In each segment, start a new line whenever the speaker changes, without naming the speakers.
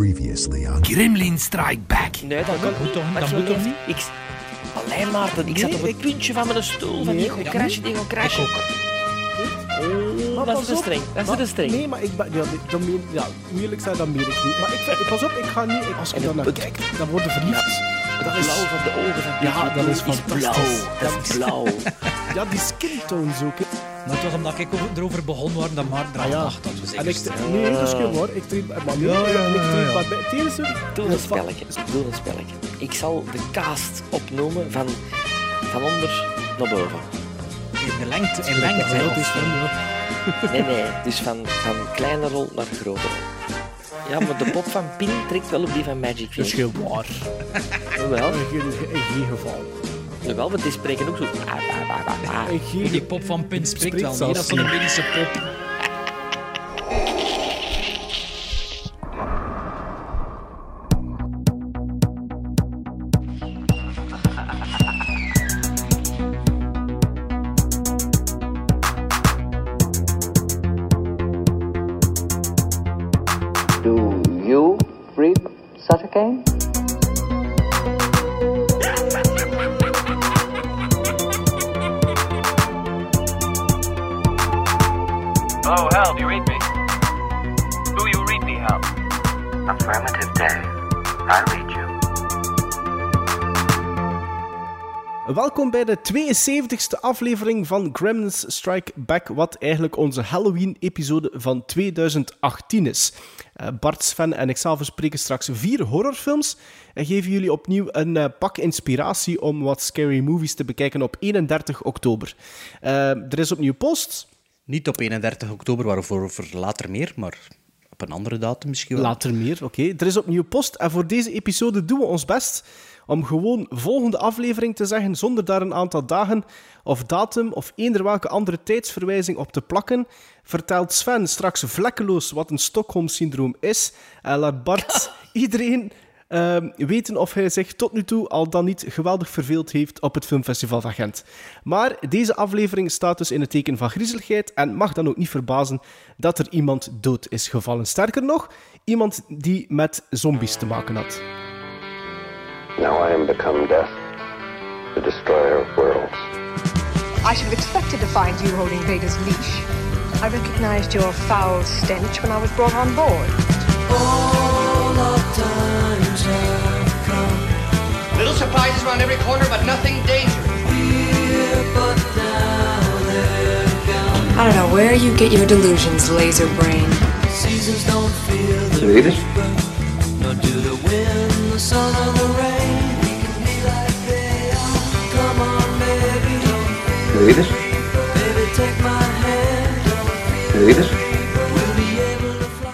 Previously on
Gremlin Strike Back.
Nee, dat kan
moet
niet.
toch-
Maar
dat
ik
moet
zou
toch
nog- Ik, alleen Maarten, ik zat op het puntje van mijn stoel. Van die gaat crashen, die gaat crashen. dat is
pas
de
op.
streng. Dat is
Maar-
de streng.
Nee, maar ik ben... Ja, nee, dat meen, ja moeilijk zijn, dat meen ik niet. Maar ik, vind- pas op, ik ga niet... Ik, als ik
En
daar
het
naar
put-
kijk, dan word je verliefd.
Dat is blauw van de ogen van Pieter
Ja, dat
Blauw
is fantastisch.
blauw. Dat is blauw.
Ja, die skin tones ook. hè.
Maar het was omdat ik over- erover begon waar dat maar eraan
Ah, ja.
dacht. Dat we
En ik...
zeker
Nee, dat is geen waar. Ik drink... Maar nu,
Ja, ja,
ik
ja,
drink...
ja.
Maar bij het eerste...
Doe een spelletje. Doe een spelletje. Ik zal de cast opnoemen van, van onder naar boven.
in de lengte. In lengte.
Ja,
hè.
dat is wel, ja.
Nee, nee. Dus van, van kleine rol naar grote rol. Ja, maar de pop van Pin trekt wel op die van Magic
Dat is
Fish.
geen waar.
Wel,
In geen- in geen geval.
wel, want die spreken ook zo. Ah, ah, ah, ah, ah.
In geen
Die pop van Pin spreekt
Spreekt
wel niet.
zelfs
Dat is een medische pop.
Do you read such a game?
Hello, Hal, Oh, do you read me? Do you read me, Hal?
Affirmative, Dave. I read you.
Welkom bij de 72e aflevering van Gremlins Strike Back, wat eigenlijk onze Halloween-episode van 2018 is. Eh, Bart, Sven en ikzelf bespreken straks vier horrorfilms en geven jullie opnieuw een eh, pak inspiratie om wat scary movies te bekijken op 31 oktober. Eh, er is opnieuw post.
Niet op 31 oktober, waarvoor voor later meer, maar op een andere datum misschien wel.
Later meer, oké. Er is opnieuw post. En voor deze episode doen we ons best om gewoon volgende aflevering te zeggen, zonder daar een aantal dagen of datum of eender welke andere tijdsverwijzing op te plakken. Vertelt Sven straks vlekkeloos wat een Stockholm-syndroom is. En laat Bart iedereen ehm, weten of hij zich tot nu toe al dan niet geweldig verveeld heeft op het Filmfestival van Gent. Maar deze aflevering staat dus in het teken van griezeligheid en mag dan ook niet verbazen dat er iemand dood is gevallen. Sterker nog, iemand die met zombies te maken had.
Now I am become death, the destroyer of worlds.
I should have expected to find you holding Vader's leash. I recognized your foul stench when I was brought on board.
Little surprises around every corner, but nothing dangerous.
I don't know where you get your delusions, laser brain.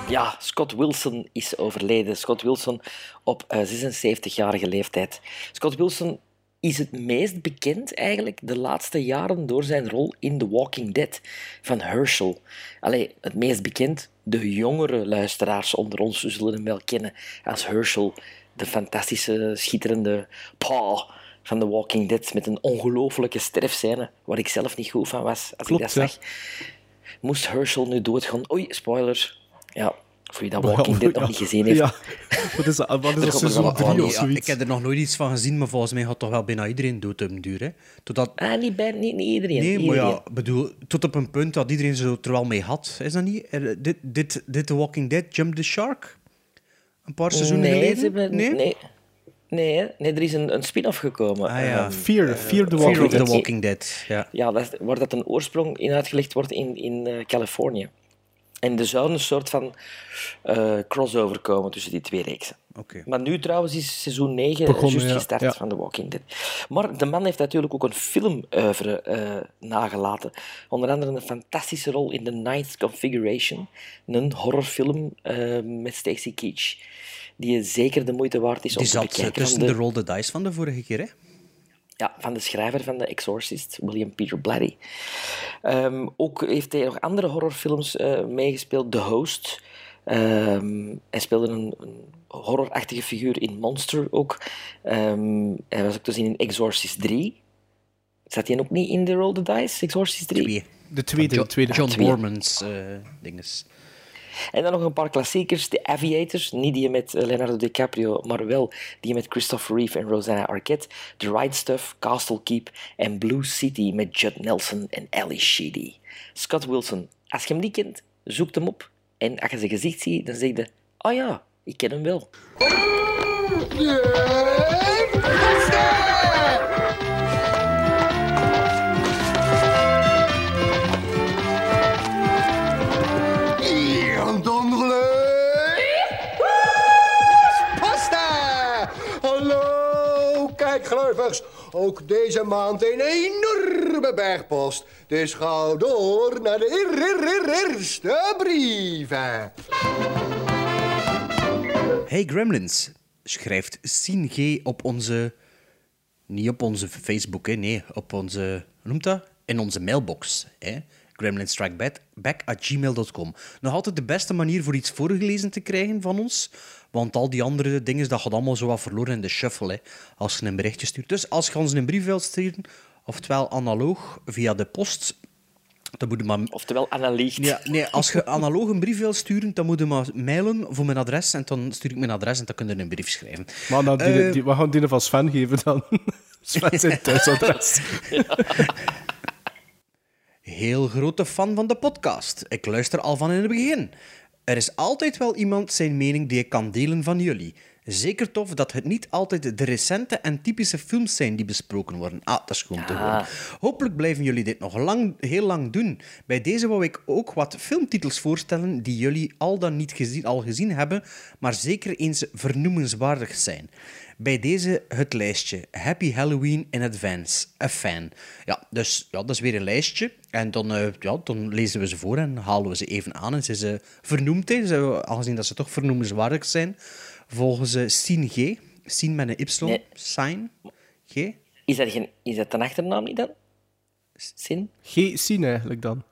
Ja, Scott Wilson is overleden. Scott Wilson op eh, 76-jarige leeftijd. Scott Wilson is het meest bekend eigenlijk de laatste jaren door zijn rol in The Walking Dead van Herschel. Allee, het meest bekend, de jongere luisteraars onder ons zullen hem wel kennen als Herschel, de fantastische, schitterende Paul van The Walking Dead met een ongelofelijke sterfscène waar ik zelf niet goed van was als
Klopt,
ik dat
ja.
zag moest Herschel nu doodgaan. Oei, spoiler. Ja, voor wie dat Walking Dead nog niet gezien heeft.
Ja. Wat is dat, wat is dat
komt er wel
seizoen
een
3
audio.
of
Ja, ik
zoiets?
heb er nog nooit iets van gezien, maar volgens mij gaat toch wel bijna iedereen dood op den duur. Hè? Totdat,
Ah, niet, bij, niet, niet iedereen.
nee, maar
iedereen.
ja, bedoel, tot op een punt dat iedereen zo er wel mee had. Is dat niet? Er- dit, dit, dit The Walking Dead, Jump the Shark? Een paar seizoenen
nee,
geleden?
ze hebben- nee? Nee, nee, er is een, een spin-off gekomen.
Ah, ja.
Ehm,
Fear, Fear the
Fear
Walking
of the
Dead.
Walking Dead, ja.
ja, dat, is- waar dat een oorsprong in uitgelegd wordt in, in eh, Californië. En er zou een soort van eh, crossover komen tussen die twee reeksen.
Oké.
Maar nu trouwens is seizoen 9
Begonnen,
juist
ja.
gestart
Ja.
van The Walking Dead. Maar de man heeft natuurlijk ook een filmœuvre eh nagelaten. Onder andere een fantastische rol in The Ninth Configuration. Een horrorfilm eh, met Stacy Keach. Die zeker de moeite waard is om
Die
te
zat eh,
bekijken.
tussen
Van
de...
de-
Roll the Dice van de vorige keer, hè?
ja, van de schrijver van The Exorcist, William Peter Blatty. Ehm, ook heeft hij nog andere horrorfilms eh, meegespeeld. The Host. Ehm, hij speelde een, een horrorachtige figuur in Monster ook. Ehm, hij was ook te zien in Exorcist 3. Zat hij ook niet in The Roll the Dice, Exorcist 3?
Twee.
De tweede, de tweede.
John
Twee.
Bormans eh dinges.
En dan nog een paar klassiekers. The Aviators, niet die met eh, Leonardo DiCaprio, maar wel die met Christopher Reeve en Rosanna Arquette. The Right Stuff, Castle Keep en Blue City met Judd Nelson en Ally Sheedy. Scott Wilson, als je hem niet kent, zoek hem op. En als je zijn gezicht ziet, dan zeg je... Ah ja, ik ken hem wel.
Pasta! Hallo, kijkgluivers. Ook deze maand een enorme bergpost. Dus ga door naar de eer- eer- eer- eerste brieven.
Hey Gremlins, schrijft Sien G op onze... Niet op onze Facebook, hè, nee. Op onze... Hoe noemt dat? In onze mailbox. Hè? gremlinstrikeback at gmail.com. Nog altijd de beste manier voor iets voorgelezen te krijgen van ons. Want al die andere dingen, dat gaat allemaal zo wat verloren in de shuffle. Hè, als je een berichtje stuurt. Dus als je ons een brief wilt sturen, oftewel analoog via de post... Dan moet je maar
Oftewel, Anna liegt.
ja, nee, als je analoog een brief wil sturen, dan moet je maar mailen voor mijn adres. En dan stuur ik mijn adres en dan kun je een brief schrijven.
Maar dan die,
Eh.
die, we gaan die van Sven geven dan. Sven zijn thuisadres.
Heel grote fan van de podcast. Ik luister al van in het begin. Er is altijd wel iemand zijn mening die ik kan delen van jullie. Zeker tof dat het niet altijd de recente en typische films zijn die besproken worden. Ah, dat is gewoon te horen. Hopelijk blijven jullie dit nog lang, heel lang doen. Bij deze wou ik ook wat filmtitels voorstellen die jullie al dan niet gezien, al gezien hebben, maar zeker eens vernoemenswaardig zijn. Bij deze het lijstje. Happy Halloween in Advance. A fan. Ja, dus ja, dat is weer een lijstje. En dan, eh, ja, dan lezen we ze voor en halen we ze even aan. En ze zijn vernoemd, hè. Ze, aangezien dat ze toch vernoemenswaardig zijn. Volgens eh Sien G. Sien met een Y.
Nee.
Sien G.
Is dat, geen, is dat de achternaam niet dan? Sin?
Geen zien eigenlijk dan.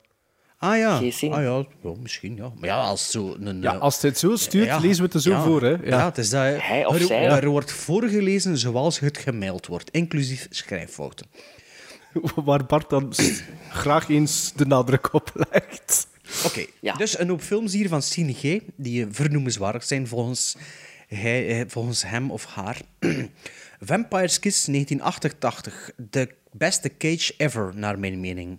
Ah ja.
G. Sien.
Ah ja, ja, misschien ja. Maar ja, als zo een...
Ja,
eh,
als dit zo stuurt,
ja,
lezen we het er zo
ja.
voor. Hè? Ja.
Ja. het is dat... eh,
Hij of
er,
zij.
Er wordt voorgelezen zoals het gemaild wordt, inclusief schrijffouten.
Waar Bart dan s- graag eens de nadruk op legt.
Oké,
Ja.
dus een hoop films hier van Cine G, die eh, vernoemenswaardig zijn volgens, hij, eh, volgens hem of haar. Vampire's Kiss 1988, de beste cage ever, naar mijn mening.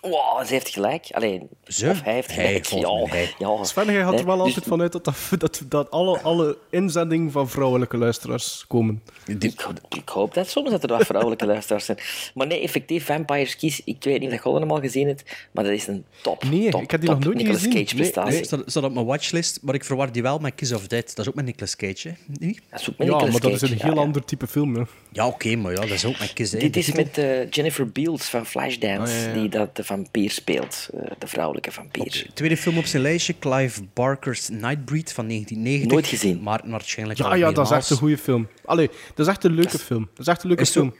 Wow, ze heeft gelijk. Alleen,
Ze?
Of hij heeft
Hij,
gelijk.
volgens
ja,
mij hij.
ja.
Sven, jij gaat
Nee,
er wel
dus-
altijd vanuit dat, dat, dat, dat alle, alle inzendingen van vrouwelijke luisteraars komen.
Ik, ik hoop dat soms dat er wat vrouwelijke luisteraars zijn. Maar nee, effectief, Vampire's Kiss, ik weet niet of je dat allemaal gezien hebt, maar dat is een top,
Nee,
top,
ik heb die
top
nog nooit
Nicolas
gezien.
Cage
Nee,
prestatie.
Nee, staat, staat op mijn watchlist, maar ik verwar die wel met Kiss of Dead. Dat is ook met Nicolas Cage, hè? Nee?
Dat is ook
Ja,
met Nicolas
maar dat is
Cage,
een
ja,
heel
ja.
ander type film. Hè.
Ja, oké, maar ja, dat is ook met Kiss. hè.
Dit
De
is
titel.
met eh, Jennifer Beals van Flashdance,
Oh,
die dat de vampier speelt. eh, de vrouwelijke vampier.
Tweede film op zijn lijstje, Clive Barker's Nightbreed van 1990.
Nooit gezien.
Maar waarschijnlijk
Ah Ja,
al
ja, dat is
meermaals.
echt een goede film. Allee, dat is echt een leuke film. Dat is echt een leuke
Is het
film.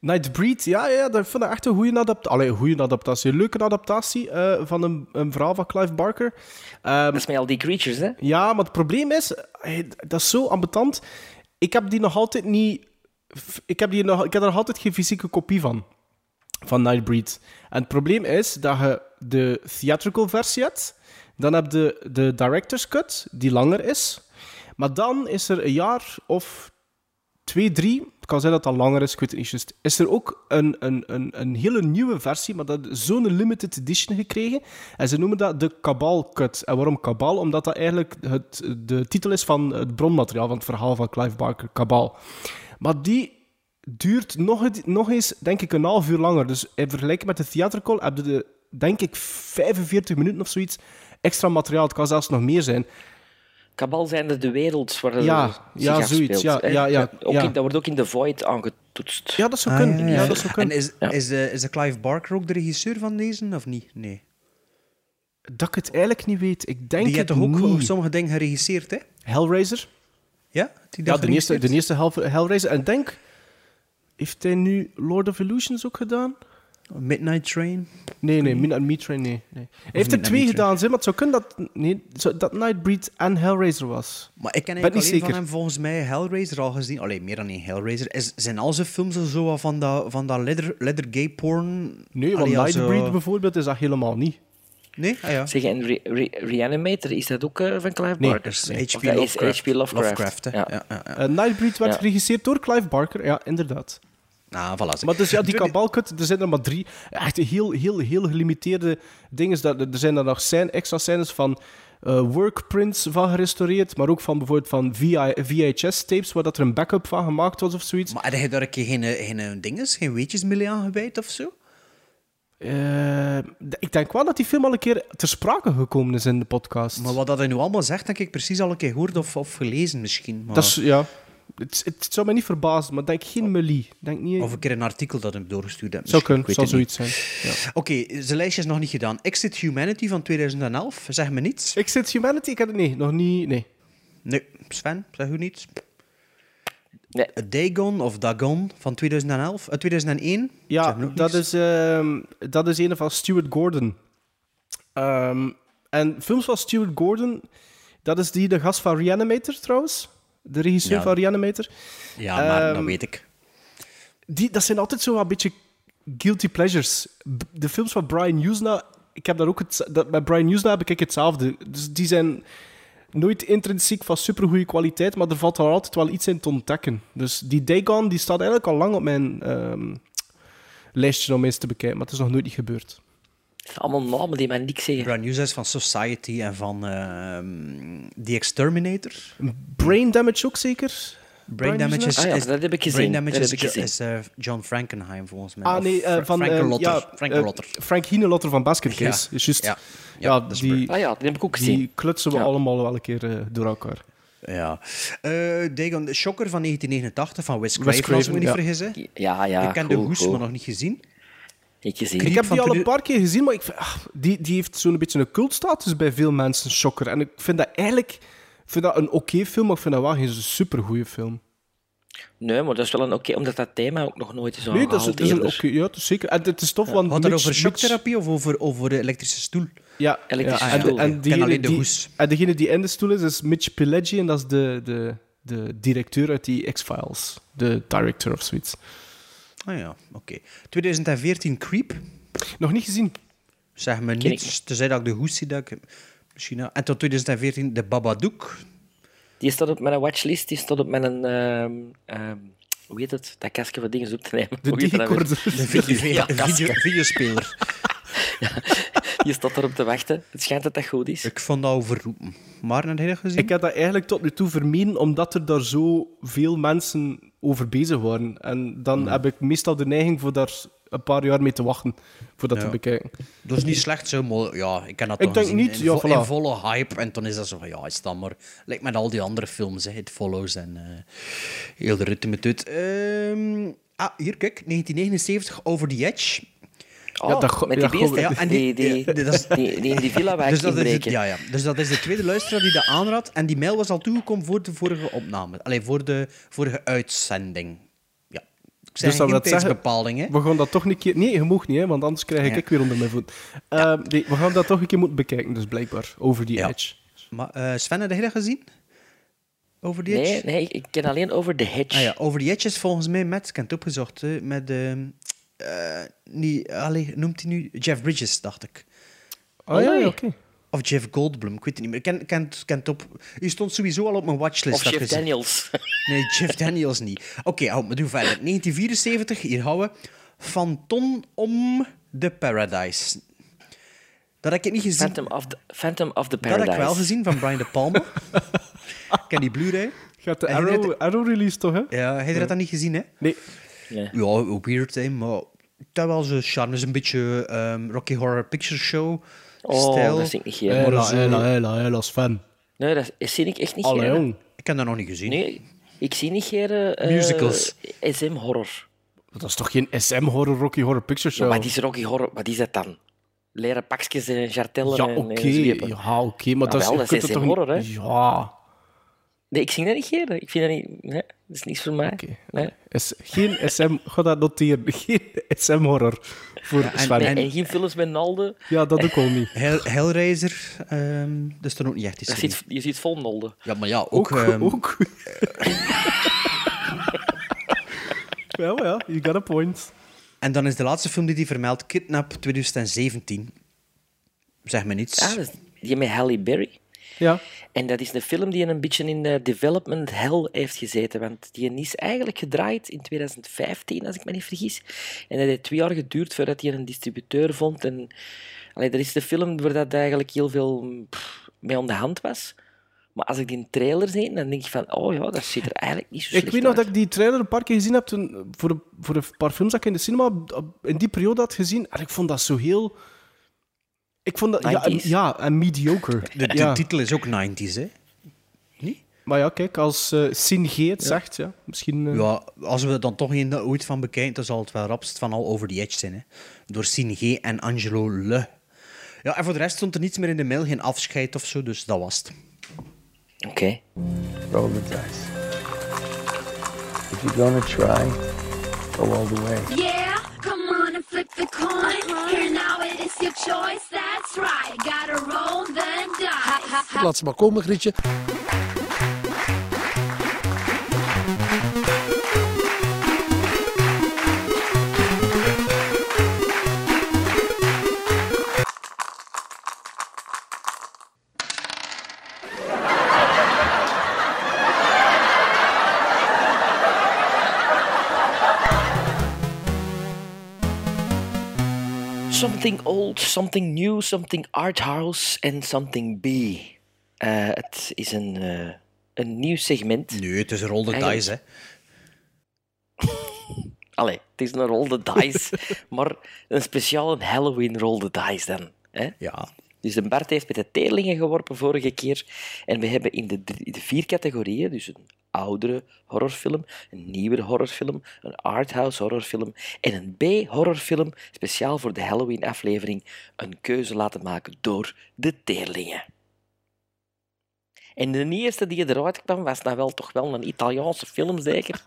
Nightbreed, ja, ja, dat vind ik echt een goede adaptatie. Allee, een goede adaptatie. Een leuke adaptatie eh, van een, een verhaal van Clive Barker. Ehm,
Dat is met al die creatures, hè?
ja, maar het probleem is, eh, dat is zo ambetant. Ik heb die nog altijd niet... Ik heb, die nog, ik heb er nog altijd geen fysieke kopie van. Van Nightbreed. En het probleem is dat je de theatrical versie hebt. Dan heb je de director's cut, die langer is. Maar dan is er een jaar of twee, drie... Het kan zijn dat dat langer is, ik weet het niet juist. Is er ook een, een, een, een hele nieuwe versie, maar dat is zo'n limited edition gekregen. En ze noemen dat de Cabal Cut. En waarom Cabal? Omdat dat eigenlijk het, de titel is van het bronmateriaal van het verhaal van Clive Barker, Cabal. Maar die duurt nog, het- nog eens, denk ik, een half uur langer. Dus in vergelijking met de theatrical heb je, de, denk ik, 45 minuten of zoiets extra materiaal. Het kan zelfs nog meer zijn.
Kabal zijn er de wereld waar
Ja,
er zich
ja,
afspeelt,
zoiets, ja,
hè.
ja, ja,
Ook
ja.
in- dat wordt ook in de Void aangetoetst.
Ja, dat zou
Ah,
kunnen.
ja,
Ja,
ja.
dat zou
En
kunnen.
is, is, de, is de Clive Barker ook de regisseur van deze, of niet? Nee.
Dat ik het eigenlijk niet weet. Ik denk
die heeft
het
toch ook
niet.
sommige dingen geregisseerd, hè?
Hellraiser?
Ja, die
Ja,
dat
de eerste, de
geregisseerd?
eerste Hell- Hellraiser. En denk, heeft hij nu Lord of Illusions ook gedaan?
Midnight Train.
Nee, nee, Midnight Meat Train, nee. nee. Hij heeft er
Midnight
twee
Meat Train.
gedaan, zeg, maar het zou kunnen dat, nee, zo- dat Nightbreed en Hellraiser was.
Maar ik ken
Ben niet
eigenlijk alleen van
zeker.
hem volgens mij Hellraiser al gezien. Alleen meer dan één Hellraiser. Is, zijn al zijn films zo wat van dat, van dat leather, leather gay porn?
Nee, want
Allee, al zo-
Nightbreed bijvoorbeeld is dat helemaal niet.
Nee? Ah ja.
Zeg, en Re- Re- Reanimator, is dat ook eh, van Clive
Nee,
Barker?
Dat is
Of dat is H.P. Lovecraft.
hè.
Ja.
Ja. Ja, ja,
Eh, Nightbreed werd
Ja.
geregisseerd door Clive Barker. Ja, inderdaad.
Nou, voilà. zeg.
Maar dus ja, die
Doe
kabalkut, er zijn er maar drie. Echt heel, heel, heel gelimiteerde dingen. Dus Dat- Er zijn er nog scène, extra scènes van eh, workprints van gerestaureerd, maar ook van bijvoorbeeld van VHS-tapes, waar dat er een backup van gemaakt was of zoiets.
Maar had je daar een keer geen, eh, geen eh, dinges, geen weetjes mee aan gewijd of zo?
Eh, d- ik denk wel dat die film al een keer ter sprake gekomen is in de podcast.
Maar wat dat hij nu allemaal zegt, denk ik precies al een keer gehoord of, of gelezen misschien. Maar...
Dat is, ja. Het, is- het zou mij niet verbazen, maar ik denk geen melie. Ik Denk niet...
Of een keer een artikel dat hem doorgestuurd heeft.
zou
misschien,
kunnen,
ik weet
zou
het niet.
zoiets zijn. Ja.
Oké, zijn lijstje is nog niet gedaan. Exit Humanity van 2011, zeg me niets.
Exit Humanity, ik heb het nee, nog niet. Nee.
Nee, Sven, zeg u niets.
Nee.
Dagon of Dagon van 2011, eh, 2001.
Ja,
Zeg me ook
dat
niks.
is, ehm, dat is een van Stuart Gordon. Ehm, en films van Stuart Gordon, dat is die de gast van Reanimator trouwens. De regisseur
Ja.
van Reanimator.
Ja, maar dat
ehm,
weet ik.
Die, dat zijn altijd zo wat beetje guilty pleasures. B- De films van Brian Usna, ik heb daar ook het, dat, bij Brian Usna heb ik hetzelfde. Dus die zijn nooit intrinsiek van supergoeie kwaliteit, maar er valt daar altijd wel iets in te ontdekken. Dus die Dagon, die staat eigenlijk al lang op mijn ehm, lijstje om eens te bekijken, maar het is nog nooit niet gebeurd.
Het zijn allemaal namen die mij niks zeggen.
Brand News is van Society en van ehm, The Exterminator.
Brain Damage ook zeker?
Brain
Brian
Damage is,
Ah ja,
is-
dat heb ik gezien,
Brain Damage
dat
is,
heb ik
Jo-
gezien.
is, eh, John Frankenheim volgens mij.
Ah
Of
nee, eh,
Fra-
van...
Frank
eh,
Lotter.
ja,
Frank
eh,
Lotter.
Frank Hienelotter van Basket Case,
Ja.
is juist.
Ja.
Ja,
Ja, dat is
die,
Ah ja, die heb ik ook gezien.
die klutsen we
Ja.
allemaal wel een keer eh, door elkaar.
Ja. Eh Dagon, Shocker van 1989 van Wes Craven,
Wes
als ik me niet
Craven, ja.
vergis. hè.
Ja, ja.
ik ken de
goed,
hoes,
goed.
maar nog niet gezien.
Niet gezien.
Ik heb
van
die al
toen-
een paar keer gezien, maar ik vind- ah, die, die heeft zo'n beetje een cultstatus bij veel mensen, Shocker. En ik vind dat eigenlijk ik vind dat een oké film, maar ik vind dat wel geen supergoeie film.
Nee, maar dat is wel een oké, omdat dat thema ook nog nooit is
nee, dat is,
aangehaald
dat is een oké...
eerder.
ja, dat is zeker. En het is tof, want
Had het
Mitch-
over
Mitch-
shocktherapie of over, over de elektrische stoel?
Ja,
Elektrische
ja, en,
stoel,
en
ja. Ik ken
diegene
alleen de
die,
hoes.
En degene die in de stoel is, is Mitch Pileggi. En dat is de, de, de directeur uit die X-Files. De director of zoiets.
Ah ja, oké. 2014 Creep.
Nog niet gezien.
Zeg me
ik
niets. Tenzij dat ik de hoes zie. Dat ik, misschien, ja. en tot 2014 de Babadook.
Die staat op mijn watchlist, die staat op mijn... ehm, ehm, hoe heet het? Dat kastje van dingen op te nemen.
De
Hoe heet dat nou weer?
digicorder.
De video,
Ja, dat is-
video, videospeler.
Je staat erop te wachten. Het schijnt dat dat goed is.
ik vond dat overroepen. Maar naar hele gezien.
Ik heb dat eigenlijk tot nu toe vermeden, omdat er daar zo veel mensen over bezig waren. En dan heb ik meestal de neiging voor daar een paar jaar mee te wachten, voor dat
Ja.
te bekijken.
Dat is niet slecht zo, maar ja, ik kan dat
Ik
toch
denk
gezien
niet,
in,
ja,
vo- in
voilà.
volle hype. En dan is dat zo van, ja, is dat maar... Lijkt met al die andere films, hè, het follows en eh, heel de rutte met dit. Ehm, ah, hier, kijk, 1979, Over the Edge.
Oh,
dat go-
met
ja,
die beesten.
go- ja, en die-
die, die,
ja, dat is-
die, die in die villa waar
Dus
ik
dat, is de,
inbreken.
ja, ja. dus dat is de tweede luisteraar die dat aanraadt. En die mail was al toegekomen voor de vorige opname. Alleen voor de vorige uitzending. Ja. Ik zei
Dus dat
geen
wil zeggen-
tijdsbepaling, hè.
We gaan dat toch een keer... Nee, je mag niet, hè, want anders krijg ik,
Ja.
ik weer onder mijn voet. Ehm, nee, we gaan dat toch een keer moeten bekijken, dus blijkbaar. Over die
Ja.
edge.
Maar eh, Sven, heb je dat gezien? Over the Edge?
Nee, nee, ik- ik ken alleen over de hedge.
Ah ja, over die Edge is volgens mij met, ik heb het opgezocht, hè, met, ehm eh, niet, allee, noemt hij nu Jeff Bridges, dacht ik.
Oh ja, ja, oké.
Of Jeff Goldblum, ik weet het niet meer. Ik ken, ken, het- ken het op. U stond sowieso al op mijn watchlist.
Of
had
Chef
gezegd.
Daniels.
Nee, Jeff Daniels niet. Oké, hou, maar doe verder. 1974, hier houden we. Phantom om de Paradise. Dat heb ik niet gezien.
Phantom of the, Phantom of the
dat
Paradise.
heb ik wel gezien van Brian De Palma. ik ken die Blu-ray.
Gaat de
Heb je dat-
Arrow, Arrow release toch, hè?
Ja, hij had dat niet gezien, hè?
Nee.
Ja, weird, hè, maar dat was een charme. is een beetje ehm, Rocky Horror Picture Show
Oh,
stijl.
dat zie ik niet geer.
Hela,
zo-
hela, hela, hela, Sven.
Nee, dat zie ik echt niet
Alle
geer.
eh, jong.
Ik heb dat nog niet gezien.
Nee, ik zie niet geer... eh,
Musicals.
SM-horror.
Dat is toch geen SM-horror, Rocky Horror Picture
Ja,
Show?
wat is Rocky Horror? Wat is dat dan? Leren pakjes en jartellen
Ja,
en, eh,
oké.
en zweepen.
Ja, oké, maar dat is...
wel,
je
dat
kunt
is
het toch niet-
SM-horror, hè?
Ja.
Nee, ik zie dat niet geer. Ik vind dat niet... Nee, dat is niks voor mij. Nee.
Is, geen SM, ga dat noteren. Geen SM-horror voor
en-
Sven.
nee,
En, en geen films met nolden.
ja, dat ook al niet.
Hell- Hellraiser, ehm, dat is dan ook niet echt.
Dat
Is
zit, je ziet vol nolden.
Ja, maar ja, ook...
Ook.
ehm,
ook. ja, maar ja, you got a point.
En dan is de laatste film die hij vermeldt, Kidnap 2017. Zeg me niets.
Ah, dat is die met Halle Berry.
Ja.
En dat is een film die een beetje in de development hell heeft gezeten. Want die is eigenlijk gedraaid in 2015, als ik me niet vergis. En dat heeft twee jaar geduurd voordat hij een distributeur vond. En allee, dat is de film waar dat eigenlijk heel veel mm, pff, mee aan de hand was. Maar als ik die trailer zie, dan denk ik van, oh ja, dat ziet er eigenlijk niet zo
Ik
slecht
weet
uit.
nog dat ik die trailer een paar keer gezien heb toen, eh, voor, een- voor een paar films dat ik in de cinema op- in die periode had gezien. En ik vond dat zo heel... Ik vond dat... Ja, en,
90s.
ja, en mediocre.
De, de
ja.
titel is ook 90s, hè?
Maar ja, kijk, als eh Sin G het zegt, ja, misschien... eh,
Ja, als we er dan toch één ooit van bekijken, dan zal het wel rapst van al over the edge zijn. Hè? Door Sine G en Angelo Le. Ja, en voor de rest stond er niets meer in de mail, geen afscheid of zo, dus dat was het.
Oké.
Roll the dice. If you're gonna try, go all the way.
Yeah, come on and flip the coin. Here now it is your choice, that's right. Gotta roll the dice.
Laat ze maar komen, Grietje.
Something old, something new, something art house en something B. Eh, het is een, eh, een nieuw segment.
Nee, het is roll the
Eigenlijk-
dice, hè.
Allee, het is een roll the dice, maar een speciale Halloween roll the dice dan. Hè?
Ja.
Dus de Bart heeft met de teerlingen geworpen vorige keer. En we hebben in de, drie- in de vier categorieën, dus een oudere horrorfilm, een nieuwere horrorfilm, een arthouse horrorfilm en een B-horrorfilm, speciaal voor de Halloween-aflevering, een keuze laten maken door de teerlingen. En de eerste die eruit kwam, was dan wel toch wel een Italiaanse film, zeker?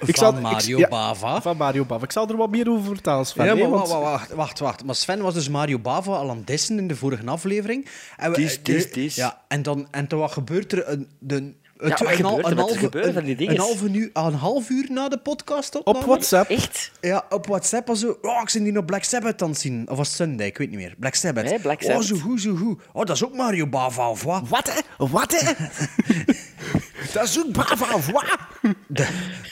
Van
zal- ik-
Mario
ja.
Bava.
Van Mario Bava. Ik zal er wat meer over vertellen, Sven.
ja,
hè,
maar
want-
wacht, wacht, wacht, wacht. Maar Sven was dus Mario Bava al aan het dissen in de vorige aflevering. En we-
Dis,
eh,
dis,
de-
dis.
Ja, en, dan, en toen wat gebeurt er? Een, de, het-
wat
een,
gebeurt
hal-
er? Wat
een
er
halve-
gebeurt van die
een,
dinges?
een, halve uur- een half uur na de podcast
Op WhatsApp.
Echt?
Ja, op WhatsApp was zo. Oh, ik zit die nog Black Sabbath aan het zien. Of was het Sunday, ik weet niet meer. Black Sabbath.
Nee, Black Sabbath.
Oh, zo goed, zo goed. Oh, dat is ook Mario Bava, of wat?
Wat, hè? Wat, hè? dat is ook Bava, of wat?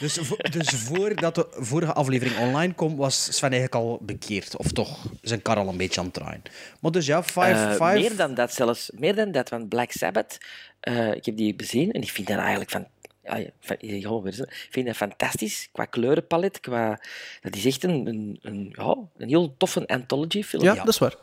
Dus, vo- dus voordat de vorige aflevering online kwam, was Sven eigenlijk al bekeerd. Of toch zijn kar al een beetje aan het draaien. Maar dus ja, five,
Eh,
five.
Meer dan dat zelfs. Meer dan dat, want Black Sabbath, eh, ik heb die bezien en ik vind dat eigenlijk van... ah ja, van- ja, gewoon weer zo. Ik vind dat fantastisch, qua kleurenpalet, qua... Dat is echt een, een, een, ja, een heel toffe anthology-film.
Ja, dat is waar.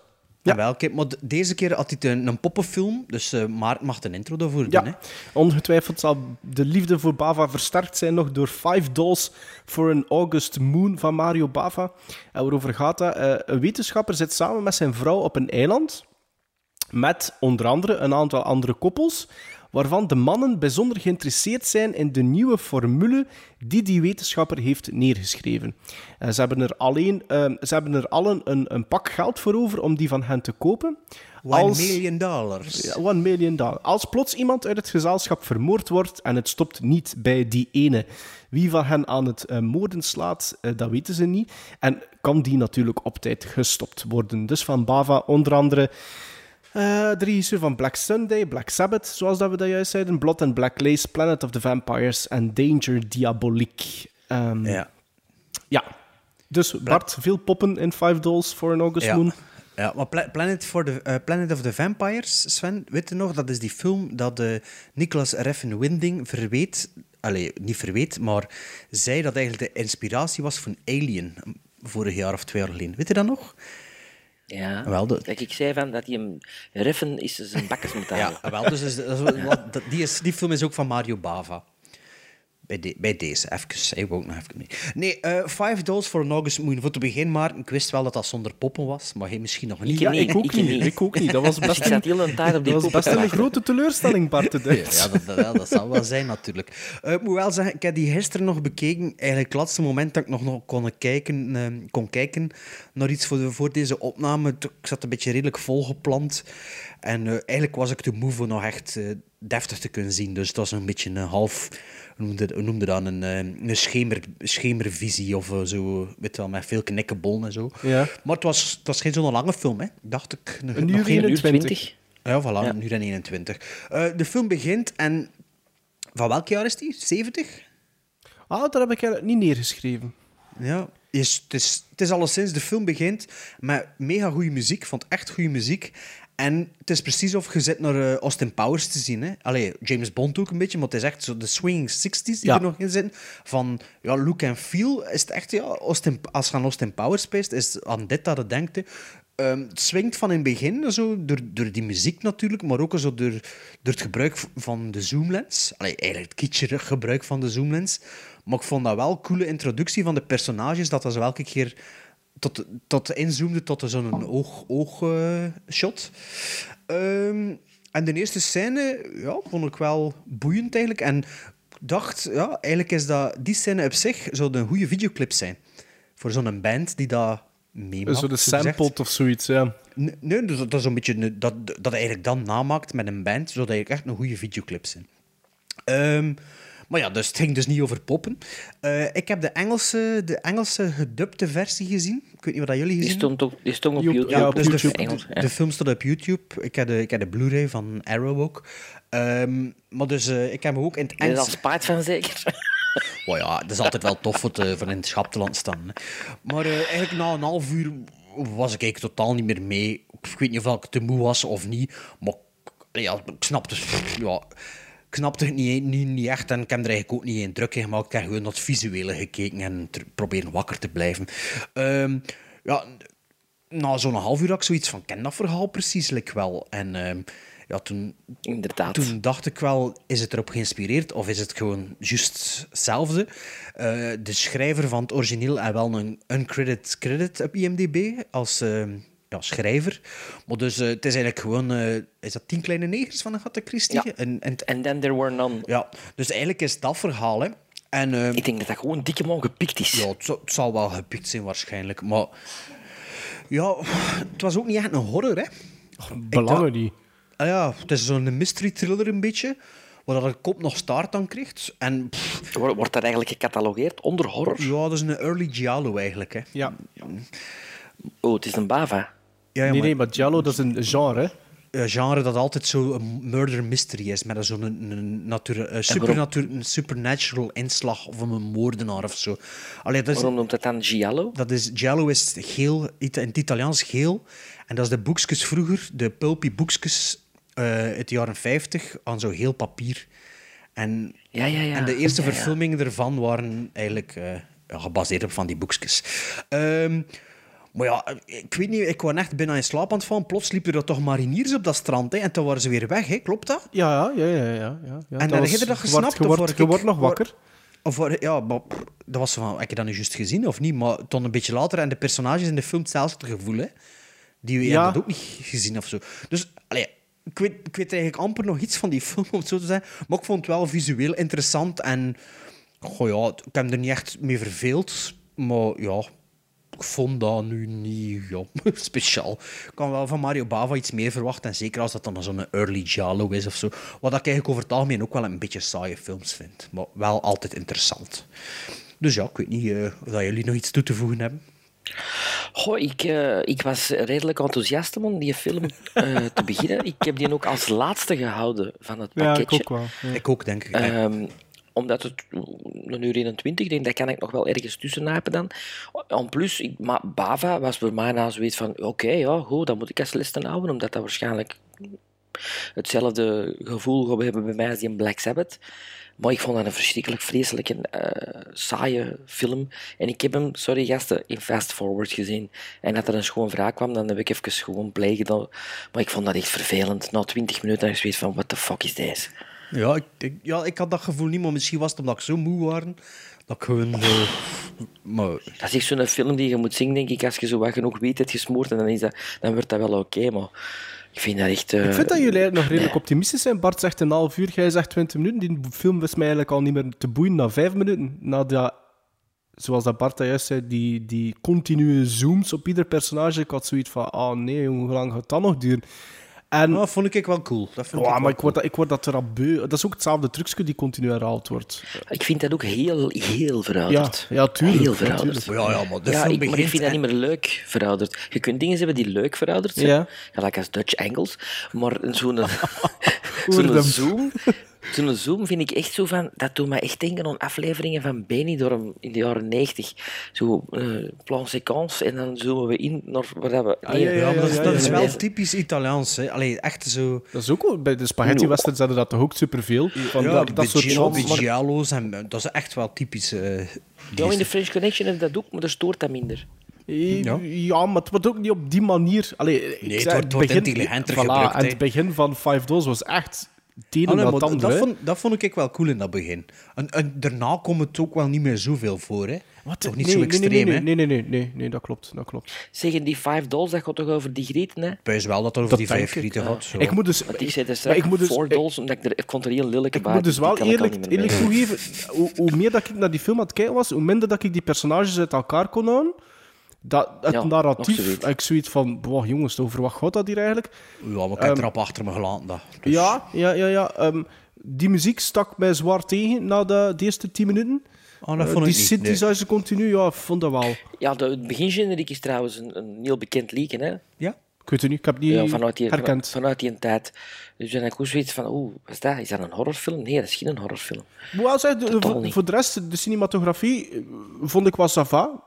Ja. Jawel, kijk, maar d- deze keer had hij eh, een, een poppenfilm, dus eh Maart mag een intro daarvoor doen.
Ja,
Hè.
ongetwijfeld zal de liefde voor Bava versterkt zijn nog door Five Dolls for an August Moon van Mario Bava. En waarover gaat dat? Eh, een wetenschapper zit samen met zijn vrouw op een eiland met onder andere een aantal andere koppels, waarvan de mannen bijzonder geïnteresseerd zijn in de nieuwe formule die die wetenschapper heeft neergeschreven. Eh, ze, hebben er alleen, eh, ze hebben er allen een, een pak geld voor over om die van hen te kopen.
One
Als-
million dollars.
ja, One million dollar. Als plots iemand uit het gezelschap vermoord wordt en het stopt niet bij die ene. Wie van hen aan het eh, moorden slaat, eh, dat weten ze niet. En kan die natuurlijk op tijd gestopt worden. Dus van Bava onder andere eh, de regisseur van Black Sunday, Black Sabbath, zoals dat we dat juist zeiden. Blood and Black Lace, Planet of the Vampires en Danger Diabolique. Ehm,
Ja.
ja. Dus Bart, veel poppen in Five Dolls for an August
Ja.
Moon.
Ja, maar Pla- Planet, for the, eh, Planet of the Vampires, Sven, weet je nog? Dat is die film dat eh Nicolas Refn Winding verweet... Allee, niet verweet, maar zei dat eigenlijk de inspiratie was van Alien. Vorig jaar of twee jaar geleden. Weet je dat nog?
Ja.
Wel, dat-
Kijk, ik zei van dat hij hem reffen is zijn bakkers moet halen.
wel. Dus is- dat is wel- dat- die, is, die film is ook van Mario Bava. Bij, de- bij deze, even. Ik wou ook nog even mee. Nee, eh Five Dolls for an August Moon. Voor het begin, maar ik wist wel dat dat zonder poppen was. Maar hij misschien nog niet.
Ik
Ja,
niet,
ik ook
ik
niet.
niet. Dus
Ik ook niet. Dat was best
ik zat heel een tijd op die
Dat
poppen
was best
te
een
wachten.
grote teleurstelling, Bart. de Duit.
Ja, dat, dat, wel, dat zal wel zijn natuurlijk. Eh, ik moet wel zeggen, ik heb die gisteren nog bekeken. Eigenlijk het laatste moment dat ik nog, nog kon, kijken, eh, kon kijken naar iets voor, de- voor deze opname. Toen- Ik zat een beetje redelijk volgeplant. En eh, eigenlijk was ik te moe om nog echt eh, deftig te kunnen zien. Dus het was een beetje een half hoe noemde, hoe noemde dat een, eh, een schemer, schemervisie of eh, zo, weet je wel, met veel knikkenbollen en zo.
Ja.
Maar het was, het was geen zo'n lange film, hè? dacht ik. Nog-
Een
nog
uur
geen-
21.
Ja, voilà, een uur en 21. Eh, de film begint en... Van welk jaar is die? 70?
Ah, daar heb ik eigenlijk niet neergeschreven.
Ja, is, het, is, het is alleszins, de film begint met mega goede muziek. Ik vond het echt goede muziek. En het is precies of je zit naar eh, Austin Powers te zien. Hè? Allee, James Bond ook een beetje, maar het is echt zo de swinging 60s die
Ja.
er nog in zitten. Van ja, look en feel is het echt, ja, Austin, als je aan Austin Powers speelt, is aan dit dat het denkt. hè. Ehm, het swingt van in het begin, zo, door, door die muziek natuurlijk, maar ook zo door, door het gebruik v- van de zoomlens. Allee, eigenlijk het kitscherig gebruik van de zoomlens. Maar ik vond dat wel een coole introductie van de personages, dat dat zo elke keer tot, tot inzoomde tot zo'n oog-oog-shot. Ehm, en de eerste scène ja, vond ik wel boeiend eigenlijk. En ik dacht, ja, eigenlijk is dat, die scène op zich zou een goede videoclip zijn. Voor zo'n band die dat meemaakt.
Zo de
zogezegd.
sampled of zoiets, ja.
Nee, Nee, dus dat dat is een beetje een- dat, dat hij eigenlijk dan namaakt met een band, zodat hij echt een goede videoclip zijn. Ehm, maar ja, dus het ging dus niet over poppen. Eh, ik heb de Engelse, de Engelse gedubte versie gezien. Ik weet niet wat dat jullie
Die
gezien hebben.
stond, ook, die stond op
Joep,
YouTube.
ja, op
dus
Dus
in
de,
YouTube.
Engels,
de,
ja.
de film staat op YouTube. Ik heb de, ik heb de Blu-ray van Arrow ook. Ehm, maar dus, eh, ik heb hem ook in het
Er is al
Engels...
spijt van zeker.
Maar ja, het is altijd wel tof voor, te, voor in het schap te laten staan. hè. Maar eh, eigenlijk na een half uur was ik eigenlijk totaal niet meer mee. Ik weet niet of ik te moe was of niet. Maar ik- ja, ik snapte, ja, ik snapte het niet, niet, niet echt. En ik heb er eigenlijk ook niet in druk in gemaakt. Ik heb gewoon naar het visuele gekeken en ter- proberen wakker te blijven. Ehm, ja, na zo'n half uur had ik zoiets van, ken dat verhaal precies like wel. En ehm, ja, toen,
Inderdaad.
toen dacht ik wel, is het erop geïnspireerd of is het gewoon juist hetzelfde? Eh, de schrijver van het origineel had wel een uncredit credit op IMDb als ehm, ja, schrijver. Maar dus eh, het is eigenlijk gewoon, eh, is dat Tien Kleine Negers van Agatha Christie?
Ja.
En, en,
And then there were none.
ja, dus eigenlijk is dat verhaal, hè. En, ehm,
Ik denk dat dat gewoon dikke man gepikt is.
ja, het zou, het zou wel gepikt zijn waarschijnlijk, maar... Ja, het was ook niet echt een horror, hè.
Belangen die.
Ah ja, het is zo'n mystery thriller een beetje, waar dat een kop nog staart aan krijgt. En pff,
Wordt wordt dat eigenlijk gecatalogeerd onder horror?
ja, dat is een early giallo eigenlijk, hè.
Ja.
Oh, het is een bava.
Ja, ja,
Nee,
maar
nee, maar Giallo, dat is een genre, hè.
een genre dat altijd zo'n murder mystery is, met zo'n een, een natura- eh, supernatu- een supernatural inslag of een moordenaar of zo. Allee, dat is,
Waarom noemt dat dan Giallo?
dat is, giallo is geel, Ita- in het Italiaans geel. En dat is de boekjes vroeger, de pulpy boekjes eh, uit de jaren 50, aan zo'n geel papier. En,
Ja, ja, ja.
en de eerste
Ja, ja.
verfilmingen ervan waren eigenlijk eh, ja, gebaseerd op van die boekjes. Ehm, maar ja, ik weet niet, ik kwam echt bijna in slaap aan het vallen. Plots liepen er toch mariniers op dat strand hè, en toen waren ze weer weg, hè. klopt dat?
Ja, ja, ja, ja. ja, ja. ja.
En heb je
was-
dat
je
gesnapt?
wordt-
of
Je
word
wordt,
ik-
je wordt nog
word-
wakker.
Of, word- ja, maar pff, dat was zo van, heb je dat nu juist gezien of niet? Maar toen een beetje later, en de personages in de film hetzelfde gevoel, hè? Die we
Ja.
hebben dat ook niet gezien of zo. Dus, allee, ik weet, ik weet eigenlijk amper nog iets van die film, om het zo te zeggen. Maar ik vond het wel visueel interessant en... Goh ja, ik heb er niet echt mee verveeld, maar ja... Ik vond dat nu niet ja, speciaal. Ik kan wel van Mario Bava iets meer verwachten. En zeker als dat dan zo'n early Giallo is of zo. Wat ik eigenlijk over het algemeen ook wel een beetje saaie films vind. Maar wel altijd interessant. Dus ja, ik weet niet eh, of dat jullie nog iets toe te voegen hebben.
Goh, ik, eh, ik was redelijk enthousiast om die film eh, te beginnen. Ik heb die ook als laatste gehouden van het
Ja,
pakketje.
ik ook wel. Ja.
Ik ook, denk ik. Eh,
Ehm, omdat het een uur 21, denk, dat kan ik nog wel ergens tussennapen dan. En plus, ik, maar Bava was voor mij nou zoiets van, oké, ja, goed, dan moet ik als lessen houden, omdat dat waarschijnlijk hetzelfde gevoel gaat hebben bij mij als die in Black Sabbath. Maar ik vond dat een verschrikkelijk vreselijke, eh, saaie film. En ik heb hem, sorry gasten, in fast forward gezien. En dat er een schoon wraak kwam, dan heb ik even gewoon play gedaan. Maar ik vond dat echt vervelend. Na 20 minuten had ik zoiets van, what the fuck is deze?
Ja, ik, ik- ja, ik had dat gevoel niet, maar misschien was het omdat ik zo moe was. Dat ik gewoon... eh, maar
Dat is echt zo'n film die je moet zien, denk ik, als je zo wat genoeg weet hebt gesmoord, en dan, is dat, dan wordt dat wel oké, maar ik vind dat echt... eh,
Ik vind dat jullie eigenlijk nog redelijk optimistisch zijn. Bart zegt een half uur, jij zegt 20 minuten. Die film wist mij eigenlijk al niet meer te boeien na vijf minuten. Na dat, zoals dat Bart dat juist zei, die, die continue zooms op ieder personage. Ik had zoiets van, ah nee, jongen, hoe lang gaat dat nog duren? En,
dat vond ik wel cool. Dat vond
Ja,
ik wel
maar ik word, dat, ik word dat er al beu. Dat is ook hetzelfde trucje die continu herhaald wordt.
Ik vind dat ook heel, heel
Ja,
verouderd.
ja tuurlijk.
Heel
ja, tuurlijk.
verouderd.
Ja, ja, maar de
Ja,
film
ik, maar ik
begint
vind dat niet meer leuk verouderd. Je kunt dingen hebben die leuk verouderd zijn,
Ja.
gelijk als Dutch Engels, maar zo'n
Oerdem.
zo'n zoom, zo'n zoom vind ik echt zo van, dat doet me echt denken aan afleveringen van Benidorm in de jaren 90. Zo eh, plan séquence en dan zoomen we in naar waar dat we... Nee,
Ja, maar dat, is-
ja,
dat
ja,
is
ja.
wel typisch Italiaans. Hè. Allee, echt zo...
Dat is ook wel- bij de spaghetti westerns hadden dat toch ook superveel. Van
ja,
dat, dat soort
Bigia-
shots. Maar-
Bigialo's en eh, dat is echt wel typisch. eh,
Ja, in
deze.
de French Connection heb je dat ook, maar daar stoort dat minder.
Ja. maar het wordt ook niet op die manier. Allee, ik
Nee, het
zei,
wordt- het wordt intelligenter
voilà,
gebruikt,
En het
hè.
begin van Five Doors was echt het ene
Ah, nee,
na
maar
het
dat,
andere.
dat
hè.
vond, dat vond ik echt wel cool in dat begin. En, en daarna komt het ook wel niet meer zoveel voor. Hè.
Wat?
Toch niet
nee,
zo
nee,
extreem,
nee, nee,
hè?
nee, nee, nee, nee, nee, dat klopt, dat klopt.
Zeggen die Five Dolls, dat gaat toch over die grieten, hè?
Ik wijs wel dat er over
Dat
die
denk
vijf
ik,
grieten gaat. zo.
Ik moet dus...
Want ik zei er
maar
straks
ik moet dus,
Four
ik-
Dolls, omdat ik er... Ik vond er heel lelijke
Ik moet dus wel eerlijk, eerlijk
toe.
toegeven, hoe, hoe meer dat ik naar die film aan het kijken was, hoe minder dat ik die personages uit elkaar kon houden. Dat, het
Ja,
narratief,
nog zoiets.
ik zoiets van, wow, jongens, over wat gaat dat hier eigenlijk?
Ja, maar ik heb het erop achter me gelaten. Dat. Dus-
Ja, ja, ja, ja. ehm, die muziek stak mij zwaar tegen na de, de eerste 10 minuten.
Ah, dat
Eh,
vond
die
ik niet,
synthesizer continu, ja, ik vond dat wel.
Ja, de, het begingeneriek is trouwens een, een heel bekend liedje, hè?
Ja?
Ik weet het niet, ik heb het niet
Ja, vanuit, die,
herkend.
vanuit die tijd. Dus dan heb ik ook zoiets van, oeh, wat is dat? Is dat een horrorfilm? Nee, dat is geen horrorfilm.
Ik moet wel zeggen, de-
Totaal
voor-
niet.
voor de rest, de cinematografie eh, vond ik wel sava.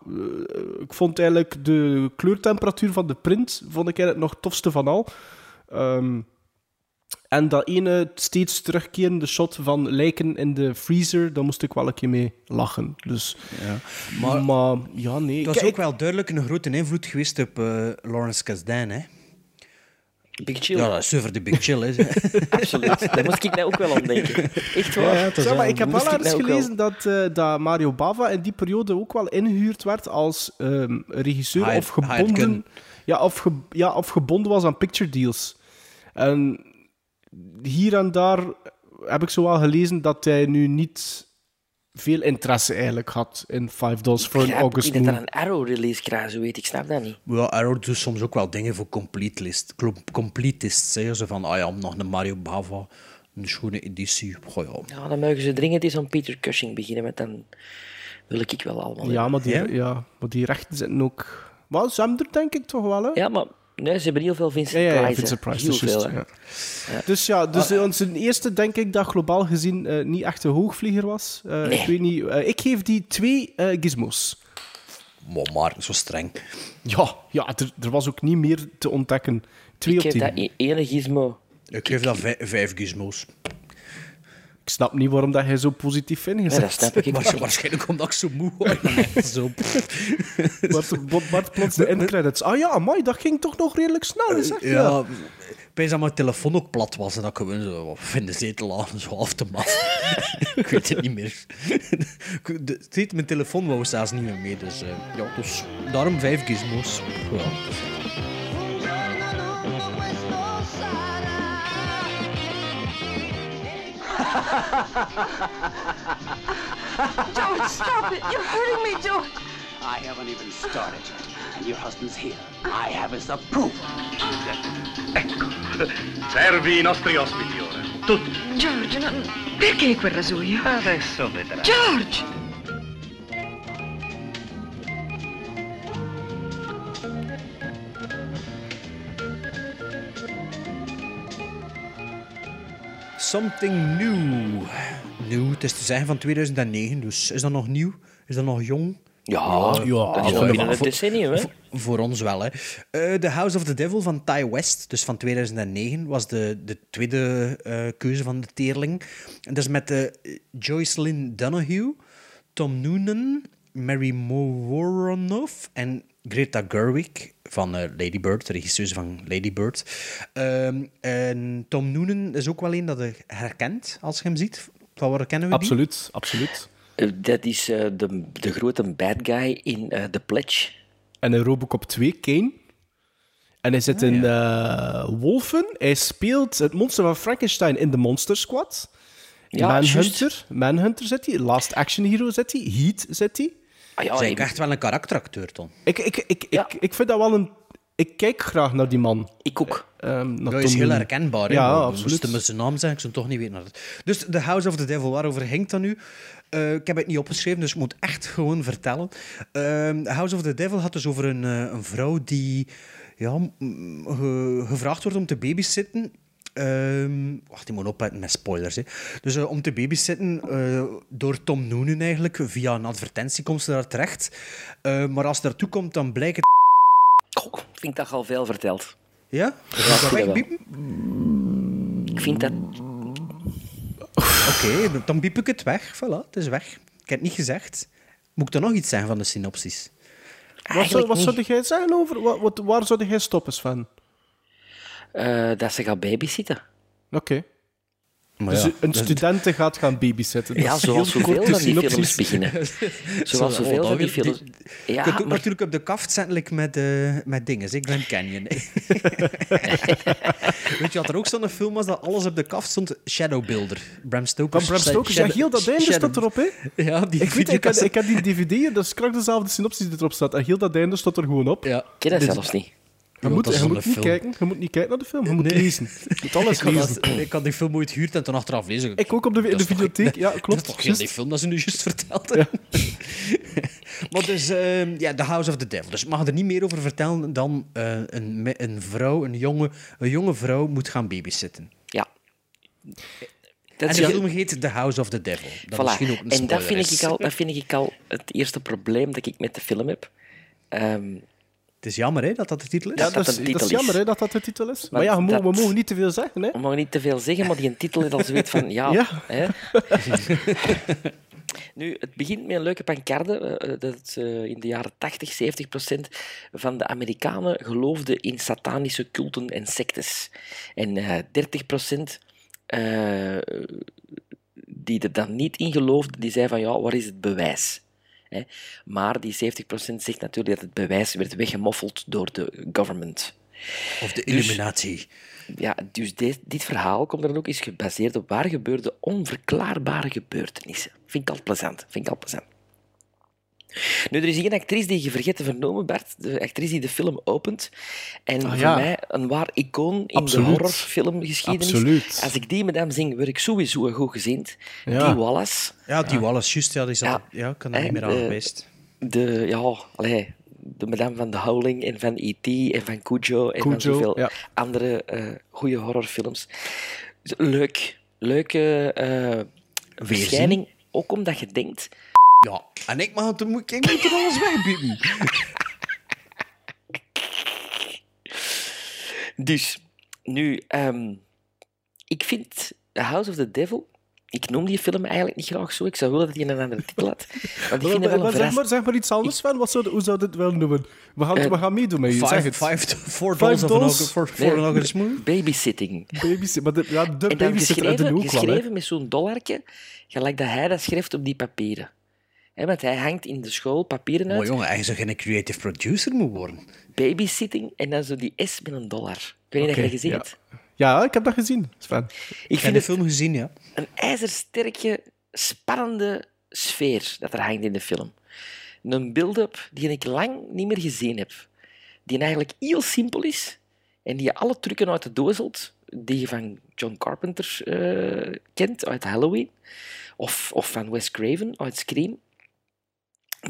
Ik vond eigenlijk de kleurtemperatuur van de print vond ik eigenlijk nog het tofste van al. Ehm, en dat ene steeds terugkerende shot van lijken in de freezer, daar moest ik wel een keer mee lachen. Dus, maar,
Maar-
ja, nee.
Dat
Kijk,
is
ik-
ook wel duidelijk een grote invloed geweest op eh, Lawrence Kasdan. Hè.
Big Chill,
Ja, dat is over de Big Chill. Hè.
absoluut. Daar moest ik nou ook wel aan denken. Echt waar.
Zeg maar, ik heb
Moest
wel
ik
eens
nou ook wel-
gelezen dat, eh, dat Mario Bava in die periode ook wel ingehuurd werd als ehm, regisseur
Hired-
of
hired
gebonden,
gun.
ja, of ge- ja, of gebonden was aan picture deals. En hier en daar heb ik zo wel gelezen dat hij nu niet veel interesse eigenlijk had in Five Dolls voor een
Ja,
August
Ik denk dat
Moon.
dat een Arrow-release krijgt, zo weet ik. snap dat niet.
Ja, Arrow doet soms ook wel dingen voor complete list, cl- completists. Hè. Zo van, ah ja, nog een Mario Bava, een schone editie. Goh, ja.
Ja, dan mogen ze dringend eens aan Peter Cushing beginnen, want dan wil ik wel allemaal.
Ja, maar die,
Ja?
ja? maar die rechten zitten ook... Wel, ze hebben er denk ik toch wel, hè?
Ja, maar nee, ze hebben heel veel Vincent
Ja, ja,
Price.
ja
hè.
Vincent Price,
Heel
dat is
veel,
juist,
hè. Ah.
ja. Dus ja, dus eh, onze eerste denk ik dat globaal gezien eh, niet echt een hoogvlieger was. Eh, Ik weet niet. eh, ik geef die twee eh, gizmos.
Maar, maar, zo streng.
Ja, ja er, er was ook niet meer te ontdekken. Twee
Ik
op
heb
tien.
dat e- ene gizmo.
Ik geef dat vij- vijf gizmos.
Ik snap niet waarom dat jij zo positief
Ja, dat
ingezet
snap ik. ik.
Waarsch- waarschijnlijk omdat ik zo moe was. zo,
Bart, Bart, Bart plots de endcredits. Ah ja, amai, dat ging toch nog redelijk snel. Is echt, ja.
ja, ik denk dat mijn telefoon ook plat was en dat ik gewoon zo of in de zetel aan, zo af te mat. ik weet het niet meer. Ik- de- steeds mijn telefoon wou zelfs niet meer mee, dus eh, ja, dus daarom vijf gizmos. Ja.
George, stop it. You're hurting me, George.
I haven't even started, and your husband's here. I have his approval. Servi i nostri ospiti ora. Tutti.
George, non... perché quella rasoio?
Adesso vedrai.
George!
Something new. Nieuw, het is te zeggen van 2009, dus is dat nog nieuw? Is dat nog jong? Ah,
Ja, dat is nog
voor-
binnen een
voor-
decennium, hè?
Voor, voor ons wel, hè. Eh, the House of the Devil van Ty West, dus van 2009, was de, de tweede eh, keuze van de teerling. En dat is met eh Joyce Lynn Donahue, Tom Noonan, Mary Moworonoff en Greta Gerwig van eh, Lady Bird, de regisseuse van Lady Bird. Ehm, en Tom Noonan is ook wel een dat je herkent als je hem ziet. Van waar kennen we die?
Absoluut, absoluut.
Eh, Dat is eh, de, de grote bad guy in eh, The Pledge.
En in Robocop 2, Kane. En hij zit in eh, Wolfen. Hij speelt het monster van Frankenstein in de Monster Squad.
Ja,
Manhunter. Manhunter zit hij. Last Action Hero zit hij. Heat zit hij.
Ah, ja,
Zijn
nee,
echt wel een karakteracteur, Tom.
Ik, ik, ik,
Ja.
ik, ik vind dat wel een ik kijk graag naar die man. Ehm,
Ik ook.
Dat is heel herkenbaar. hè.
Ja,
We
absoluut.
moesten met zijn naam zeggen, ik zou het toch niet weten. naar het- Dus The House of the Devil, waarover ging dat nu? Eh, ik heb het niet opgeschreven, dus ik moet echt gewoon vertellen. Ehm, House of the Devil had dus over een, eh, een vrouw die ja, mm, ge- gevraagd wordt om te babysitten. Ehm, wacht, ik moet opletten met spoilers. Hè. Dus eh, om te babysitten eh, door Tom Noonan eigenlijk, via een advertentie komt ze daar terecht. Eh, maar als ze daartoe komt, dan blijkt het...
Goh, oh, ik vind dat je al veel verteld.
Ja? Is
ik
dat
vind dat wel.
wegbiepen?
Ik vind dat...
Oké, dan biep ik het weg. Voilà, het is weg. Ik heb het niet gezegd. Moet ik er nog iets zeggen van de synopsis?
Wat zou,
Eigenlijk
eh, wat
niet.
zou jij zeggen over? Wat, wat, waar zou jij stoppen, Sven?
Eh, dat ze gaat babysitten.
Oké.
Maar
Dus
ja,
een
dat-
studenten gaat gaan babysitten. Dus Dat
Ja,
is
zoals
heel
zoveel
korte
van die films
synopsis.
beginnen. Zoals
Zo,
zoveel
oh,
van die
dat wil-
films...
Je kunt
Ja,
ook
maar
natuurlijk op de kaft zetten like met, eh, met dingen. Ik Grand Canyon. Weet je wat er ook zo'n film was dat alles op de kaft stond? Shadow Builder. Bram Stoker.
Van Bram Stoker, ja,
Shadow-
heel dat einde
Shadow-
staat erop, hè?
Ja,
Ik
die
weet, ik had,
videocassette.
ik had die dvd, dat is krak dezelfde synopsis die erop staat. En heel dat einde staat er gewoon op.
Ja.
ik ken dat
Dit-
zelfs niet.
Je
Ja,
moet,
dat is
je
zo'n
moet niet
film.
kijken, je moet niet kijken naar de film, je moet
Nee.
lezen. Je moet alles
Ik had,
lezen.
dat- ik had die film ooit gehuurd en toen achteraf lezen.
Ik ook op de- in
Dat
de
is toch-
videotheek, ja,
Dat
klopt,
is toch heel
juist.
die film dat ze nu juist vertelde. maar dus, ehm, ja, The House of the Devil. Dus ik mag er niet meer over vertellen dan eh, een, me- een vrouw, een jonge, een jonge vrouw moet gaan babysitten.
Ja.
En
Dat
de
is
film heet The House of the Devil. Dat
Voilà.
misschien ook een
en dat
spoiler
vind,
is.
ik al, dat vind ik al het eerste probleem dat ik met de film heb. Ehm,
Het is jammer hè, dat dat de titel is.
Ja,
dat
dat is,
een titel
dat is
is.
jammer hè, dat dat de titel is. Maar ja, we, mo-
dat-
we mogen niet te veel zeggen. Hè.
we mogen niet te veel zeggen, maar die titel is al zoiets van... Ja,
Ja.
Hè? nu, het begint met een leuke pancarde. eh, eh, dat eh, in de jaren 80, 70 procent van de Amerikanen geloofde in satanische culten en sectes. En eh 30 procent... eh, die er dan niet in geloofden, die zei van ja, waar is het bewijs? Hè? Maar die 70% zegt natuurlijk dat het bewijs werd weggemoffeld door de government.
Of de Illuminatie.
Ja, dus dit, dit verhaal komt er dan ook is gebaseerd op waar gebeurde onverklaarbare gebeurtenissen. Vind ik al plezant. Vind ik al plezant. Nu, er is één actrice die je vergeet te vernomen, Bert. De actrice die de film opent. En
Ah,
voor
ja.
mij een waar icoon in
Absoluut.
de horrorfilmgeschiedenis.
Absoluut.
Als ik die met hem zing, word ik sowieso een goed gezind.
Ja.
Die Wallace.
Ja, die Wallace, juist. Ja, die zat
Ja.
op- ja. ik kan er
En,
niet meer aan
eh,
geweest.
de, ja, allee, de madame van The Howling en van E.T. en van Cujo en
Cujo,
van zoveel
ja.
andere eh, goede horrorfilms. Dus Leuk. Leuke eh verschijning. Ook omdat je denkt...
Ja, en ik mag het... Ik moet er alles wegbieden.
Dus, nu... ehm, ik vind The House of the Devil... Ik noem die film eigenlijk niet graag zo. Ik zou willen dat hij een andere titel had. Want ik vind het wel een
Maar zeg,
verrassing.
maar, zeg maar iets anders, Sven. Wat zou, de- hoe zou dit wel noemen? We gaan,
Eh,
we gaan meedoen met je. zeg
Five,
het.
five,
Five
four dollars of an
dollars?
ogre for, for
Nee,
an ogre is moe.
Babysitting.
Babysit- maar de, ja, de
En dan
babysitter uit de
geschreven,
hoek kwam. hè.
geschreven met zo'n dollarke, gelijk dat hij dat schrijft op die papieren. Hè, want hij hangt in de school papieren
Mooi
uit,
jongen, hij zou geen creative producer moeten worden.
babysitting, en dan zo die S met een dollar. Ik weet niet
Oké,
of je dat gezien
ja.
hebt.
Ja, ik heb dat gezien, Sven.
Ik
Ik heb
vind
de
het
film gezien, ja.
een ijzersterke, spannende sfeer dat er hangt in de film. Een build-up die ik lang niet meer gezien heb. Die eigenlijk heel simpel is en die je alle trucken uit de doos haalt die je van John Carpenter eh, kent uit Halloween of, of van Wes Craven uit Scream.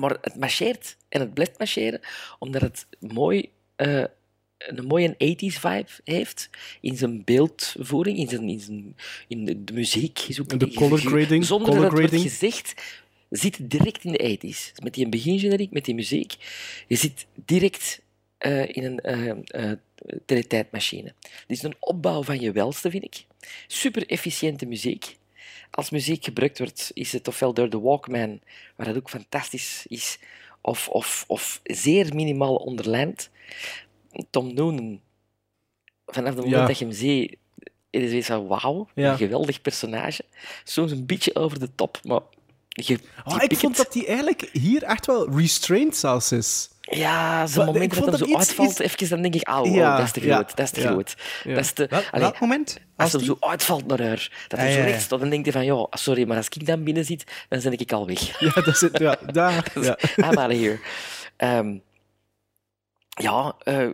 Maar het marcheert en het blijft marcheren omdat het mooi, eh, een mooie 80s vibe heeft in zijn beeldvoering, in, zijn, in, zijn, in de, de muziek. Is ook
En de color grading,
Zonder
color
dat het wordt
grading.
gezegd, zit direct in de 80s. Met die begingeneriek, met die muziek. Je zit direct eh, in een eh, eh, teletijdmachine. Dit is een opbouw van je welste, vind ik. Super efficiënte muziek. Als muziek gebruikt wordt, is het ofwel door de Walkman, waar dat ook fantastisch is, of, of, of zeer minimaal onderlijnd. Tom Noonan, vanaf het moment
Ja.
dat je hem ziet, het is weer zo wauw,
Ja.
een geweldig personage. Soms een beetje over de top, maar je,
Ah,
je
ik
pikt
vond
het.
dat die eigenlijk hier echt wel restrained zelfs is.
Ja,
Maar
zo'n
ik
moment dat
vond
hem zo
dat iets-
uitvalt,
iets-
even dan denk ik, auw,
Ja,
oh, dat is te
ja,
groot, dat is te
ja,
groot.
ja.
Dat is te...
Wel,
Allee,
welk moment?
als
Als
hem
die?
zo uitvalt naar haar, dat hij
Ah,
zo
ja, ja.
recht staat, dan denkt hij van, ja, sorry, maar als ik dan binnen zit, dan ben ik al weg.
Ja, dat zit, ja, daar. Ja.
I'm out of here. Ehm, ja, eh,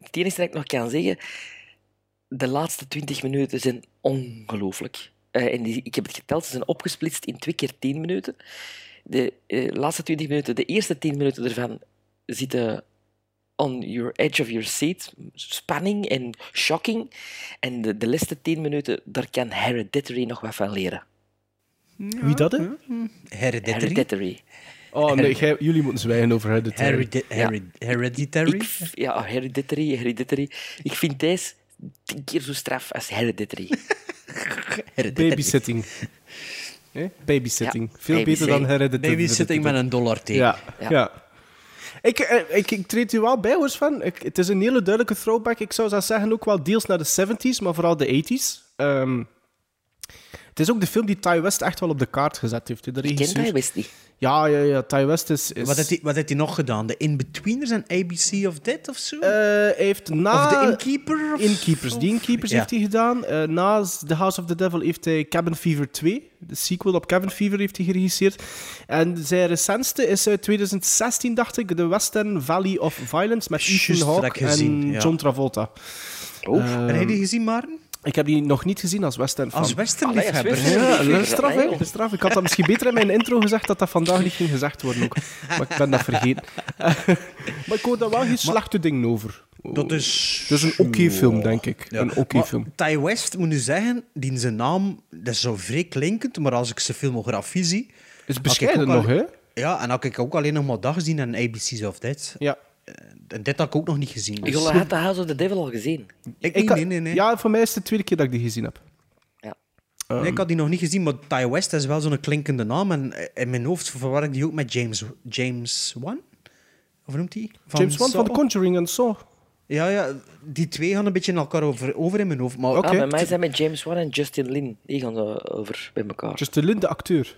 Het enige dat ik nog kan zeggen, de laatste 20 minuten zijn ongelooflijk. Eh, en die, ik heb het geteld, ze zijn opgesplitst in twee keer 10 minuten. De eh, laatste 20 minuten, de eerste 10 minuten ervan zitten on your edge of your seat, spanning en shocking. En de, de laatste 10 minuten, daar kan Hereditary nog wat van leren.
Wie dat, hè?
Hereditary?
Hereditary.
Oh, nee, jij- jullie moeten zwijgen over Hereditary.
Heredi- heredi- Hereditary?
Ik v- ja, Hereditary, Hereditary. Ik vind deze tien keer zo straf als Hereditary.
Hereditary.
Babysitting. Hè? Babysitting.
Ja,
Veel beter
babysitting.
dan Hereditary.
Babysitting met een dollar teken.
Ja, ja.
Ja.
Ik, eh, ik, ik treed u wel bij, hoor, Sven. Ik, het is een hele duidelijke throwback. Ik zou zelfs zeggen ook wel deels naar de 70s, maar vooral de 80s. Ehm, het is ook de film die Ty West echt wel op de kaart gezet heeft. hè, De
Ik ken
regisseur.
dat best niet.
Ja, ja, ja. Ty West is... is
Wat heeft, hij, wat heeft hij nog gedaan? De Inbetweeners en ABC of Dead of zo?
eh, hij heeft na...
of The Innkeeper? Of...
Inkeepers. Die Inkeepers
Ja.
heeft hij gedaan. Eh, na The House of the Devil heeft hij Cabin Fever 2, de sequel op Cabin Fever, heeft hij geregisseerd. En zijn recentste is uit 2016, dacht ik, The Western Valley of Violence met
Juist,
Ethan
dat
Hawke
heb ik gezien,
en
ja.
John Travolta.
Oef. Heb je die gezien, Maarten?
Ik heb die nog niet gezien als Western fan.
Als
Allee, als
westernliefhebber.
western-
ja,
Ja,
leuk. straf, hè?
joh.
Straf. Ik had dat misschien beter in mijn intro gezegd dat dat vandaag niet ging gezegd worden ook. Maar ik ben dat vergeten. maar ik hoor daar wel geen slechte dingen over.
Dat is...
Het is een oké film, denk ik.
Ja.
Een oké
Maar
film.
Ty West, moet nu zeggen, die zijn naam, dat is zo vreemd klinkend, maar als ik zijn filmografie zie...
Is
had
bescheiden
ik ook
nog, hè?
Ja, en had ik ook alleen nog maar dag gezien aan ABC's of Dead.
Ja.
En dit had ik ook nog niet gezien. dus-
Jullie had de House of the Devil al gezien.
Ik,
Ik
niet,
had-
nee, nee, nee.
Ja, voor mij is het de tweede keer dat ik die gezien heb.
Nee, ik had die nog niet gezien, maar Ty West is wel zo'n klinkende naam. En eh, in mijn hoofd verwar ik die ook met James, James Wan? Of noemt hij?
James Wan van The Conjuring en zo.
Ja, ja, die twee gaan een beetje in elkaar over, over in mijn hoofd. Maar
Oké.
Ah, bij mij zijn met James Wan en Justin Lin. Die gaan zo over bij elkaar.
Justin Lin, de acteur.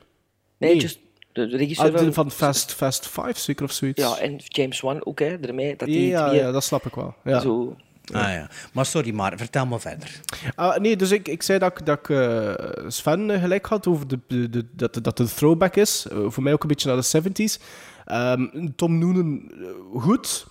nee,
nee.
Just, de, de regisseur
Ah, de-
van-
van Fast, Fast Five, zeker of zoiets.
Ja, en James Wan ook, hè. Daarmee, dat die
ja,
twee
ja, dat snap ik wel. Ja.
zo...
Ah, ja. maar sorry, maar vertel maar verder.
Ah, nee, dus ik, ik zei dat, ik- dat ik eh, Sven eh, gelijk had over de, de, de- dat, dat het een throwback is. Eh, voor mij ook een beetje naar de 70s. Ehm, Tom Noonan, eh, goed.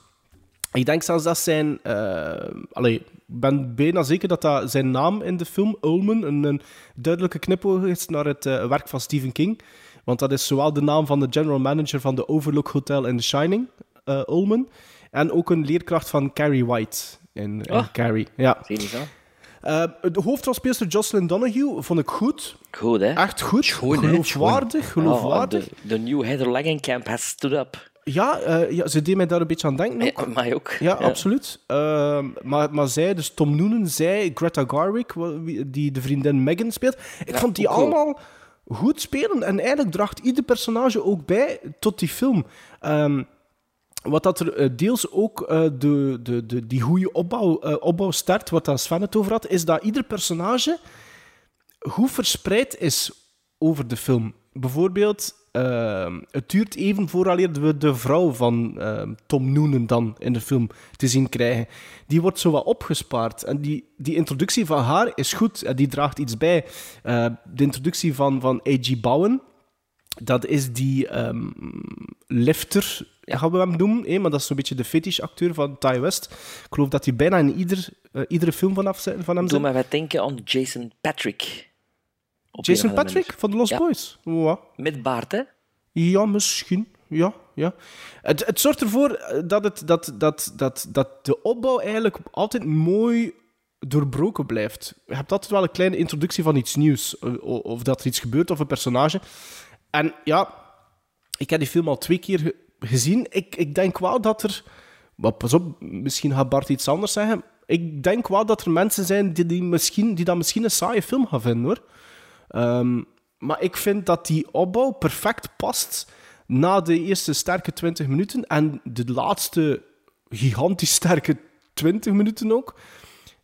Ik denk zelfs dat zijn... eh, allee, ik ben bijna zeker dat, dat zijn naam in de film, Ullman, een, een duidelijke knipoog is naar het eh, werk van Stephen King. Want dat is zowel de naam van de general manager van de Overlook Hotel in The Shining, eh Ullman, en ook een leerkracht van Carrie White in, in
Ah.
Carrie. Ja.
Zie je niet zo?
Eh, de hoofdrolspeelster Jocelyn Donahue vond ik goed.
Goed, hè.
Echt goed.
Schoon, Ah, hè?
geloofwaardig,
Oh,
geloofwaardig.
de, de new Heather Langenkamp has stood up.
ja, eh, ja, ze deed mij daar een beetje aan denken ook.
Eh, mij ook.
Ja, absoluut. Ehm, maar, maar zij, dus Tom Noonan, zij, Greta Garwick, wa- wie- die de vriendin Megan speelt. Ik
Ja,
vond die
ook wel.
allemaal goed spelen. En eigenlijk draagt ieder personage ook bij tot die film. Ehm, wat dat er eh, deels ook eh, de, de, de, die goede opbouw, eh, opbouw start, wat daar Sven het over had, is dat ieder personage hoe verspreid is over de film. Bijvoorbeeld, ehm, het duurt even vooraleer we de vrouw van ehm, Tom Noonan dan in de film te zien krijgen. Die wordt zo wat opgespaard. En die, die introductie van haar is goed. En die draagt iets bij. Eh, de introductie van, van A.G. Bowen, dat is die ehm, lifter, gaan we hem noemen. hè, maar dat is zo'n beetje de fetish-acteur van Ty West. Ik geloof dat hij bijna in ieder, eh, iedere film vanaf, zijn- van hem
Doe
zit.
mij wat denken aan Jason Patrick. Op een of
Jason
andere
Patrick van de Lost
Ja.
Boys. Ja.
manier. Met baard, hè.
Ja, misschien. Ja, ja. Het, het zorgt ervoor eh, dat, het, dat, dat, dat, dat de opbouw eigenlijk altijd mooi doorbroken blijft. Je hebt altijd wel een kleine introductie van iets nieuws. eh, o- Of dat er iets gebeurt of een personage. En ja, ik heb die film al twee keer ge- gezien. Ik, ik denk wel dat er. Maar pas op, misschien gaat Bart iets anders zeggen. Ik denk wel dat er mensen zijn die, die, misschien, die dat misschien een saaie film gaan vinden hoor. Ehm, maar ik vind dat die opbouw perfect past na de eerste sterke 20 minuten en de laatste gigantisch sterke 20 minuten ook.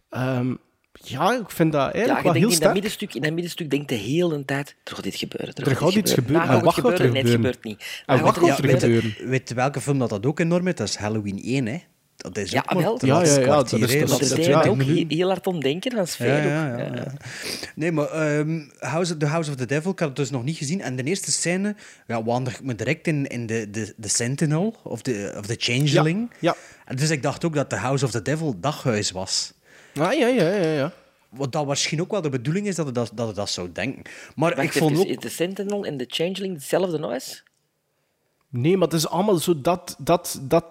Ehm, ja, ik vind dat
Ja,
eigenlijk
je
wel heel
denkt in dat
sterk.
middenstuk, in dat middenstuk denkt de hele tijd, er gaat iets gebeuren.
Er gaat iets gebeuren,
Nou,
en wat
het
gaat er
gebeuren? Nee, het
gebeuren?
gebeurt niet.
En
Nou,
wat
het
gaat er
weet,
gebeuren?
weet welke film dat, dat ook enorm is? Dat is Halloween 1, hè. Dat is
Ja,
ook maar
wel.
het
Ja,
laatste
ja, ja, dat
kwartier,
is
hè.
toch-
Dat
is
is
dat
mij
ja.
ook heel, heel hard om denken, van sfeer ook. Ja.
Nee, maar ehm, House, The House of the Devil, ik had het dus nog niet gezien. En de eerste scène ja, wander ik me direct in, in de, de, de Sentinel of de, of de Changeling.
Ja,
En Dus ik dacht ook dat The House of the Devil daghuis was.
Ah, ja, ja, ja, ja.
Wat dat misschien ook wel de bedoeling is dat het dat, dat, het dat zou denken. Maar
Wacht
ik vond
even,
ook...
is de Sentinel en de Changeling hetzelfde nou noise?
Nee, maar het is allemaal zo dat, dat, dat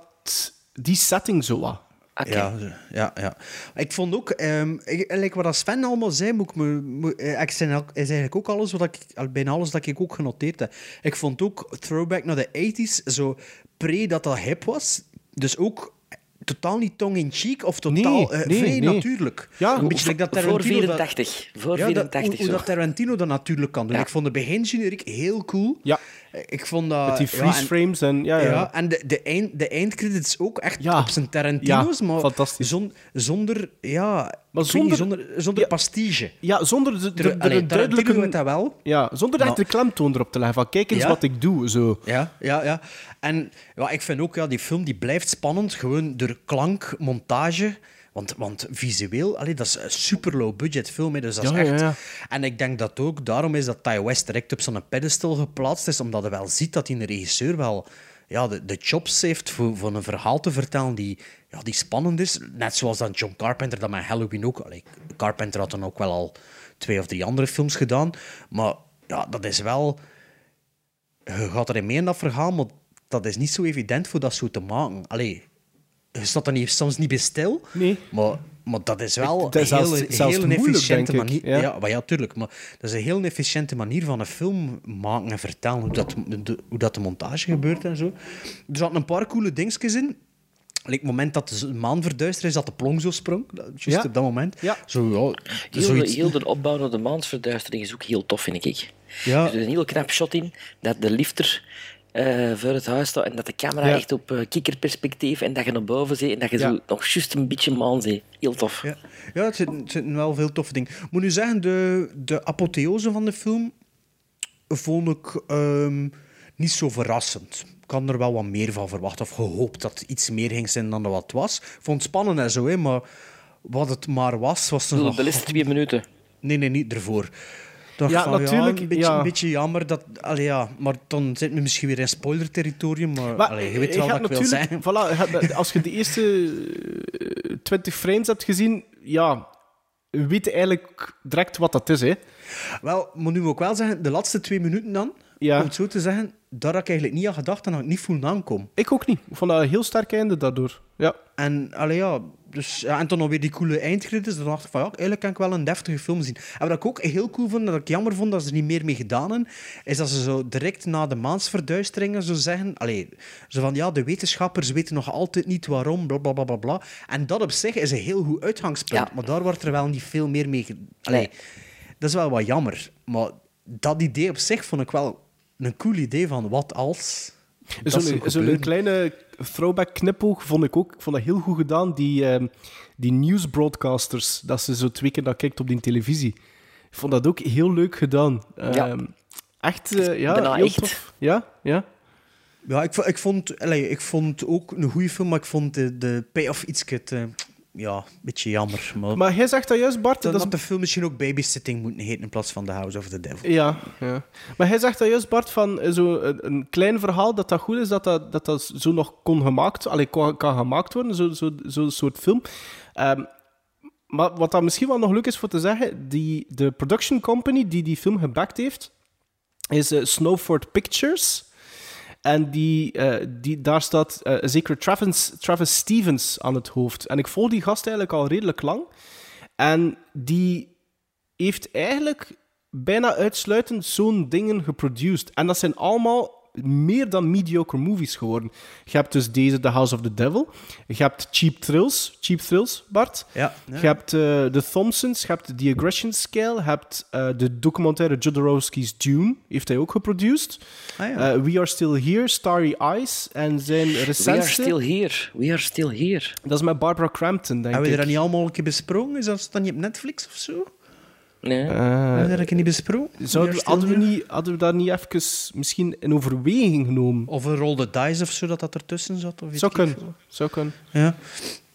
die setting zo wat.
Oké.
Ja, ja, ja. Ik vond ook, ehm ik, like wat dat Sven allemaal zei, moet ik me, moet- eh, ik zei elk- is eigenlijk ook alles wat ik, al- bijna alles dat ik ook genoteerd heb. Ik vond ook throwback naar de 80s, zo pre dat dat hip was. Dus ook totaal niet tong-in-cheek of totaal
Nee,
eh,
nee,
vrij
nee.
natuurlijk.
Ja,
een beetje like dat
Voor
Tarantino dat-
84. Voor
ja, dat,
84
hoe, hoe
zo.
dat Tarantino dat natuurlijk kan doen.
Ja.
Ik vond de begingeneriek heel cool.
Ja.
Ik vond dat...
Met die
ja,
freeze
en-
frames en... Ja, ja.
ja, en de, de, eind, de eindcredits ook echt
Ja.
op zijn Tarantino's,
Ja,
maar
fantastisch.
zon- zonder, ja, ik weet niet,
zonder-
zonder, zonder
ja.
pastiche.
Ja, zonder de, de,
Ter,
de-
allee,
de
Tarantino
duidelijke...
heeft dat wel.
Ja, zonder daar
Maar-
de klemtoon erop te leggen. Van, kijk eens
Ja.
wat ik doe, zo.
Ja, ja, ja. En ja, ik vind ook, ja, die film die blijft spannend, gewoon door klank, montage. Want, want visueel, allee, dat is een super low budget film. Hè, dus dat
Ja,
is
ja,
echt...
ja.
En ik denk dat ook daarom is dat Ty West direct op zo'n pedestal geplaatst is, omdat hij wel ziet dat hij een regisseur wel ja, de, de chops heeft voor, voor een verhaal te vertellen die, ja, die spannend is. Net zoals dan John Carpenter dat met Halloween ook. Allee, Carpenter had dan ook wel al twee of drie andere films gedaan. Maar ja, dat is wel je gaat erin mee in dat verhaal, maar dat is niet zo evident voor dat zo te maken. Allee, je staat er niet, soms niet bij stil,
Nee.
maar, maar dat is wel
Ik- dat is
een
zelfs-
heel,
zelfs
heel
moeilijk,
efficiënte
denk ik,
manier. Ja.
ja.
maar ja, tuurlijk. Maar dat is een heel efficiënte manier van een film maken en vertellen, hoe dat de, hoe dat de montage gebeurt en zo. Er zaten een paar coole dingetjes in. Like, het moment dat de maan verduisterd is, dat de plong zo sprong. Dat- Juist
Ja.
op dat moment.
Ja.
Zo, ja,
Heel, de,
zoiets.
heel de opbouw naar de maansverduistering is ook heel tof, vind ik.
Ja.
Er is een heel knap shot in dat de lifter eh, voor het huis staat en dat de camera
Ja.
echt op eh, kikkerperspectief en dat je naar boven ziet en dat je
Ja.
zo nog juist een beetje maan ziet. Heel tof.
Ja, ja het zitten het zitten wel veel toffe dingen. Moet nu zeggen, de, de apotheose van de film vond ik ehm, niet zo verrassend. Ik had er wel wat meer van verwacht of gehoopt dat het iets meer ging zijn dan dat wat was. Ik vond het spannend en zo, hè, maar wat het maar was, was
Ik
een...
bedoel, De laatste twee minuten.
Nee, nee, niet ervoor. Dacht
Ja,
van,
natuurlijk,
een, beetje,
ja.
een beetje jammer dat... Allee, ja, maar dan zit we misschien weer in spoiler-territorium. Maar, allee, je weet wel
je
wat
hebt
ik wil
natuurlijk-
zeggen.
voilà, je hebt- als je de eerste eh, 20 frames hebt gezien, ja, weet je eigenlijk direct wat dat is, hè.
Wel, moet nu ook wel zeggen, de laatste twee minuten dan,
Ja.
om het zo te zeggen, daar had ik eigenlijk niet aan gedacht en had ik niet voelen aankomen.
Ik ook niet. Ik vond dat een heel sterk einde daardoor. Ja.
En, allee, ja, dus, ja, en dan nog weer die coole eindcredits, dan dacht ik van, ja, eigenlijk kan ik wel een deftige film zien. En wat ik ook heel cool vond, en dat ik jammer vond dat ze er niet meer mee gedaan hebben, is dat ze zo direct na de maansverduisteringen zo zeggen, allee, zo van, ja, de wetenschappers weten nog altijd niet waarom, bla, bla, bla, bla, bla. En dat op zich is een heel goed uitgangspunt,
Ja.
maar daar wordt er wel niet veel meer mee... ge- Allee,
Nee.
dat is wel wat jammer, maar dat idee op zich vond ik wel een cool idee van, wat als... dat
Zo'n
zou
zo'n
gebeuren.
kleine throwback knipoog vond ik ook ik vond dat heel goed gedaan. Die, ehm, die newsbroadcasters, dat ze zo twee keer naar kijkt op die televisie. Ik vond dat ook heel leuk gedaan.
Ja.
Ehm, Echt, eh, ja,
bijna
heel
echt.
tof. Ja, ja.
Ja, ik, vo- ik, vond, allee, ik vond ook een goede film, maar ik vond de, de payoff iets te, ja, een beetje jammer. Maar,
Maar jij zegt dat juist, Bart.
dan
dat is
had de film misschien ook Babysitting moeten heten in plaats van The House of the Devil.
Ja, ja. Maar hij zegt dat juist, Bart, van eh, zo een, een klein verhaal, dat dat goed is dat dat, dat, dat zo nog kon gemaakt, allee, kon, kan gemaakt worden, zo'n zo, zo'n soort film. Ehm, maar wat daar misschien wel nog leuk is voor te zeggen, die, de production company die die film gebackt heeft, is eh, Snowford Pictures. En die, eh, die, daar staat eh, zeker Travis, Travis Stevens aan het hoofd. En ik volg die gast eigenlijk al redelijk lang. En die heeft eigenlijk bijna uitsluitend zo'n dingen geproduced. En dat zijn allemaal meer dan mediocre movies geworden. Je hebt dus deze, The House of the Devil. Je hebt Cheap Thrills, Cheap Thrills, Bart.
Ja, ja.
Je hebt eh, The Thompsons, je hebt The Aggression Scale, je hebt eh, de documentaire Jodorowsky's Dune, heeft hij ook geproduced.
Ah, ja.
Eh, We Are Still Here, Starry Eyes en zijn
We are
recentste...
still here. We are still here.
Dat is met Barbara Crampton, denk
Hebben we
ik. Eh,
dat niet allemaal een keer besproken? Is dat dan niet op Netflix of zo?
Nee.
Hebben we dat een keer niet besproken?
Zouden, we-
Juist
hadden, we
heel-
niet, hadden we daar niet even misschien in overweging genomen?
Of een roll the dice of zo, dat dat ertussen zat? Of weet
Zou
ik veel.
kunnen. Zou kunnen.
Ja.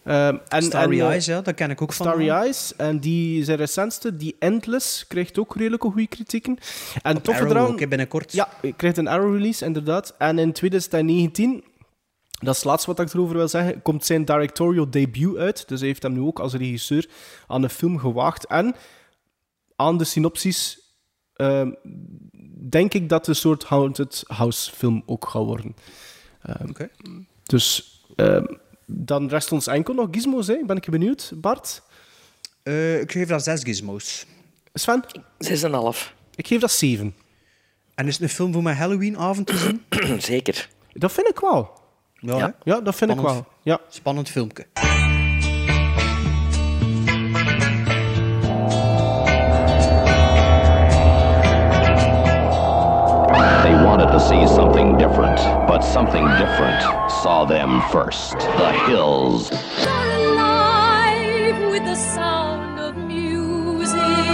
Ehm, en,
Starry
en, eh,
Eyes, ja, dat ken ik ook van.
Starry Eyes. En die zijn recentste, die Endless, krijgt ook redelijk goede kritieken. En het toffe
Arrow
eraan...
ook, hè, binnenkort.
Ja, je krijgt een Arrow release, inderdaad. En in 2019, dat is het laatste wat ik erover wil zeggen, komt zijn directorial debut uit. Dus hij heeft hem nu ook als regisseur aan een film gewaagd. En aan de synopsis ehm, denk ik dat het een soort Haunted House film ook gaat worden. Ehm,
Oké.
Dus ehm, dan rest ons enkel nog gizmos, hè? Ben ik benieuwd, Bart?
Eh, ik geef dat zes gizmos.
Sven?
6,5.
Ik geef dat 7.
En is het een film voor mijn Halloweenavond te zien?
Hm, Zeker.
Dat vind ik wel.
Ja,
Ja.
hè?
Ja, dat vind ik wel.
Spannend.
Ja.
Spannend filmpje.
They wanted to see something different, but something different saw them first. The hills.
Alive with the sound of music.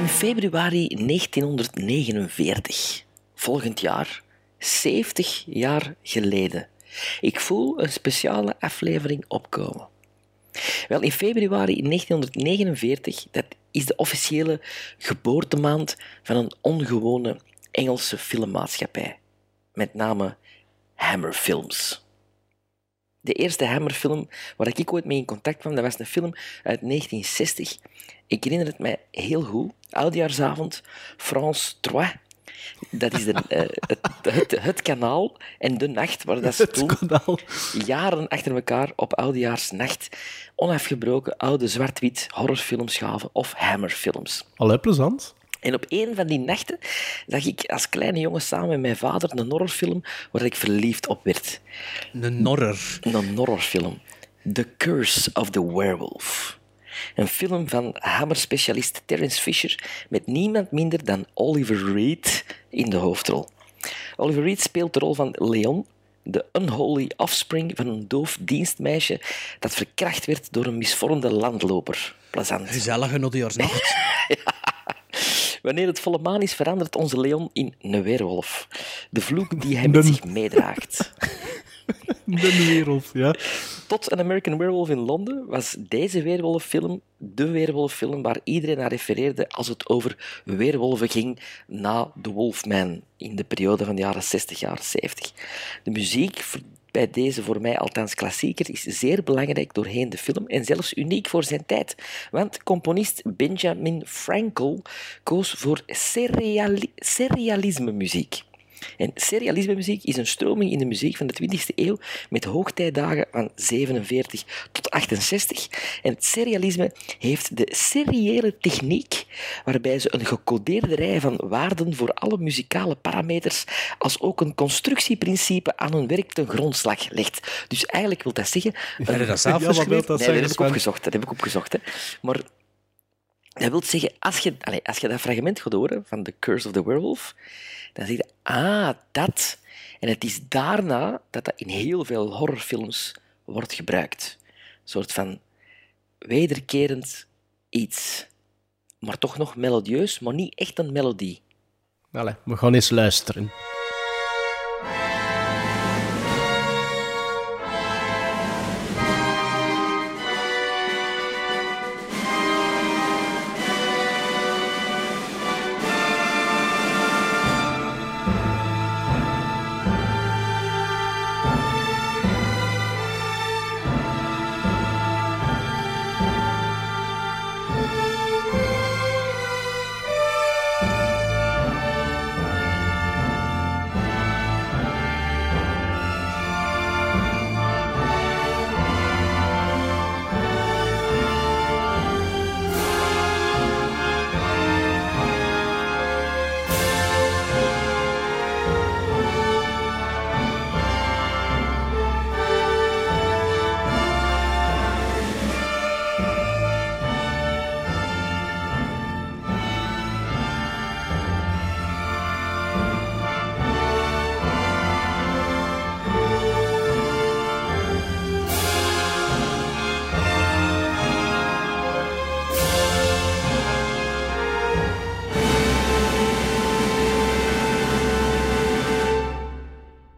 In februari 1949, volgend jaar, 70 jaar geleden. Ik voel een speciale aflevering opkomen. Wel, in februari 1949, dat is de officiële geboortemaand van een ongewone Engelse filmmaatschappij. Met name Hammer Films. De eerste Hammerfilm waar ik ooit mee in contact kwam, dat was een film uit 1960. Ik herinner het mij heel goed. Oudjaarsavond, France 3. Dat is de, eh, het, het, het kanaal en de nacht, waar dat ze
Het
toen jaren achter elkaar op oudejaarsnacht onafgebroken oude zwart-wit horrorfilms gaven of hammerfilms.
Allee, plezant.
En op een van die nachten zag ik als kleine jongen samen met mijn vader een horrorfilm waar ik verliefd op werd.
Een horror.
Een horrorfilm. The Curse of the Werewolf. Een film van hammerspecialist Terence Fisher met niemand minder dan Oliver Reed in de hoofdrol. Oliver Reed speelt de rol van Leon, de unholy offspring van een doof dienstmeisje dat verkracht werd door een misvormde landloper. Plezant.
Gezellige oudejaarsnacht.
Wanneer het volle maan is, verandert onze Leon in een weerwolf. De vloek die hij met zich meedraagt.
De wereld, ja.
Tot An American Werewolf in Londen was deze weerwolffilm de weerwolffilm waar iedereen naar refereerde als het over weerwolven ging na The Wolfman in de periode van de jaren 60, jaren 70. De muziek voor- bij deze voor mij althans klassieker is zeer belangrijk doorheen de film en zelfs uniek voor zijn tijd, want componist Benjamin Frankel koos voor seriali- serialisme muziek. En serialisme muziek is een stroming in de muziek van de 20e eeuw met hoogtijdagen van 47 tot 68. En het serialisme heeft de seriële techniek waarbij ze een gecodeerde rij van waarden voor alle muzikale parameters als ook een constructieprincipe aan hun werk ten grondslag legt. Dus eigenlijk wil dat zeggen...
Heb je dat zelf
nee,
geschreven?
dat heb ik opgezocht. Dat heb ik opgezocht. Hè. Maar dat wil zeggen, als je, allez, als je dat fragment gaat horen van The Curse of the Werewolf, dan zeg je, ah, dat. En het is daarna dat dat in heel veel horrorfilms wordt gebruikt. Een soort van wederkerend iets. Maar toch nog melodieus, maar niet echt een melodie.
Allee, we gaan eens luisteren.
Thank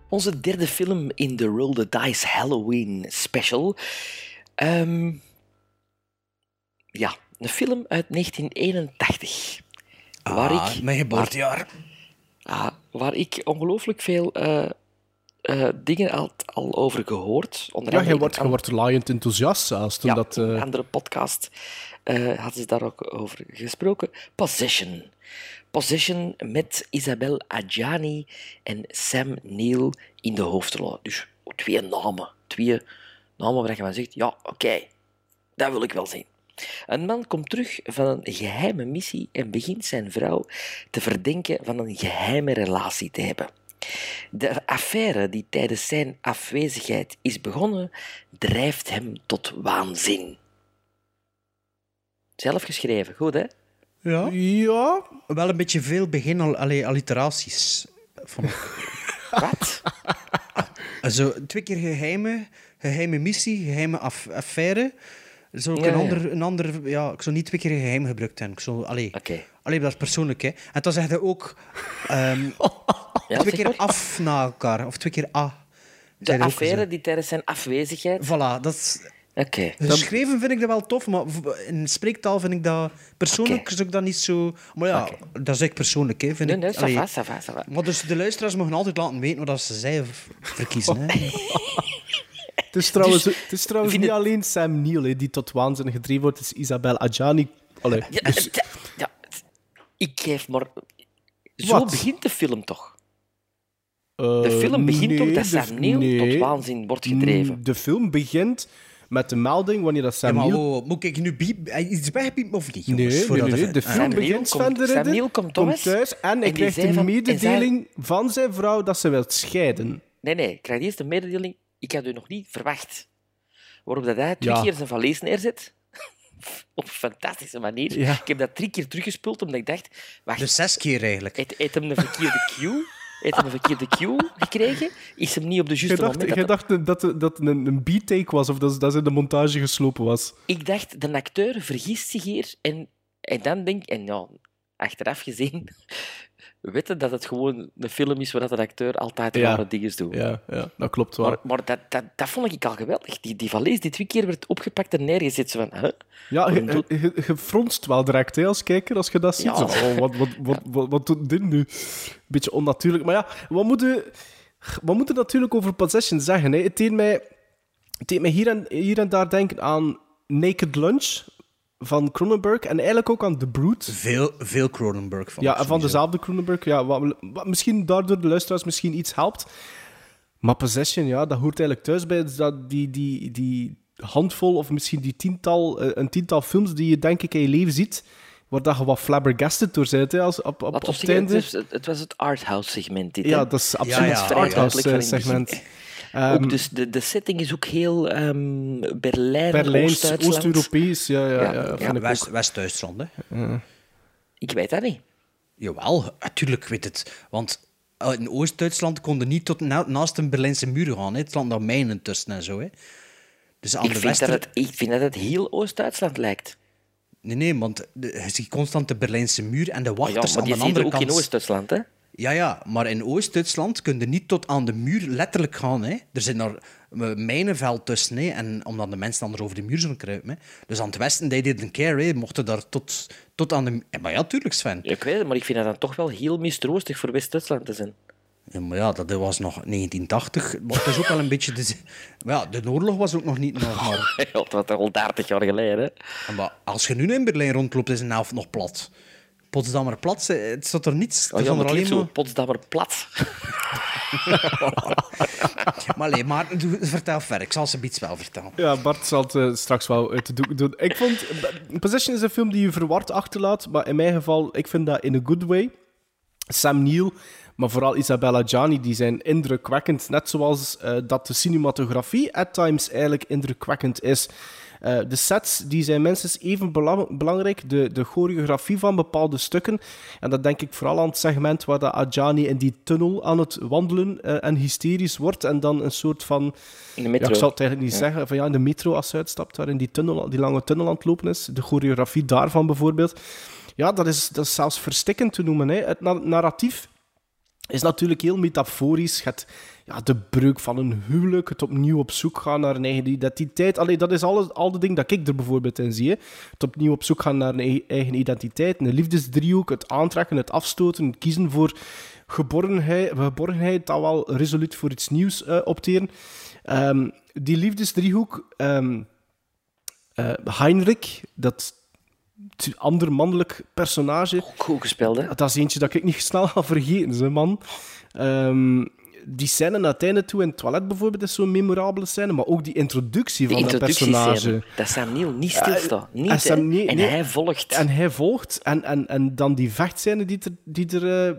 Onze derde film in de Roll the Dice Halloween special. Ehm, ja, een film uit 1981. waar
Ah,
ik,
mijn geboortejaar.
Waar, Ah, waar ik ongelooflijk veel eh, eh, dingen al, al over gehoord. Onder
Ja,
andere in
je wordt,
een
je wordt laaiend enthousiast zelfs. Toen dat, eh,
een andere podcast eh hadden ze daar ook over gesproken. Possession. Possession met Isabel Adjani en Sam Neill in de hoofdrol. Dus twee namen. Twee namen waar je van zegt, ja, oké, dat wil ik wel zien. Een man komt terug van een geheime missie en begint zijn vrouw te verdenken van een geheime relatie te hebben. De affaire die tijdens zijn afwezigheid is begonnen, drijft hem tot waanzin. Zelf geschreven, goed hè?
Ja.
ja.
Wel een beetje veel begin al, allee, alliteraties. Vond ik.
Wat?
Zo, twee keer geheime, geheime missie, geheime af- affaire. Zo ook
Ja,
een,
ja.
ander, een ander... Ja, ik zou niet twee keer geheim gebruikt hebben. Ik zou, allee, allee, dat is persoonlijk, hè. En dan zegt hij ook... ehm, twee
zeg
keer
maar.
af na elkaar. Of twee keer a.
De affaire die tijdens zijn afwezigheid.
Voilà, dat is...
Oké.
Geschreven Dus vind ik dat wel tof, maar v- in spreektaal vind ik dat... Persoonlijk is ook dat niet zo... Maar ja, dat is ik persoonlijk, hè, vind
Nee,
ik.
nee, ça
Allee.
va, ça va, ça va.
Maar dus de luisteraars mogen altijd laten weten wat ze zij v- verkiezen. Hè.
het is trouwens,
Dus-
het is trouwens niet alleen Sam Neill hè, die tot waanzin gedreven wordt. Het is Isabel Adjani. Allee,
Ja,
dus-
ja, ja, ik geef maar. Zo
Wat?
begint de film toch? De film begint
eh, nee,
toch dat
de-
Sam Neill
nee.
tot waanzin wordt gedreven?
Mm, De film begint met de melding wanneer dat
Ja,
Sam
maar
oh,
Neill...
wow, moet ik nu biep- eh, iets wegbiepen of niet,
Nee,
jongens?
nee, nee,
voordat
nee,
het-
De
Ah,
film
oké.
begint, Sven de
Sam
Ridder
Neill komt thuis
thuis en
en
hij
die
krijgt
zei
een
van-
mededeling van zijn vrouw dat ze wil scheiden.
Nee, nee, ik krijg eerst een mededeling. Ik had u nog niet verwacht. Waarop dat hij twee
Ja.
keer zijn valies neerzet. Op een fantastische manier.
Ja.
Ik heb dat drie keer teruggespeeld, omdat ik dacht... Wacht,
Dus zes keer eigenlijk.
heeft heeft hem een verkeerde cue? Heeft hem een verkeerde cue gekregen? Is hem niet op de
Jij
juiste
dacht,
moment...
jij
dat-
dacht dat dat, dat een, een B-take was of dat, dat ze in de montage geslopen was.
Ik dacht, de acteur vergist zich hier. En, en dan denk ik... En ja, achteraf gezien... weten dat het gewoon een film is waar dat de acteur altijd
Ja.
rare dingen doet.
Ja, ja dat klopt wel.
Maar, maar dat, dat, dat vond ik al geweldig. Die, die valies die twee keer werd opgepakt en neergezet. Zo van, huh?
ja,
Waarom
je-
doet-
je je fronst wel direct hè, als kijker als je dat ziet.
Ja.
Zo, oh, wat, wat, wat, wat, wat doet dit nu? Beetje onnatuurlijk. Maar ja, wat moeten we moeten natuurlijk over Possession zeggen? Hè? Het deed mij, het deed mij hier, en, hier en daar denken aan Naked Lunch van Cronenberg en eigenlijk ook aan The Brood.
Veel, veel Cronenberg van.
Ja, en van dezelfde Cronenberg. Ja, wat, wat misschien daardoor de luisteraars misschien iets helpt. Maar Possession, ja, dat hoort eigenlijk thuis bij dus dat die, die, die handvol of misschien die tiental, eh, een tiental films die je denk ik in je leven ziet, waar dat je wat flabbergasted door bent hè, als, op, op, op
Laat ons
het
zeggen, het,
einde.
is- het, het was het arthouse segment. Dit,
Ja,
hè?
dat is absoluut het arthouse,
duidelijk
eh,
van in het
segment. Ehm,
begin. ook dus de, de setting is ook heel ehm Berlijn,
Berlijns,
Oost-Duitsland.
Oost-Europees, ja, ja, ja,
Ja, ja,
vind ik
West-
ook.
West-Duitsland, hè.
Ja.
Ik weet dat niet.
Jawel, natuurlijk weet het. Want eh, in Oost-Duitsland konden niet tot na- naast een Berlijnse muur gaan. Hè. Het land daar mijnen tussen en zo. Hè. Dus aan
Ik
de
vind,
wester...
dat het, ik vind dat het heel Oost-Duitsland lijkt.
Nee, nee, want de- je ziet constant de Berlijnse muur en de
Maar Ah ja,
wachters
maar die
aan de
zit er
andere
ook
kant.
in dus. Oost-Duitsland, hè?
Ja, ja, maar in Oost-Duitsland kun je niet tot aan de muur letterlijk gaan. Hè. Er zit daar een mijnenveld tussen, hè, en omdat de mensen anders over de muur zullen kruipen. Hè. Dus aan het westen, they didn't care, hè, mochten daar tot, tot aan de... Ja, Maar ja, tuurlijk, Sven.
Ik weet het, maar ik vind dat dan toch wel heel mistroostig voor West-Duitsland te zijn.
Ja, maar ja, dat was nog 1980. Maar het is ook wel een beetje... De... Maar ja, de oorlog was ook nog niet... Nog, maar...
God, wat al 30 jaar geleden, hè? Oh
Ja, Maar als je nu in Berlijn rondloopt, is een helft nog plat. Potsdamer plat, ze- het staat er niets.
Oh,
er
ja,
staan er
maar
alleen
alleen zo
maar...
Potsdamer plat.
maar, nee, maar doe- vertel verder, ik zal ze iets wel vertellen.
Ja, Bart zal het eh, straks wel uit de doek doen. Ik vond... eh, Possession is een film die je verward achterlaat, maar in mijn geval, ik vind dat in a good way. Sam Neill, maar vooral Isabella Gianni, die zijn indrukwekkend. Net zoals eh, dat de cinematografie at times eigenlijk indrukwekkend is. Eh, de sets die zijn minstens even bela- belangrijk, de, de choreografie van bepaalde stukken. En dat denk ik vooral aan het segment waar dat Adjani in die tunnel aan het wandelen eh, en hysterisch wordt. En dan een soort van...
In de metro.
Ja, ik zal het eigenlijk niet
Ja.
zeggen. Van, ja, in de metro als ze uitstapt, daar in die, tunnel, die lange tunnel aan het lopen is. De choreografie daarvan bijvoorbeeld. Ja, dat is, dat is zelfs verstikkend te noemen. Hè. Het na- narratief is natuurlijk heel metaforisch. Je hebt, ja, de breuk van een huwelijk, het opnieuw op zoek gaan naar een eigen identiteit. Allee, dat is alles, al de ding dat ik er bijvoorbeeld in zie. hè. Het opnieuw op zoek gaan naar een ei- eigen identiteit, een liefdesdriehoek, het aantrekken, het afstoten, het kiezen voor geborgenheid, geborgenheid dan wel resoluut voor iets nieuws eh, opteren. Ehm, die liefdesdriehoek... ehm, eh, Heinrich, dat t- ander mannelijk personage.
Goed gespeeld, hè?
Dat is eentje dat ik niet snel ga vergeten, ze man. Ehm, die scène naar het einde toe in het toilet bijvoorbeeld is zo'n memorabele scène, maar ook die introductie
De
van dat personage.
introductiescène. Dat Sam Neill niet stilstaat.
Ja,
Niet,
en
hè.
Sam
en,
Neill- nee.
hij volgt.
En hij volgt. En, en, en dan die vechtscène die er... Die er eh,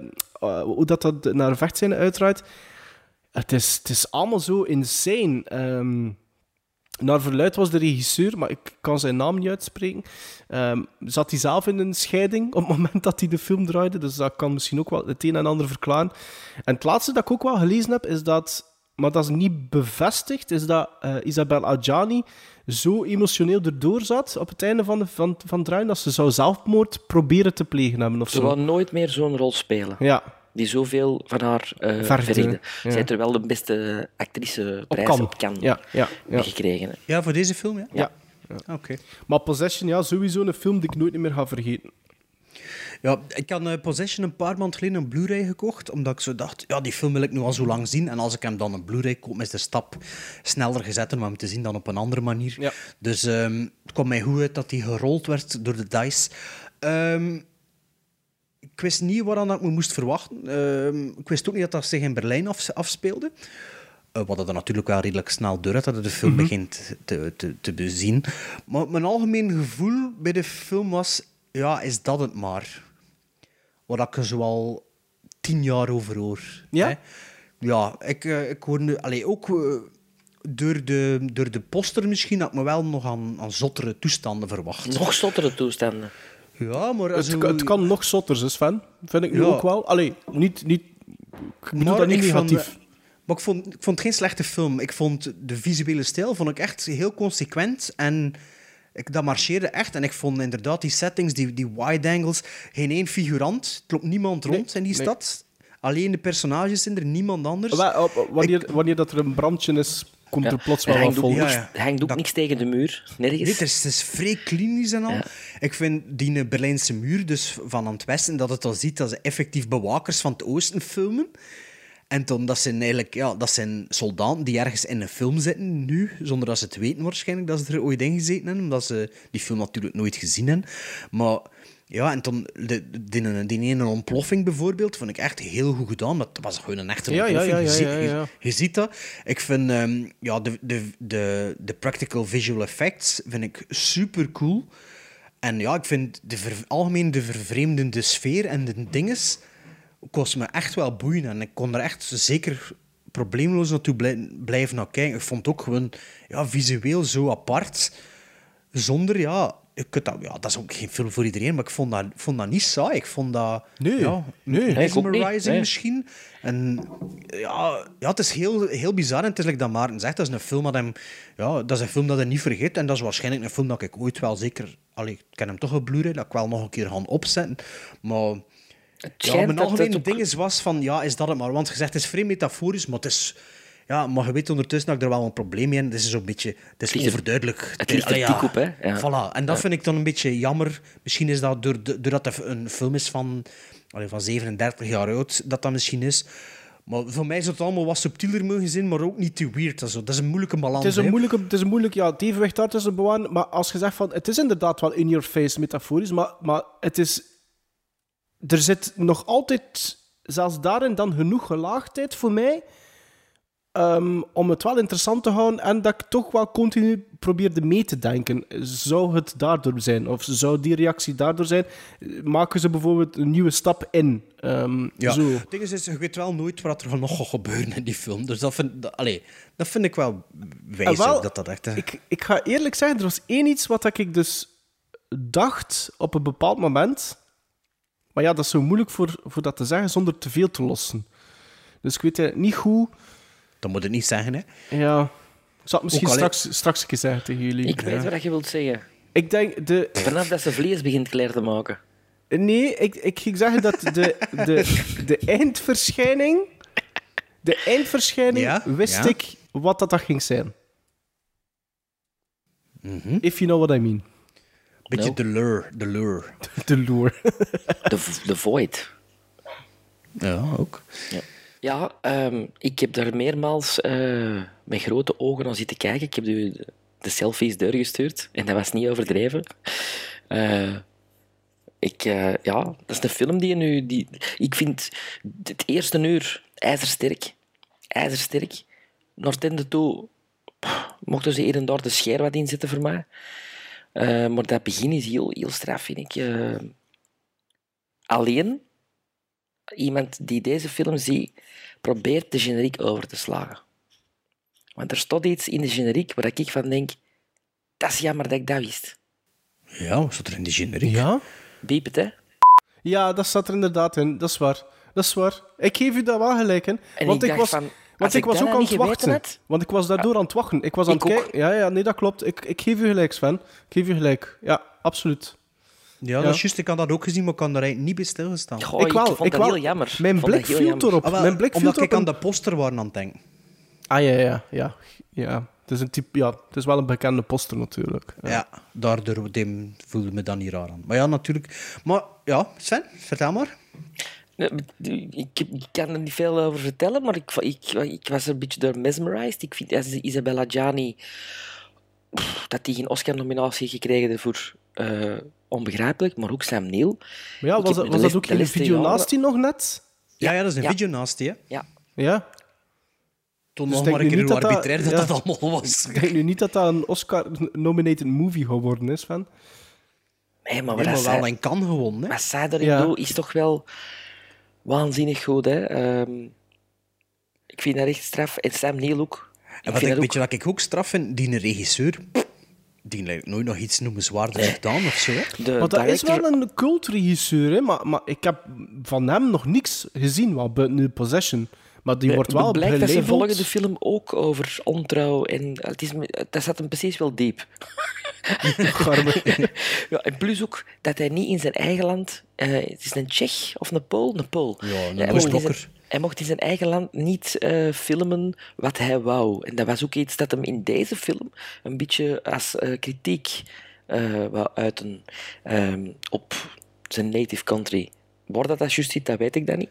eh, hoe dat, dat naar een vechtscène uitdraait. Het is, het is allemaal zo insane. Ehm, naar verluid was de regisseur, maar ik kan zijn naam niet uitspreken. ehm, zat hij zelf in een scheiding op het moment dat hij de film draaide. Dus dat kan misschien ook wel het een en ander verklaren. En het laatste dat ik ook wel gelezen heb, is dat... Maar dat is niet bevestigd, is dat eh, Isabel Adjani zo emotioneel erdoor zat op het einde van, de, van, van het draaien dat ze zou zelfmoord proberen te plegen hebben of
Ze
zo.
wou nooit meer zo'n rol spelen.
Ja.
Die zoveel van haar eh
Vergde,
verrichtte.
ja.
Zij heeft er wel de beste actriceprijs
Op
op,
Cannes.
Cannes
Ja, ja, ja.
gekregen. hè.
Ja, voor deze film, ja?
Ja.
Oké.
Maar Possession, ja, sowieso een film die ik nooit meer ga vergeten.
Ja, ik had eh, Possession een paar maand geleden een Blu-ray gekocht, omdat ik zo dacht, ja, die film wil ik nu al zo lang zien. En als ik hem dan een Blu-ray koop, is de stap sneller gezet om hem te zien dan op een andere manier. Dus ehm, het kwam mij goed uit dat die gerold werd door de dice. Ehm, ik wist niet waaraan dat ik me moest verwachten. Ehm, ik wist ook niet dat dat zich in Berlijn af- afspeelde. Eh, wat dat er natuurlijk wel redelijk snel door had, dat de film
Mhm.
begint te, te, te bezien. Maar mijn algemeen gevoel bij de film was... Ja, is dat het maar? Waar ik er zoal tien jaar over hoor. Ja? Ja, ik, eh, ik hoor nu... Allee, ook... eh, door de, door de poster misschien had ik me wel nog aan, aan zottere toestanden verwacht.
Nog zottere toestanden.
Ja, maar...
Het,
zo-
ka- het kan nog zotter, hè, Sven. Vind ik nu
Ja. Nou,
ook wel. Allee, niet... niet ik bedoel dat niet
ik vond-
negatief.
maar ik vond, ik vond het geen slechte film. Ik vond de visuele stijl vond ik echt heel consequent. En ik, dat marcheerde echt. En ik vond inderdaad die settings, die, die wide angles, geen één figurant. Er loopt niemand rond in die
nee.
stad. Alleen de personages zijn er, niemand anders.
Wa- op- op- wanneer, wanneer dat er een brandje is, komt
Ja.
er plots
Er
wel wat
hangt ook,
volk.
niks, er hangt ook niks tegen de muur. Nergens.
Dit is, het is vrij klinisch en al. Ik vind die eh, Berlijnse muur dus van aan het westen, dat het al ziet dat ze effectief bewakers van het oosten filmen. En dan, dat zijn eigenlijk ja, dat zijn soldaten die ergens in een film zitten nu, zonder dat ze het weten waarschijnlijk dat ze er ooit in gezeten hebben, omdat ze die film natuurlijk nooit gezien hebben. Maar ja, en dan de, de- die, die ene ontploffing bijvoorbeeld, vond ik echt heel goed gedaan. want Dat was gewoon een echte
Ja, ja,
ontploffing.
ja,
Je
ja,
ziet-
ja,
je-
ja.
je ziet dat. Ik vind ehm, ja, de, de, de, de practical visual effects vind ik super cool. En ja, ik vind de ver- algemeen de vervreemdende sfeer en de dinges kost me echt wel boeien. En ik kon er echt zeker probleemloos naartoe blij- blijven naar kijken. Ik vond het ook gewoon ja, visueel zo apart. Zonder, ja, ik kunt dat, ja, dat is ook geen film voor iedereen, maar ik vond dat, vond dat niet saai. Ik vond dat
Nee,
ja,
nee. Nee, ik ook niet,
mesmerizing
nee.
misschien. En ja, ja het is heel, heel bizar. En het is like dat Maarten zegt, dat is een film dat hem... Ja, dat is een film dat hij niet vergeet. En dat is waarschijnlijk een film dat ik ooit wel zeker... Allee, ik ken hem toch op Blu-ray, dat ik wel nog een keer ga opzetten. Maar... Ja,
schijnt
mijn
dat
algemene
het ook-
ding is, was van... Ja, is dat het maar? Want gezegd, het is vrij metaforisch, maar het is... Ja, maar je weet ondertussen dat ik er wel een probleem mee heb. Het is zo'n beetje... Het is
ligt er-
overduidelijk.
het ligt er
Allee,
dik op, hè? Ja.
ah, Voilà. En dat
Ja.
vind ik dan een beetje jammer. Misschien is dat door de- doordat het een film is van, allee, van 37 jaar oud, dat dat misschien is. Maar voor mij zou het allemaal wat subtieler mogen zijn, maar ook niet te weird. en zo. Dat is een moeilijke balans.
Het is, een
hè.
moeilijke, het is een moeilijk ja, het evenwicht daartussen bewaren. Maar als je zegt van het is inderdaad wel in your face metaforisch, maar, maar het is. Er zit nog altijd, zelfs daarin, dan genoeg gelaagdheid voor mij. ehm, om het wel interessant te houden en dat ik toch wel continu probeerde mee te denken. Zou het daardoor zijn? Of zou die reactie daardoor zijn? Maken ze bijvoorbeeld een nieuwe stap in? Ehm,
Ja.
zo.
Het ding is, is, je weet wel nooit wat er nog gaat gebeuren in die film. Dus dat vind, dat, allee, dat vind ik wel wijs
Ah, wel,
ook, dat dat echt... eh, hè.
Ik, ik ga eerlijk zeggen, er was één iets wat ik dus dacht op een bepaald moment. Maar ja, dat is zo moeilijk voor, voor dat te zeggen zonder te veel te lossen. Dus ik weet eigenlijk niet hoe.
Dat moet het niet zeggen, hè?
Ja. Ik zal het misschien
Ook al, hè?
straks, straks een keer zeggen tegen jullie.
Ik weet
Ja.
wat je wilt zeggen.
Ik denk de...
Vanaf dat ze vlees begint klaar te maken.
Nee, ik, ik ging zeggen dat de, de, de eindverschijning De eindverschijning
Ja,
wist
ja.
ik wat dat, dat ging zijn. If you know what I mean.
Beetje
Nou.
de lure, de lure.
De lure.
De, v- de void.
Ja, ook.
Ja, ja ehm, ik heb daar meermaals eh, met grote ogen aan zitten kijken. Ik heb u de- de selfies doorgestuurd en dat was niet overdreven. Eh, ik, eh, ja, dat is een film die je nu... Die, ik vind het eerste uur ijzersterk. Ijzersterk. Naar het einde toe pff, mochten ze hier en daar de scheer wat inzetten voor mij. Eh, maar dat begin is heel, heel straf, vind ik. Eh, alleen iemand die deze film ziet, probeert de generiek over te slagen. Want er stond iets in de generiek waar ik van denk, dat is jammer dat ik dat wist.
Ja, wat staat er in die generiek?
Ja?
Diep het, hè?
Ja, dat staat er inderdaad in. Dat is waar. Dat is waar. Ik geef u dat wel gelijk in.
En
want
ik
ik
dacht
was,
van,
want
als
ik
ik
was
dat
ook aan
nou
het
niet geweten
wachten.
had-
want ik was daardoor aan het wachten. Ik was aan
Ik
het
ook.
kijken. Ja, ja, nee, dat klopt. Ik, ik geef u gelijk, Sven. Ik geef u gelijk. Ja, absoluut.
Ja, dat is juist. Ik had dat ook gezien, maar ik kan daar eigenlijk niet bij stilgestaan.
Goh, ik vond dat heel jammer.
Mijn
Ik vond dat
blik
heel
viel
jammer.
erop.
Ah, wel,
Mijn blik viel
omdat
erop.
ik aan
en-
de poster waren aan het denken.
Ah, ja, ja, ja. ja. Het, is een type, ja. het is wel een bekende poster natuurlijk.
Ja, daardoor dem- voelde me dan niet raar aan. Maar ja, natuurlijk. Maar ja, Sven, vertel maar.
Nee, Ik, ik kan er niet veel over vertellen, maar ik, ik, ik was er een beetje door mesmerized. Ik vind Is- Isabella Gianni pff, dat die geen Oscar-nominatie heeft gekregen daarvoor eh, onbegrijpelijk, maar ook Sam Neill.
Maar ja,
Ik heb
was, dat-
de
was dat
les-
ook
de
in de
laatste
video
jaren-
naast die nog net?
Ja, ja dat is een
Ja.
video naast die. hè.
Ja,
Ja.
Toen
Dus
nog
denk
maar een
nu
keer
niet
hoe
dat dat-
arbitrair dat
ja.
dat allemaal was.
Ik denk nu niet dat dat een Oscar-nominated movie geworden is, van.
nee, maar wat
Helemaal
zij-
wel en kan gewoon. Hè.
Wat zij daarin
Ja.
doet, is toch wel waanzinnig goed, hè? Ehm, ik vind dat echt straf. En Sam Neill ook.
En
Ik
wat
vind
ik,
dat
weet je wat ik ook straf vind? Die regisseur, pff, die lijkt nooit nog iets noemenswaardigs gedaan of zo. hè.
ook de
Maar dat is
director-
wel een cultregisseur, hè? Maar, maar ik heb van hem nog niks gezien, wat buiten de Possession. Maar
Eh,
die wordt wel
Het blijkt dat ze
gelabeld.
volgende film ook over ontrouw en het is, me- dat zat hem precies wel diep.
Garme.
Ja, en plus ook dat hij niet in zijn eigen land, eh, het is een Tsjech of een Pool, een Pool.
Ja, een
hij, mocht in zijn,
Oostblokker.
hij mocht in zijn eigen land niet eh, filmen wat hij wou. En dat was ook iets dat hem in deze film een beetje als eh, kritiek eh wou uiten ehm, op zijn native country. Waar dat dat juist zit, dat weet ik dan niet.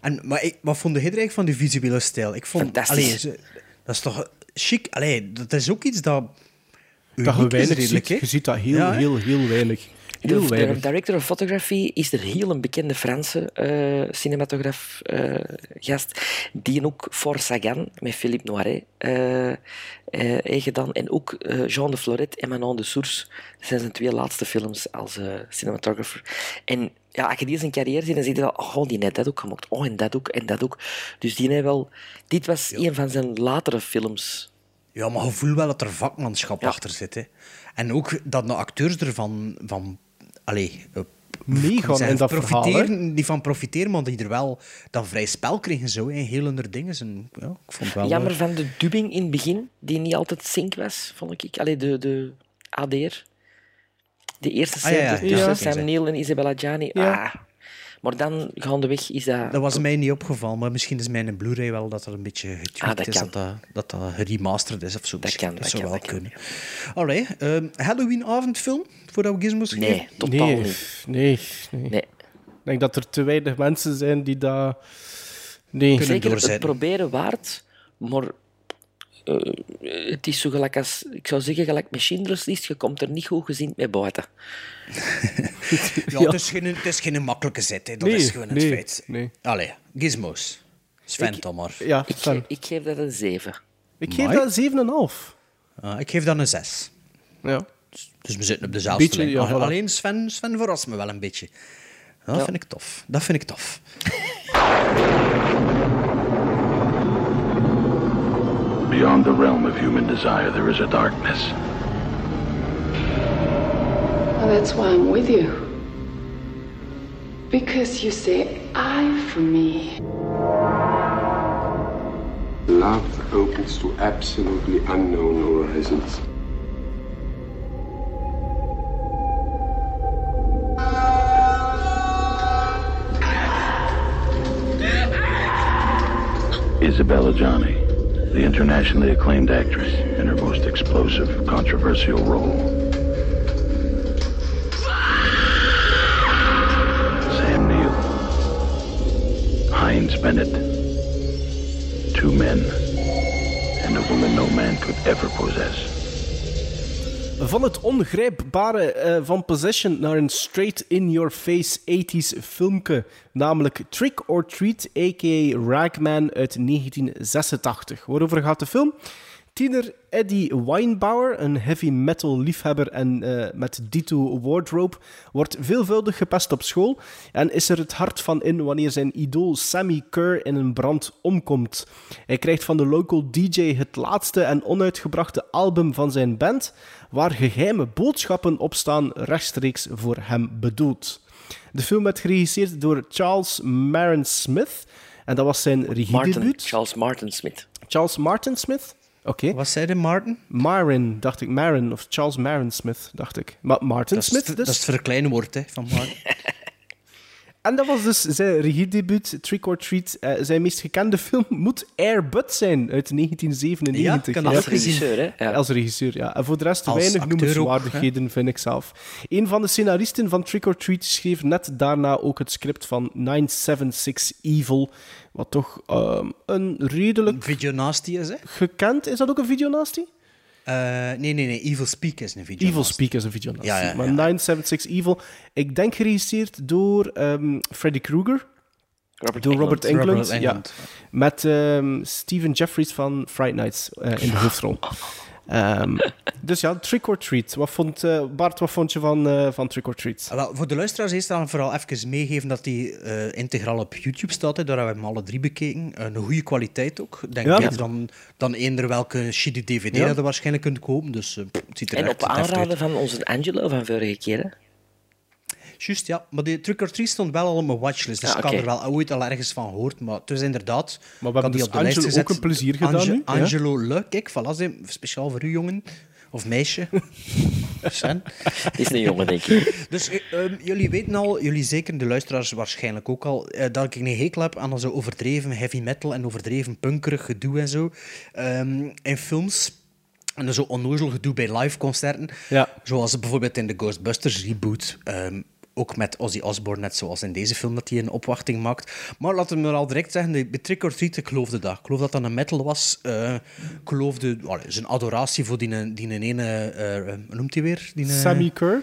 En, maar ik, wat vond je er eigenlijk van die visuele stijl? Ik vond,
Fantastisch.
allee, ze- dat is toch chic? Allee, dat is ook iets dat...
Dat je
uniek is
weinig
redelijk,
ziet.
hè?
Je ziet dat heel,
Ja, hè?
heel, heel weinig.
de,
Heel
de
weinig.
eh, director of photography is er heel een bekende Franse eh cinematograaf eh, gast, die ook voor Sagan met Philippe Noiret eh, eh, heeft gedaan. En ook eh, Jean de Floret en Manon de Source. Dat zijn zijn twee laatste films als eh cinematographer. En ja, als je die zijn carrière ziet, dan zie je wel, oh, die heeft dat ook gemaakt. Oh, en dat ook, en dat ook. Dus die heeft wel... Dit was een van zijn latere films.
Ja, maar je voelt wel dat er vakmanschap achter zit. Hè. En ook dat de acteurs ervan... Van, allee, eh,
Meegaan
zijn
in dat verhaal,
profiteren, Die van profiteren, maar die er wel dan vrij spel kregen. Zo, in heel hun dingen. Zijn, ja, ik vond wel... eh,
Jammer van de dubbing in het begin, die niet altijd sync was, vond ik. Allee, de, de ADR. De eerste
Ah, ja,
scène
ja, ja,
tussen
ja.
Sam Neill en Isabella Gianni.
Ja.
Ah. Maar dan, gaandeweg, is dat...
Dat was mij niet opgevallen, maar misschien is mijn Blu-ray wel dat er een beetje
Ah,
getweet
dat
is,
kan.
dat dat, dat dat geremasterd is of zo.
Dat
Misschien.
kan, dat
zou
kan,
wel
dat kan,
kunnen. Alright, ehm, Halloween-avondfilm, voordat we Gizmos
Nee,
geven?
totaal
Nee,
niet.
nee, nee.
Nee.
Ik denk dat er te weinig mensen zijn die dat... Nee.
Kunnen
Zeker het
doorzetten.
proberen waard, maar... eh, het is zo gelijk als... Ik zou zeggen, gelijk met Schindler's List, je komt er niet goed gezien mee buiten.
Ja, Het, is geen, het is geen makkelijke zet, hè. dat
Nee,
is gewoon het
nee,
feit.
nee.
Allee, Gizmos. Sven, dan maar.
Ja,
Ik,
Sven.
ge- ik geef dat een 7.
Ik geef
Amai.
dat een 7,5.
Ah, ik geef dan een 6.
Ja.
Dus we zitten op dezelfde
Beetje,
lijn.
ja, voilà.
Alleen Sven, Sven verrast me wel een beetje. Dat vind ik tof. Dat vind ik tof.
Beyond the realm of human desire, there is a darkness.
Well, that's why I'm with you. Because you say I for me.
Love opens to absolutely unknown horizons.
Isabella Johnny, the internationally acclaimed actress in her most explosive, controversial role. Sam Neill, Heinz Bennett, two men, and a woman no man could ever possess.
Van het ongrijpbare eh, van Possession naar een straight-in-your-face 80s filmke, namelijk Trick or Treat, a.k.a. Ragman uit 1986. Waarover gaat de film? Tiener Eddie Weinbauer, een heavy metal liefhebber en eh, met dito wardrobe, wordt veelvuldig gepest op school en is er het hart van in wanneer zijn idool Sammy Kerr in een brand omkomt. Hij krijgt van de local DJ het laatste en onuitgebrachte album van zijn band, waar geheime boodschappen op staan rechtstreeks voor hem bedoeld. De film werd geregisseerd door Charles Maron Smith en dat was zijn
Martin,
regiedebuut.
Charles Martin Smith.
Charles Martin Smith? Oké.
Wat zei de Martin?
Marin, dacht ik. Marin, of Charles Marin Smith, dacht ik. Maar Martin
Dat is,
Smith
het-
dus.
dat is het verkleinwoord hè, van Martin.
En dat was dus zijn regiedebuut, Trick or Treat. Eh, zijn meest gekende film moet Air Bud zijn, uit 1997.
Ja, ik had dat Als gezien. regisseur, hè? Ja.
Als regisseur, ja. En voor de rest
Als
weinig
acteur ook,
noemenswaardigheden, vind ik zelf. Een van de scenaristen van Trick or Treat schreef net daarna ook het script van 976 Evil, wat toch ehm, een redelijk...
Videonasty is, hè?
Gekend? Is dat ook een videonasty?
Eh, nee, nee, nee. Evil Speak is een video.
Evil Speak is een video.
Ja, ja,
maar 976 Evil, ik denk geregisseerd door ehm, Freddy Krueger. door Robert Englund.
Robert Englund,
Ja. Met ehm, Steven Jeffries van Fright Nights eh, in de hoofdrol. Ehm, dus ja, Trick or Treat. Wat vond, eh, Bart, wat vond je van, eh, van Trick or Treat?
Ah, wel, voor de luisteraars eerst dan vooral even meegeven dat die eh, integraal op YouTube staat. Hè. Daar hebben we hem alle drie bekeken. Eh, Een goede kwaliteit ook. Denk
Ja.
ik dan, dan eender welke shitty DVD
Ja.
dat je waarschijnlijk kunt kopen. Dus eh, pff, het ziet er
En
echt
op
heftig uit.
aanraden van onze Angelo van vorige keer. hè.
Juist, ja. Maar die Trick or Treat stond wel al op mijn watchlist. Dus
Ah,
ik had
oké.
er wel ooit al ergens van gehoord. Maar het is inderdaad...
Maar
ik
we
had
hebben
die
dus
op de lijst
Angelo
gezet.
ook een plezier gedaan
Ange-
nu, hè?
Angelo Le, kijk, voilà, ze- speciaal voor u, jongen. Of meisje. Sen.
Het is een jongen, denk ik.
Dus eh, ehm, jullie weten al, jullie zeker, de luisteraars waarschijnlijk ook al, eh, dat ik een hekel heb aan zo overdreven heavy metal en overdreven punkerig gedoe en zo. ehm, in films. En zo onnozel gedoe bij live concerten. Zoals bijvoorbeeld in de Ghostbusters reboot. ehm, ook met Ozzy Osbourne, net zoals in deze film, dat hij een opwachting maakt. Maar laten we maar al direct zeggen, de- bij Trick or Treat, ik geloofde dat. Ik geloof dat dat een metal was. eh, ik geloofde allee, zijn adoratie voor die, die ene... eh, hoe noemt hij weer? Die, eh,
Sammy Kerr?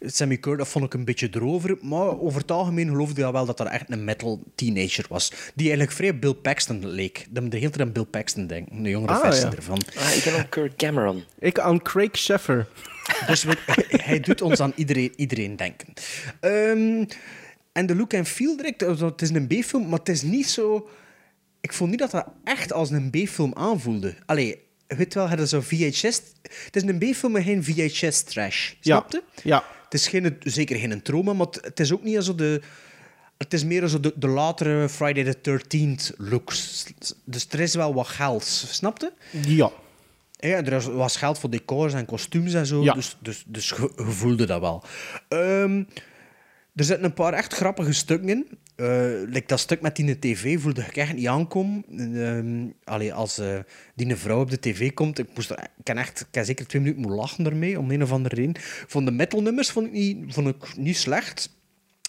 Sammy Kerr, dat vond ik een beetje drover. Maar over het algemeen geloofde ik wel dat er echt een metal teenager was. Die eigenlijk vrij Bill Paxton leek. Dat me de hele tijd aan Bill Paxton denken. Een jongere
Ah,
versie
ja.
ervan.
Ah, ik heb een Kurt Cameron.
Ik aan Craig Sheffer.
Dus we- hij doet ons aan iedereen, iedereen denken. Ehm, en de look en feel direct, also, het is een B-film, maar het is niet zo... Ik vond niet dat dat echt als een B-film aanvoelde. Allee, weet wel, hadden zo VHS... Het is een B-film, maar geen VHS-trash. Snapte?
Ja.
Het is geen, zeker geen trauma, maar het- het is ook niet zo de... Het is meer zo de, de latere Friday the 13th looks. Dus er is wel wat geld, snapte?
Ja.
Ja, er was- was geld voor decors en kostuums en zo. Dus, dus, dus je je voelde dat wel. Ehm, er zitten een paar echt grappige stukken in. Eh, like dat stuk met die tv voelde ik echt niet aankomen. Ehm, allee, als eh, die vrouw op de tv komt, ik, moest er, ik, kan echt, ik kan zeker twee minuten moeten lachen ermee, om een of andere reden. Van de metalnummers vond ik niet, vond ik niet slecht.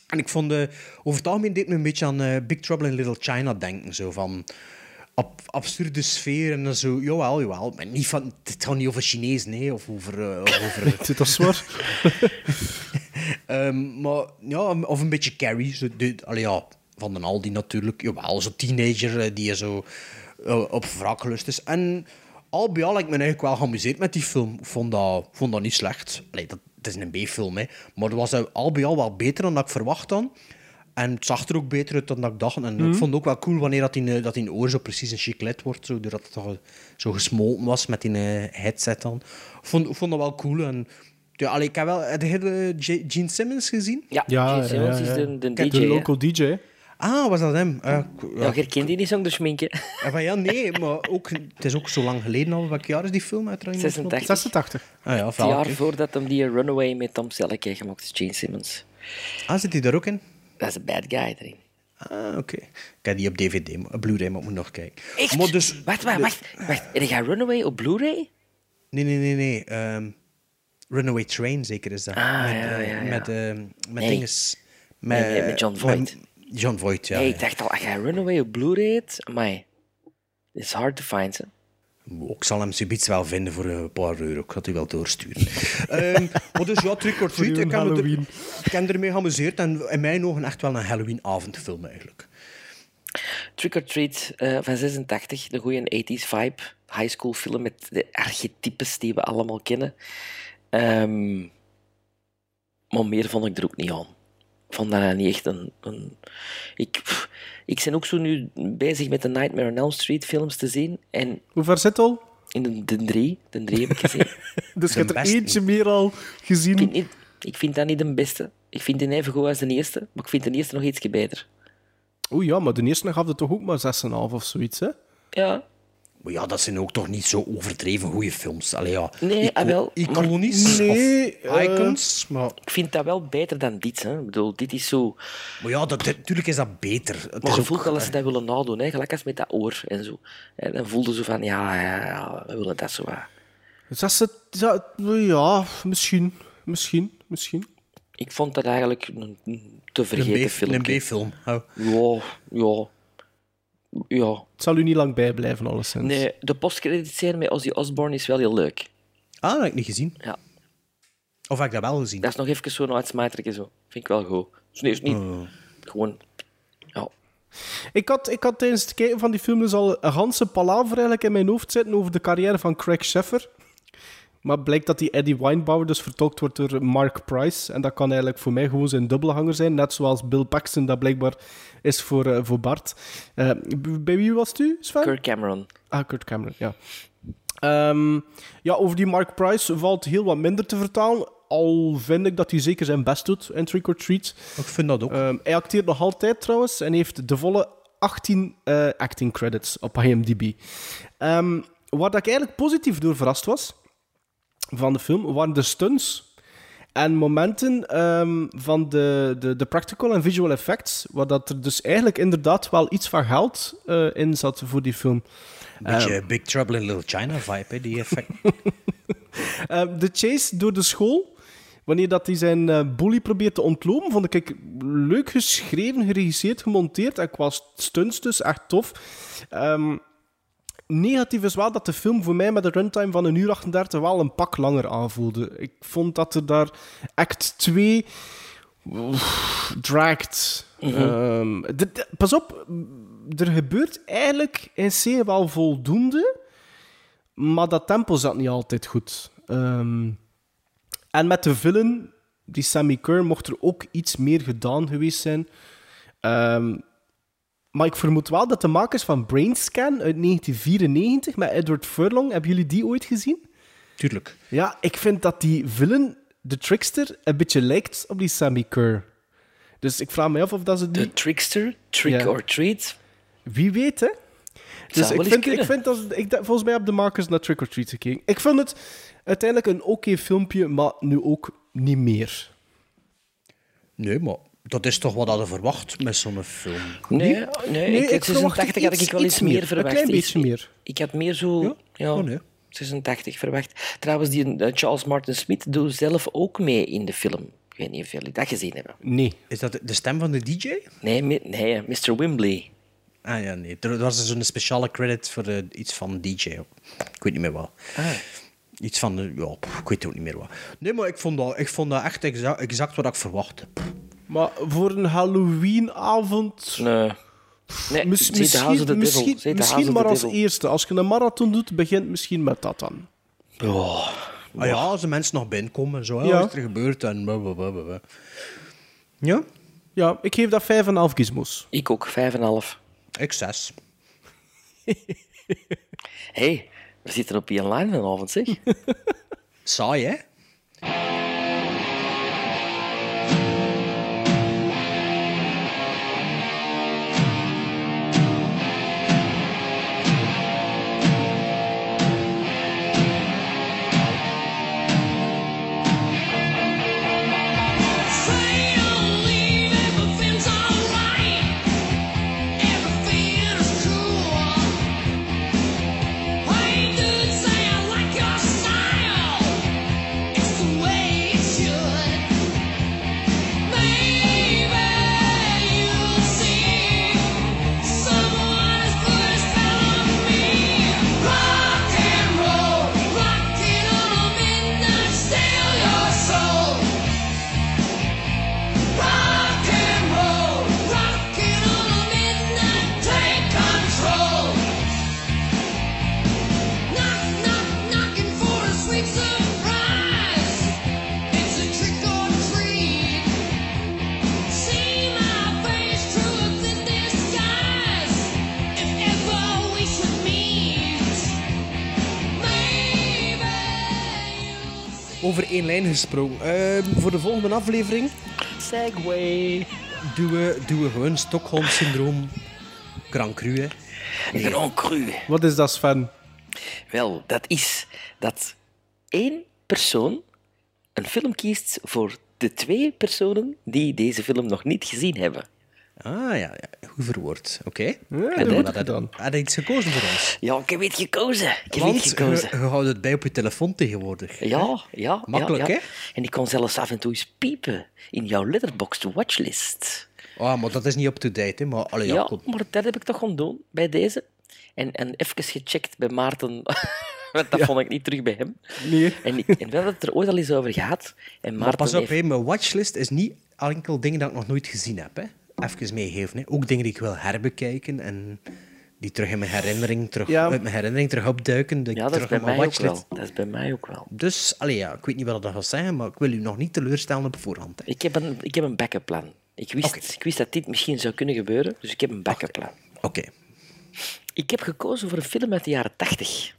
En ik vond, eh, over het algemeen deed me een beetje aan eh, Big Trouble in Little China denken. Zo van ab- absurde sfeer en dan zo, jawel, jawel. Maar niet van, het gaat niet over Chinees, nee, of over... eh, of over
dat is waar.
Ehm, maar ja, of een beetje Carrie. Zo, de, allee, ja, van den Aldi natuurlijk. Jawel, zo'n teenager eh, die zo eh, op wraklust is. En al bij al heb ik me eigenlijk wel geamuseerd met die film. Ik vond dat, vond dat niet slecht. Allee, dat, het is een B-film, hè. Maar dat was eh, al bij al wel beter dan dat ik verwacht had. En het zag er ook beter uit dan dat ik dacht. En
Mhm.
ik vond het ook wel cool wanneer dat in, eh, dat in oor zo precies een chiclet wordt. Zo, doordat het toch zo gesmolten was met die eh, headset dan. Ik vond, ik vond dat wel cool. En, ja, allee, ik heb wel de hele J- Gene Simmons gezien.
Ja, Gene Simmons is de, de DJ. hè.
DJ.
Ah, was dat hem? Eh, k-
Ja, je herkent die niet zonder schminken.
Ja, maar ja, nee, maar ook, het is ook zo lang geleden al. Welk jaar is die film uiteraard?
86.
86.
Ah ja,
het
wel,
jaar
kijk.
voordat hem die Runaway met Tom Selleck heeft gemaakt, is Gene Simmons.
Ah, zit hij daar ook in?
Dat is een bad guy erin.
Ah, oké. Ik heb die op DVD, maar- Blu-ray, maar ik moet nog kijken.
Echt?
Maar dus,
wacht, wacht,
de-
wacht. wacht. En je gaat Runaway op Blu-ray?
Nee, nee, nee, nee. ehm, Runaway Train zeker is dat.
Ah,
met,
ja,
eh,
ja, ja.
Met, ehm, met
Nee.
dinges.
Nee, nee, met John Voight.
John Voight, ja.
hey,
ja.
ik dacht al, als jij Runaway op Blu-ray hebt, amai. It's hard to find, hè.
Ik zal hem subiet wel vinden voor een paar euro. Ik ga die wel doorsturen. Ehm, maar dus ja, trick or
Voor
treat.
uw
Ik heb, me
Halloween.
er, ik heb ermee geamuseerd en in mijn ogen echt wel een Halloween-avondfilm eigenlijk.
Trick or Treat eh, van 86, de goede 80s vibe. High school film met de archetypes die we allemaal kennen. Ehm, maar meer vond ik er ook niet aan. Ik vond dat nou niet echt een. een ik, pff, ik ben ook zo nu bezig met de Nightmare on Elm Street films te zien. En
Hoe ver zit al?
In de, de drie. De drie heb ik gezien.
Dus je hebt er eentje meer al gezien.
Ik vind, niet- ik vind dat niet de beste. Ik vind die even goed als de eerste, maar ik vind de eerste nog ietsje beter.
Oeh ja, maar de eerste gaf het toch ook maar 6,5 of zoiets, hè?
Ja,
Maar ja, dat zijn ook toch niet zo overdreven goede films. Allee, ja.
Nee, ah, wel, maar-
Iconisch
Nee, eh,
of icons. maar...
Ik vind dat wel beter dan dit. Hè. Ik bedoel, dit is zo...
eh,
Maar ja, natuurlijk is dat beter.
maar
Het is
je
ook- eh,
voelt wel dat ze dat willen nadoen, hè. gelijk als met dat oor en zo. En dan voelden ze van, ja, ja, ja, we willen dat zo. wat.
Dus dat is het, ja, ja, misschien, misschien, misschien.
Ik vond dat eigenlijk een een te vergeten
Een B-
film.
een B-film,
Ja, ja. Ja.
Het zal u niet lang bijblijven, alleszins.
Nee, de postcreditscène met Ozzy Osbourne is wel heel leuk.
Ah, dat heb ik niet gezien.
Ja.
Of heb ik dat wel gezien?
Dat is nog even zo'n uitsmijtertje zo. Vind ik wel goed. Dus nee, is niet...
Oh.
Gewoon... Ja.
Ik had, ik had tijdens het kijken van die film dus al een ganse palaver eigenlijk in mijn hoofd zitten over de carrière van Craig Sheffer. Maar blijkt dat die Eddie Weinbauer dus vertolkt wordt door Mark Price. En dat kan eigenlijk voor mij gewoon zijn dubbelhanger zijn. Net zoals Bill Paxton dat blijkbaar is voor, eh, voor Bart. Eh, b- bij wie was het u, Sven?
Kirk Cameron.
Ah, Kurt Cameron, ja. Ehm, ja, over die Mark Price valt heel wat minder te vertalen. Al vind ik dat hij zeker zijn best doet in Trick or Treat. Ehm,
Ik vind dat ook.
hij acteert nog altijd trouwens en heeft de volle 18 eh, acting credits op IMDb. Ehm waar dat ik eigenlijk positief door verrast was van de film waren de stunts en momenten ehm, van de, de, de practical en visual effects, waar dat er dus eigenlijk inderdaad wel iets van geld eh, in zat voor die film.
Een beetje
Ehm,
Big Trouble in Little China vibe, hè, die effect.
Eh, de chase door de school, wanneer dat hij zijn eh bully probeert te ontlopen, vond ik ik leuk geschreven, geregisseerd, gemonteerd en qua stunts dus echt tof. Ehm, negatief is wel dat de film voor mij met een runtime van 1 uur 38 wel een pak langer aanvoelde. Ik vond dat er daar act 2 dragged.
Mhm.
Ehm, de- de- pas op, er gebeurt eigenlijk in C wel voldoende, maar dat tempo zat niet altijd goed. Ehm, en met de villain, die Sammy Kerr, mocht er ook iets meer gedaan geweest zijn. Ehm, maar ik vermoed wel dat de makers van Brainscan uit 1994 met Edward Furlong, hebben jullie die ooit gezien?
Tuurlijk.
Ja, ik vind dat die villain, de trickster, een beetje lijkt op die Sammy Kerr. Dus ik vraag me af of dat ze... De
trickster? Trick
Ja.
or treat?
Wie weet, hè? Dus
Zou wel
ik
eens
vind, ik
kunnen.
vind dat, ik, dat- volgens mij hebben de makers naar Trick or Treat gekeken. Ik vind het uiteindelijk een oké filmpje, maar nu ook niet meer.
Nee, maar dat is toch wat hadden verwacht met zo'n film.
Nee,
Niet?
nee, ik, ik 86 had ik wel iets, meer verwacht. Iets-
meer.
Ik had meer zo... Ja?
nee.
86 verwacht. Trouwens, die eh, Charles Martin Smith doet zelf ook mee in de film. Ik weet niet of jullie dat gezien hebben.
Nee.
Is dat de stem van de DJ?
Nee, mi- nee eh, Mr. Wimbley.
Ah ja, nee. Er was zo'n speciale credit voor eh, iets van DJ. ook. Ik weet niet meer wat.
Ah.
Iets van, eh, ja, pff, ik weet ook niet meer wat. Nee, maar ik vond dat, ik vond dat echt exa- exact wat ik verwachtte.
Maar voor een Halloweenavond...
Nee. eh, Nee,
Mis-
Zeta House of the Devil.
misschien misschien,
Zeta
misschien
House of the
maar als
Devil.
eerste. Als je een marathon doet, begint misschien met dat dan.
Ah ja, als de mensen nog binnenkomen en zo, hè,
Oh. Ja.
wat is er gebeurd en blah, blah, blah, blah, blah. Ja?
Ja, ik geef dat 5,5 gizmos.
Ik ook, 5,5.
Ik 6.
Hé, hey, we zitten op die online vanavond, zeg.
Saai, hè?
Say you'll leave if the film's alright.
over één lijn gesprongen. Ehm, voor de volgende aflevering... Segway. Doen we, doen we gewoon Stockholm-syndroom. Grand cru, hè.
Grand cru.
Wat is dat, Sven?
Wel, dat is dat één persoon een film kiest voor de twee personen die deze film nog niet gezien hebben.
Ah, ja, ja. goed verwoord. Oké.
dat wordt
gedaan. Had hij iets gekozen voor ons?
Ja, ik heb iets gekozen. Ik heb
Want eh,
iets gekozen.
Je, je houdt het bij op je telefoon tegenwoordig.
Ja, ja.
Makkelijk,
ja, ja.
hè?
En ik kon zelfs af en toe eens piepen in jouw letterboxd watchlist.
Ah, maar dat is niet up-to-date, hè. Maar, allee, ja,
ja,
kom.
maar dat heb ik toch ontdoen bij deze. En, en even gecheckt bij Maarten, want dat vond ik niet terug bij hem. En, ik, en we hebben het er ooit al eens over gehad. En
Maar
Maarten
pas op,
heeft-
hè, mijn watchlist is niet enkel dingen dat ik nog nooit gezien heb. Hè. Even meegeven. Hè. Ook dingen die ik wil herbekijken en die terug in mijn herinnering, terug,
Ja.
uit mijn herinnering terug opduiken. Dat ik
Ja, dat is
terug
bij
op mijn
mij ook
watchlist.
wel. Dat is bij mij ook wel.
Dus, allee, ja, ik weet niet wat dat gaat zeggen, maar ik wil u nog niet teleurstellen op voorhand. Hè.
Ik heb een, ik heb een backup plan. Ik wist, ik wist dat dit misschien zou kunnen gebeuren, dus ik heb een backup plan.
Oké.
Ik heb gekozen voor een film uit de jaren 80.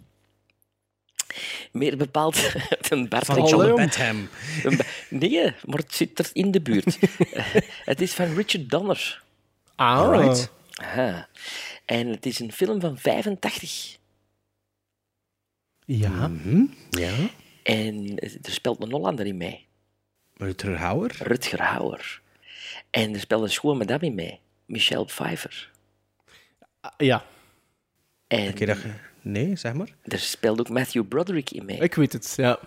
Meer bepaald uit een Bart
Van
en
John
John.
Bentham.
Een ba- Nee, maar het zit er in de buurt. Eh, het is van Richard Donner.
Ah.
Alright.
Aha. En het is een film van 85.
Ja.
Mhm, Ja.
En er speelt een Hollander in mee.
Rutger Hauer.
Rutger Hauer. En er speelt een schoon madame in mee. Michelle Pfeiffer.
Ah, Ja.
En
Oké, dat ge- Nee, zeg maar.
er speelt ook Matthew Broderick in mee.
Ik weet het, ja.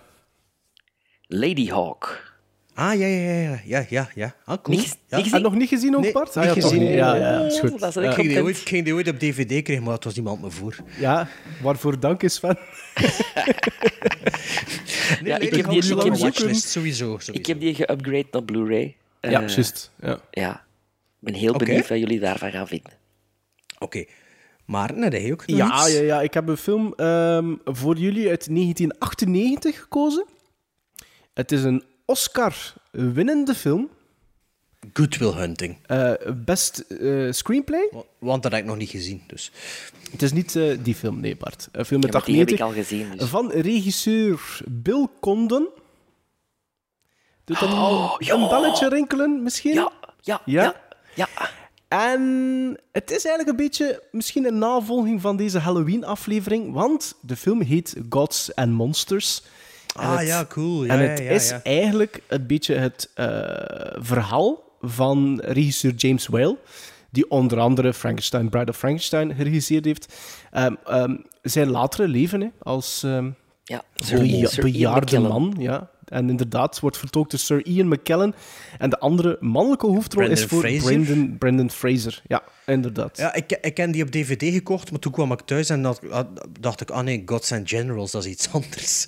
Lady Hawk.
Ah, ja, ja, ja, ja, ja, ja, ja. Ah, cool.
Niks-
ja.
niks gezien?
En nog niet gezien ook,
Nee,
Bart? Ah,
niet
ja, toch
gezien.
niet. Ja, ja, is goed.
Dat is
Ik
ik
ging die ooit-
content.
ik ging die ooit op DVD krijgen, maar het was niemand me voor.
Ja, waarvoor dank is, Sven.
Ja, ik heb
ook
die-
zo'n
ik heb die-
watchlist, sowieso. sowieso.
Ik heb die geupgrade naar Blu-ray. Eh,
Ja, juist. Ja.
Ja. Ik ben heel
Oké.
benieuwd wat jullie daarvan gaan vinden.
Oké. Maar nee, dat heb je ook nog
Ja,
iets?
ja, ja, ik heb een film ehm, voor jullie uit 1998 gekozen. Het is een Oscar-winnende film.
Good Will Hunting.
Eh, best eh, screenplay.
Wa- Want dat heb ik nog niet gezien, dus.
Het is niet eh, die film, nee, Bart. Een film
Ja,
uit
maar die heb ik
98
al gezien. Dus.
van regisseur Bill Condon. Doet dat al een belletje rinkelen, misschien?
Oh, Ja, ja,
Ja?
ja, ja.
En het is eigenlijk een beetje misschien een navolging van deze Halloween-aflevering, want de film heet Gods and Monsters. En
Ah, ja, cool. Ja,
en
ja,
het
ja,
is
ja.
eigenlijk een beetje het eh, verhaal van regisseur James Whale, die onder andere Frankenstein, Bride of Frankenstein geregisseerd heeft. Ehm, ehm, zijn latere leven hè, als ehm,
ja.
beja-
Sir Ian
bejaarde
McKellen.
man. Ja. En inderdaad, wordt vertolkt door Sir Ian McKellen. En de andere mannelijke hoofdrol is
Brendan
voor
Fraser?
Brendan, Brendan Fraser. Ja, inderdaad.
Ja, ik, ik heb die op DVD gekocht, maar toen kwam ik thuis en dat, had- dacht ik, ah nee, Gods and Generals, dat is iets anders.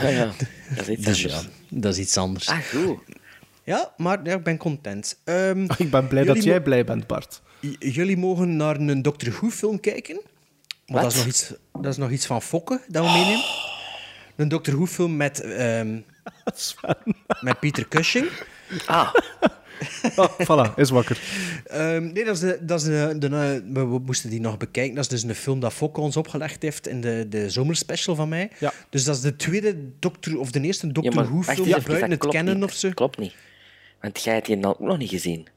Ja, ja. Dat is
dus
iets
ja,
anders.
dat is iets anders.
Ah, goed.
Ja, maar ja, ik ben content. Ehm,
Ik ben blij dat
jullie
jij blij bent, Bart.
J- Jullie mogen naar een Doctor Who-film kijken.
Wat?
Maar dat is, nog iets, dat is nog iets van fokken dat we meenemen. Een Doctor Who-film met, ehm,
Sven.
met Peter Cushing.
Ah,
Oh,
Ah, voilà, is wakker.
Ehm, nee, dat is de, dat is de, de- eh, we, we moesten die nog bekijken. Dat is dus een film dat Fokke ons opgelegd heeft in de, de zomerspecial van mij.
Ja.
Dus dat is de tweede Doctor, of de eerste
ja,
Doctor
maar wacht
Who-film
eens even, dat
buiten het
klopt
kennen
niet.
of zo.
Klopt niet. Want jij hebt die dan ook nog niet gezien.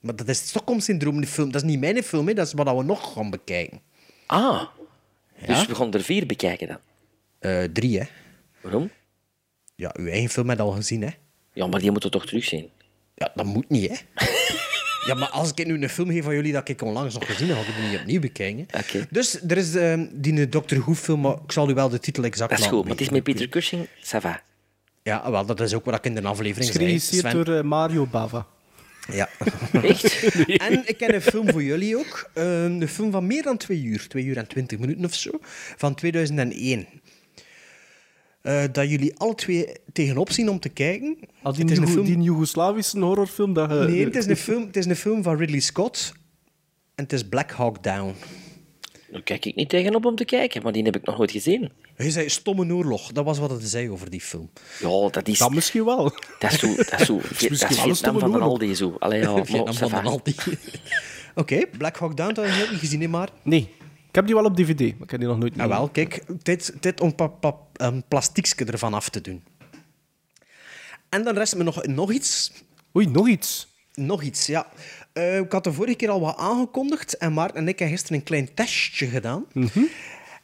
Maar dat is het Stockholm-syndroom, de film. Dat is niet mijn film, hè. dat is wat we nog gaan bekijken.
Ah. Dus we gaan er vier bekijken dan.
Eh, drie, hè?
Waarom?
Ja, uw eigen film heb je al gezien, hè?
Ja, maar die moeten we toch terugzien.
Ja, dat moet niet, hè? ja, maar als ik nu een film geef van jullie dat ik onlangs nog gezien heb, had ik het niet opnieuw bekijken. hè.
Oké.
Dus er is ehm, die Doctor Who-film, maar ik zal u wel de titel exact
Dat is
laten
goed, maar het is met
weten.
Peter Cushing, ça va.
Ja, wel, dat is ook wat ik in de aflevering
Het is
zei.
geregisseerd
Sven.
door eh, Mario Bava.
Ja.
Echt?
en ik heb een film voor jullie ook. Ehm een film van meer dan twee uur, twee uur en twintig minuten of zo, van 2001. Eh, dat jullie alle twee tegenop zien om te kijken.
Al die,
Het is een
Joego-
film-
die Joegoslavische horrorfilm dat eh, je...
Nee, het is, een film, het is een film van Ridley Scott. En het is Black Hawk Down.
Daar kijk ik niet tegenop om te kijken, maar die heb ik nog nooit gezien.
Hij zei stomme oorlog. Dat was wat hij zei over die film.
Ja, dat is...
Dat misschien wel.
Dat is zo... Dat is, zo,
misschien
dat is
wel
Vietnam
een stomme
van een
oorlog.
Aldi, zo. Allee, ja, maar
Vietnam
ça
van de
va.
Aldi. Oké, Black Hawk Down, dat heb je niet gezien, hè, maar... Ah,
Nee, ik heb die wel op Ah, DVD, maar ik heb die nog nooit
Nou wel, kijk, dit, dit om pa, pa, een plastiekje ervan af te doen. En dan rest me nog, nog iets.
Oei, nog iets?
Nog iets, ja. Eh, ik had de vorige keer al wat aangekondigd. En Maarten en ik hebben gisteren een klein testje gedaan.
Mhm.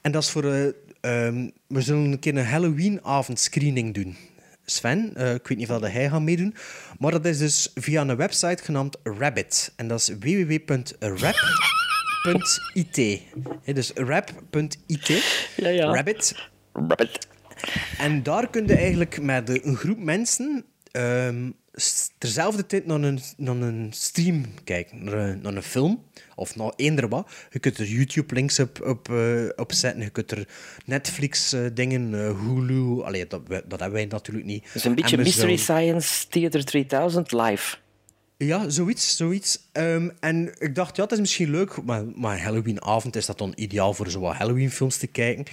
En dat is voor... eh, ehm, we zullen een keer een Halloween-avond screening doen. Sven, eh, ik weet niet of dat hij gaat meedoen. Maar dat is dus via een website genaamd Rabbit. En dat is www.rap.it. Hè, Dus rap.it.
Ja, ja.
Rabbit. En daar kun je eigenlijk met eh, een groep mensen ehm, s- terzelfde tijd naar een, naar een stream kijken, naar een, naar een film of naar eender wat. Je kunt er YouTube-links op, op, eh, op zetten, je kunt er Netflix-dingen, eh, Hulu, allee, dat, we- dat hebben wij natuurlijk niet.
Dus een beetje
En we
Mystery
zullen-
Science Theater 3000 live.
ja, zoiets, zoiets. Ehm, en ik dacht, ja, het is misschien leuk, maar, maar Halloweenavond is dat dan ideaal voor zo wat Halloweenfilms te kijken.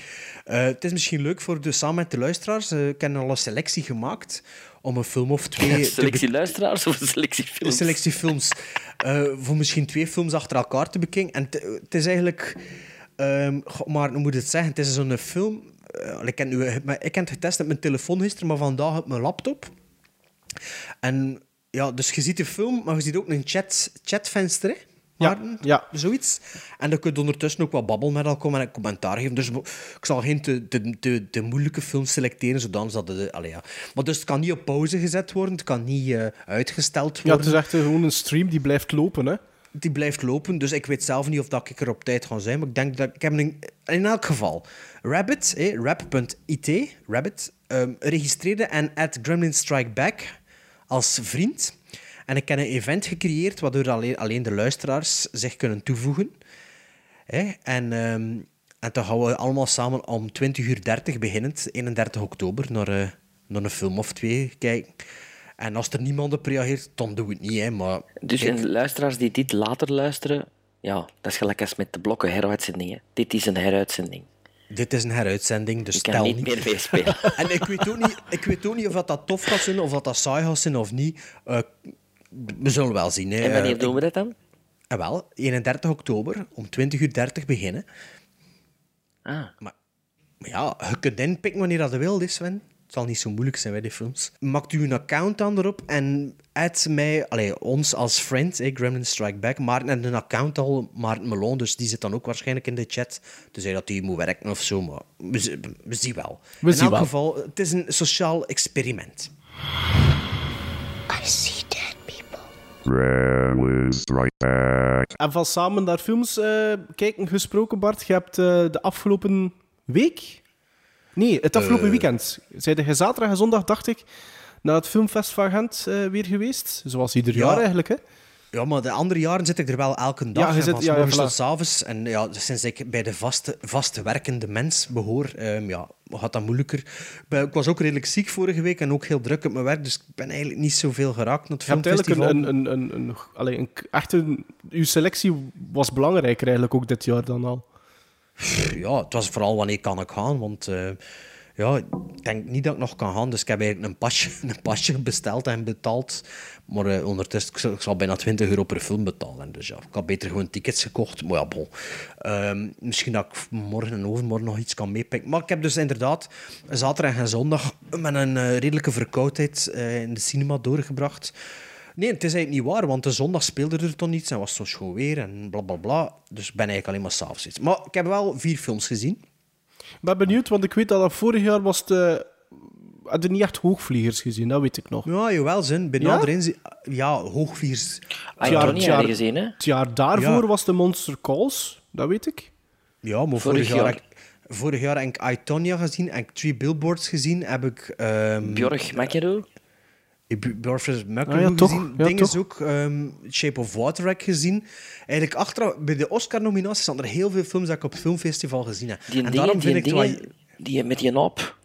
Eh, het is misschien leuk voor de, samen met de luisteraars, eh, ik heb al een selectie gemaakt om een film of twee...
Een
te
selectie luisteraars of een selectie
een
films?
selectie films. eh, voor misschien twee films achter elkaar te bekijken. En het- het is eigenlijk... ehm, goh, maar hoe moet ik het zeggen? Het is zo'n film... eh, ik, heb nu, maar ik heb het getest op mijn telefoon gisteren, maar vandaag op mijn laptop. En ja, dus je ziet de film, maar je ziet ook een chat, chatvenster, hè? Maarten?
ja.
Zoiets. En dan kun je ondertussen ook wat babbelen met elkaar en commentaar geven. Dus mo- ik zal geen te, te, te, te moeilijke films selecteren, zodanig dat het... Allee, ja. Maar dus het kan niet op pauze gezet worden, het kan niet eh, uitgesteld
Ja,
worden.
het is echt eh, gewoon een stream die blijft lopen, hè.
Die blijft lopen, dus ik weet zelf niet of dat ik er op tijd ga zijn. Maar ik denk dat ik heb een, in elk geval Rabbit, eh, rap.it, Rabbit, ehm, registreerde en at Gremlin Strike Back als vriend. En ik heb een event gecreëerd waardoor alleen, alleen de luisteraars zich kunnen toevoegen. Hè? En, ehm, en dan gaan we allemaal samen om 20.30 uur beginnend, 31 oktober, naar, eh, naar een film of twee kijken. En als er niemand op reageert, dan doen we het niet. Hè? Maar
Dus
kijk,
en luisteraars die dit later luisteren, ja, dat is gelijk als met de blokken heruitzendingen. Dit is een heruitzending.
Dit is een heruitzending, dus
ik kan
tel
niet
niet.
meer meespelen.
En ik weet, ook niet, ik weet ook niet of dat, dat tof gaat zijn, of dat, dat saai gaat zijn of niet. Eh, we zullen wel zien. Hè.
en wanneer
Eh,
doen we dat dan?
eh, wel, 31 oktober om 20.30 uur beginnen.
Ah.
Maar, maar ja, je kunt inpikken wanneer dat je wilt, hè, Sven. Het zal niet zo moeilijk zijn bij die films. Maakt u een account dan erop en add mij, allee, ons als friend, eh, Gremlin Strike Back. Maarten heeft een account al, Maarten Melon, dus die zit dan ook waarschijnlijk in de chat. Tenzij dat die moet werken of zo, maar we, z- we zien wel.
We
in
zien
elk
wel.
geval, het is een sociaal experiment.
I see dead people.
En van samen naar films eh, kijken gesproken, Bart. Je hebt eh, de afgelopen week... Nee, het afgelopen
Eh.
weekend. Zijde je zaterdag en zondag, dacht ik, naar het filmfest van Gent eh, weer geweest. Zoals ieder jaar eigenlijk, hè.
Ja, maar de andere jaren zit ik er wel elke dag.
Ja, je
hè,
zit-
van
ja, ja,
morgens
voilà.
tot s'avonds. En ja, sinds ik bij de vaste, vaste werkende mens behoor, ehm, ja, gaat dat moeilijker. Ik ben- Ik was ook redelijk ziek vorige week en ook heel druk op mijn werk, dus ik ben eigenlijk niet zoveel geraakt naar het
Je hebt eigenlijk
filmfestival.
een, een, een, een, een, allee, een k- echt een- Uw selectie was belangrijker eigenlijk ook dit jaar dan al.
Pff, Ja, het was vooral wanneer kan ik gaan, want... eh, ja, ik denk niet dat ik nog kan gaan, dus ik heb eigenlijk een pasje, een pasje besteld en betaald. Maar eh, ondertussen, ik zal, ik zal bijna 20 euro per film betalen. Dus ja, ik had beter gewoon tickets gekocht. Maar ja, bon. Ehm, misschien dat ik morgen en overmorgen nog iets kan meepikken. Maar ik heb dus inderdaad zaterdag en zondag met een eh, redelijke verkoudheid eh, in de cinema doorgebracht. Nee, het is eigenlijk niet waar, want de zondag speelde er toch niets en was het zo schoon weer en bla bla bla. Dus ik ben eigenlijk alleen maar s'avonds iets. Maar ik heb wel vier films gezien.
Ik ben benieuwd, want ik weet dat dat vorig jaar was de... Hadden niet echt hoogvliegers gezien, dat weet ik nog.
Ah,
Ja, jawel, zin. Bijna
Ja?
erin zi- Ja, hoogviers.
Het
Ah,
jaar- het jaar-
Mm.
Het jaar daarvoor
Ja.
was de Monster Calls, dat weet ik.
Ja, maar
Vorig
vorig,
jaar.
jaar... heb ik- vorig jaar heb ik I, Tonya gezien, heb ik Three Billboards gezien, heb ik... ehm
Björk McEnroe?
Björk
Ah, ja,
McEnroe
toch.
gezien.
Ja,
Ding is
toch.
ook ehm, Shape of Water heb ik gezien. Eigenlijk achteraf, bij de Oscar-nominaties zijn er heel veel films dat ik op het filmfestival gezien heb.
Die
en
dingen,
daarom
die
vind ik...
dingen,
het wel-
die met die op.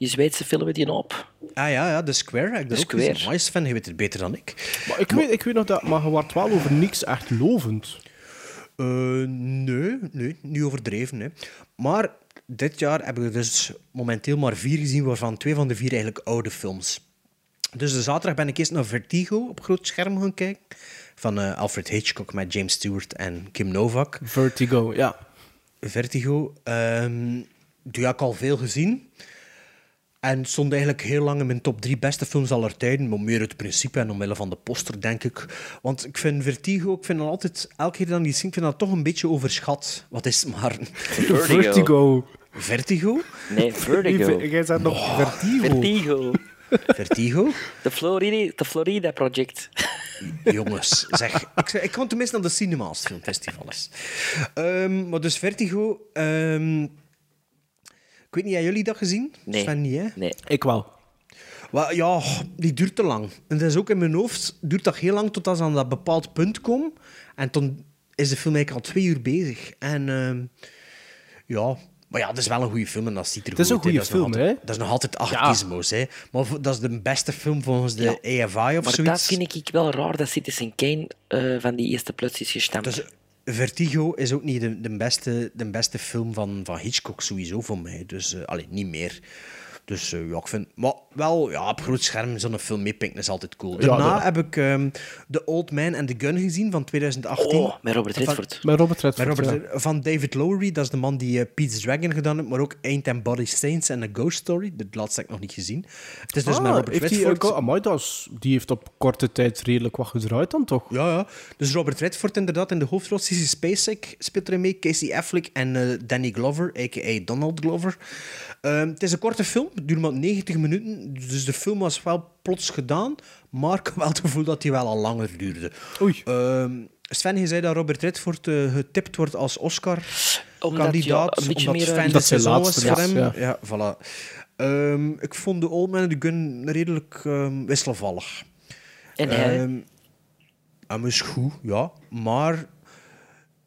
Die Zweedse film met die op.
Ah ja, ja, The Square heb ik
The
er ook
Square.
gezien. Nice, Sven, je weet het beter dan ik.
Maar ik, weet, ik weet nog dat... Maar je werd wel over niks echt lovend.
Eh, nee, nee, niet overdreven. Hè. Maar dit jaar heb ik er dus momenteel maar vier gezien, waarvan twee van de vier eigenlijk oude films. Dus de zaterdag ben ik eerst naar Vertigo op groot scherm gaan kijken. Van eh, Alfred Hitchcock met James Stewart en Kim Novak.
Vertigo, ja.
Vertigo. ehm die heb ik al veel gezien. En stond eigenlijk heel lang in mijn top drie beste films aller tijden. Maar meer uit principe en omwille van de poster, denk ik. Want ik vind Vertigo, ik vind dan altijd, elke keer dat ik die zie, ik vind dat toch een beetje overschat. Wat is het maar?
Vertigo. Vertigo.
Vertigo?
Nee, Vertigo.
Jij zei nog Vertigo.
Vertigo.
Vertigo?
De Florida, de Florida Project.
Jongens, zeg. Ik, zeg, ik kon tenminste naar de cinema's filmfestivals. Ehm maar dus Vertigo... ehm, ik weet niet, hebben jullie dat gezien?
Nee.
Sven niet, hè?
Nee.
Ik wel.
Wel, ja, die duurt te lang. En dat is ook in mijn hoofd, duurt dat heel lang tot als aan dat bepaald punt kom. En toen is de film eigenlijk al twee uur bezig. En ehm, ja, maar ja, het is wel een goede film en dat ziet er
Het is
goed
een goede
uit. Dat nog
film,
altijd-
hè?
Dat is nog altijd artismos, hè. Maar vo- dat is de beste film volgens de AFI of
maar
zoiets.
dat vind ik wel raar dat Citizen Kane eh, van die eerste plots is gestemd.
Dus Vertigo is ook niet de, de, beste, de beste film van, van Hitchcock sowieso voor mij. Dus eh allee, niet meer. Dus eh, ja, ik vind... Maar wel, ja, op groot scherm zo'n film meepikken is altijd cool.
Ja,
Daarna
dat-
heb ik ehm The Old Man and the Gun gezien van 2018.
Oh, met Robert
Van-
Redford.
Met Robert Redford,
met Robert-
ja.
Van David Lowry, dat is de man die eh, Pete's Dragon gedaan heeft, maar ook Ain't and Body Saints en A Ghost Story. De laatste heb ik nog niet gezien. Het is dus met Robert
Ah, heeft
Redford.
Die, ook- amai, dat is- die heeft op korte tijd redelijk wat gedraaid dan toch?
Ja, ja. Dus Robert Redford inderdaad in de hoofdrol. Sissy Spacek speelt erin mee. Casey Affleck en eh, Danny Glover, a.k.a. Donald Glover. Ehm, het is een korte film. Het duurt maar 90 minuten. Dus de film was wel plots gedaan. Maar ik heb wel het gevoel dat die wel al langer duurde. Ehm,
Oei.
Sven, je zei dat Robert Redford eh, getipt wordt als
ja,
Oscar-kandidaat.
een beetje
omdat
meer, eh,
Sven
Dat
de
zijn
saison was
laatste
voor
was,
hem.
ja.
Ja, voilà. Ehm, ik vond de Old Man and the Gun redelijk ehm, wisselvallig.
En hij?
Ehm, hem is goed, ja. Maar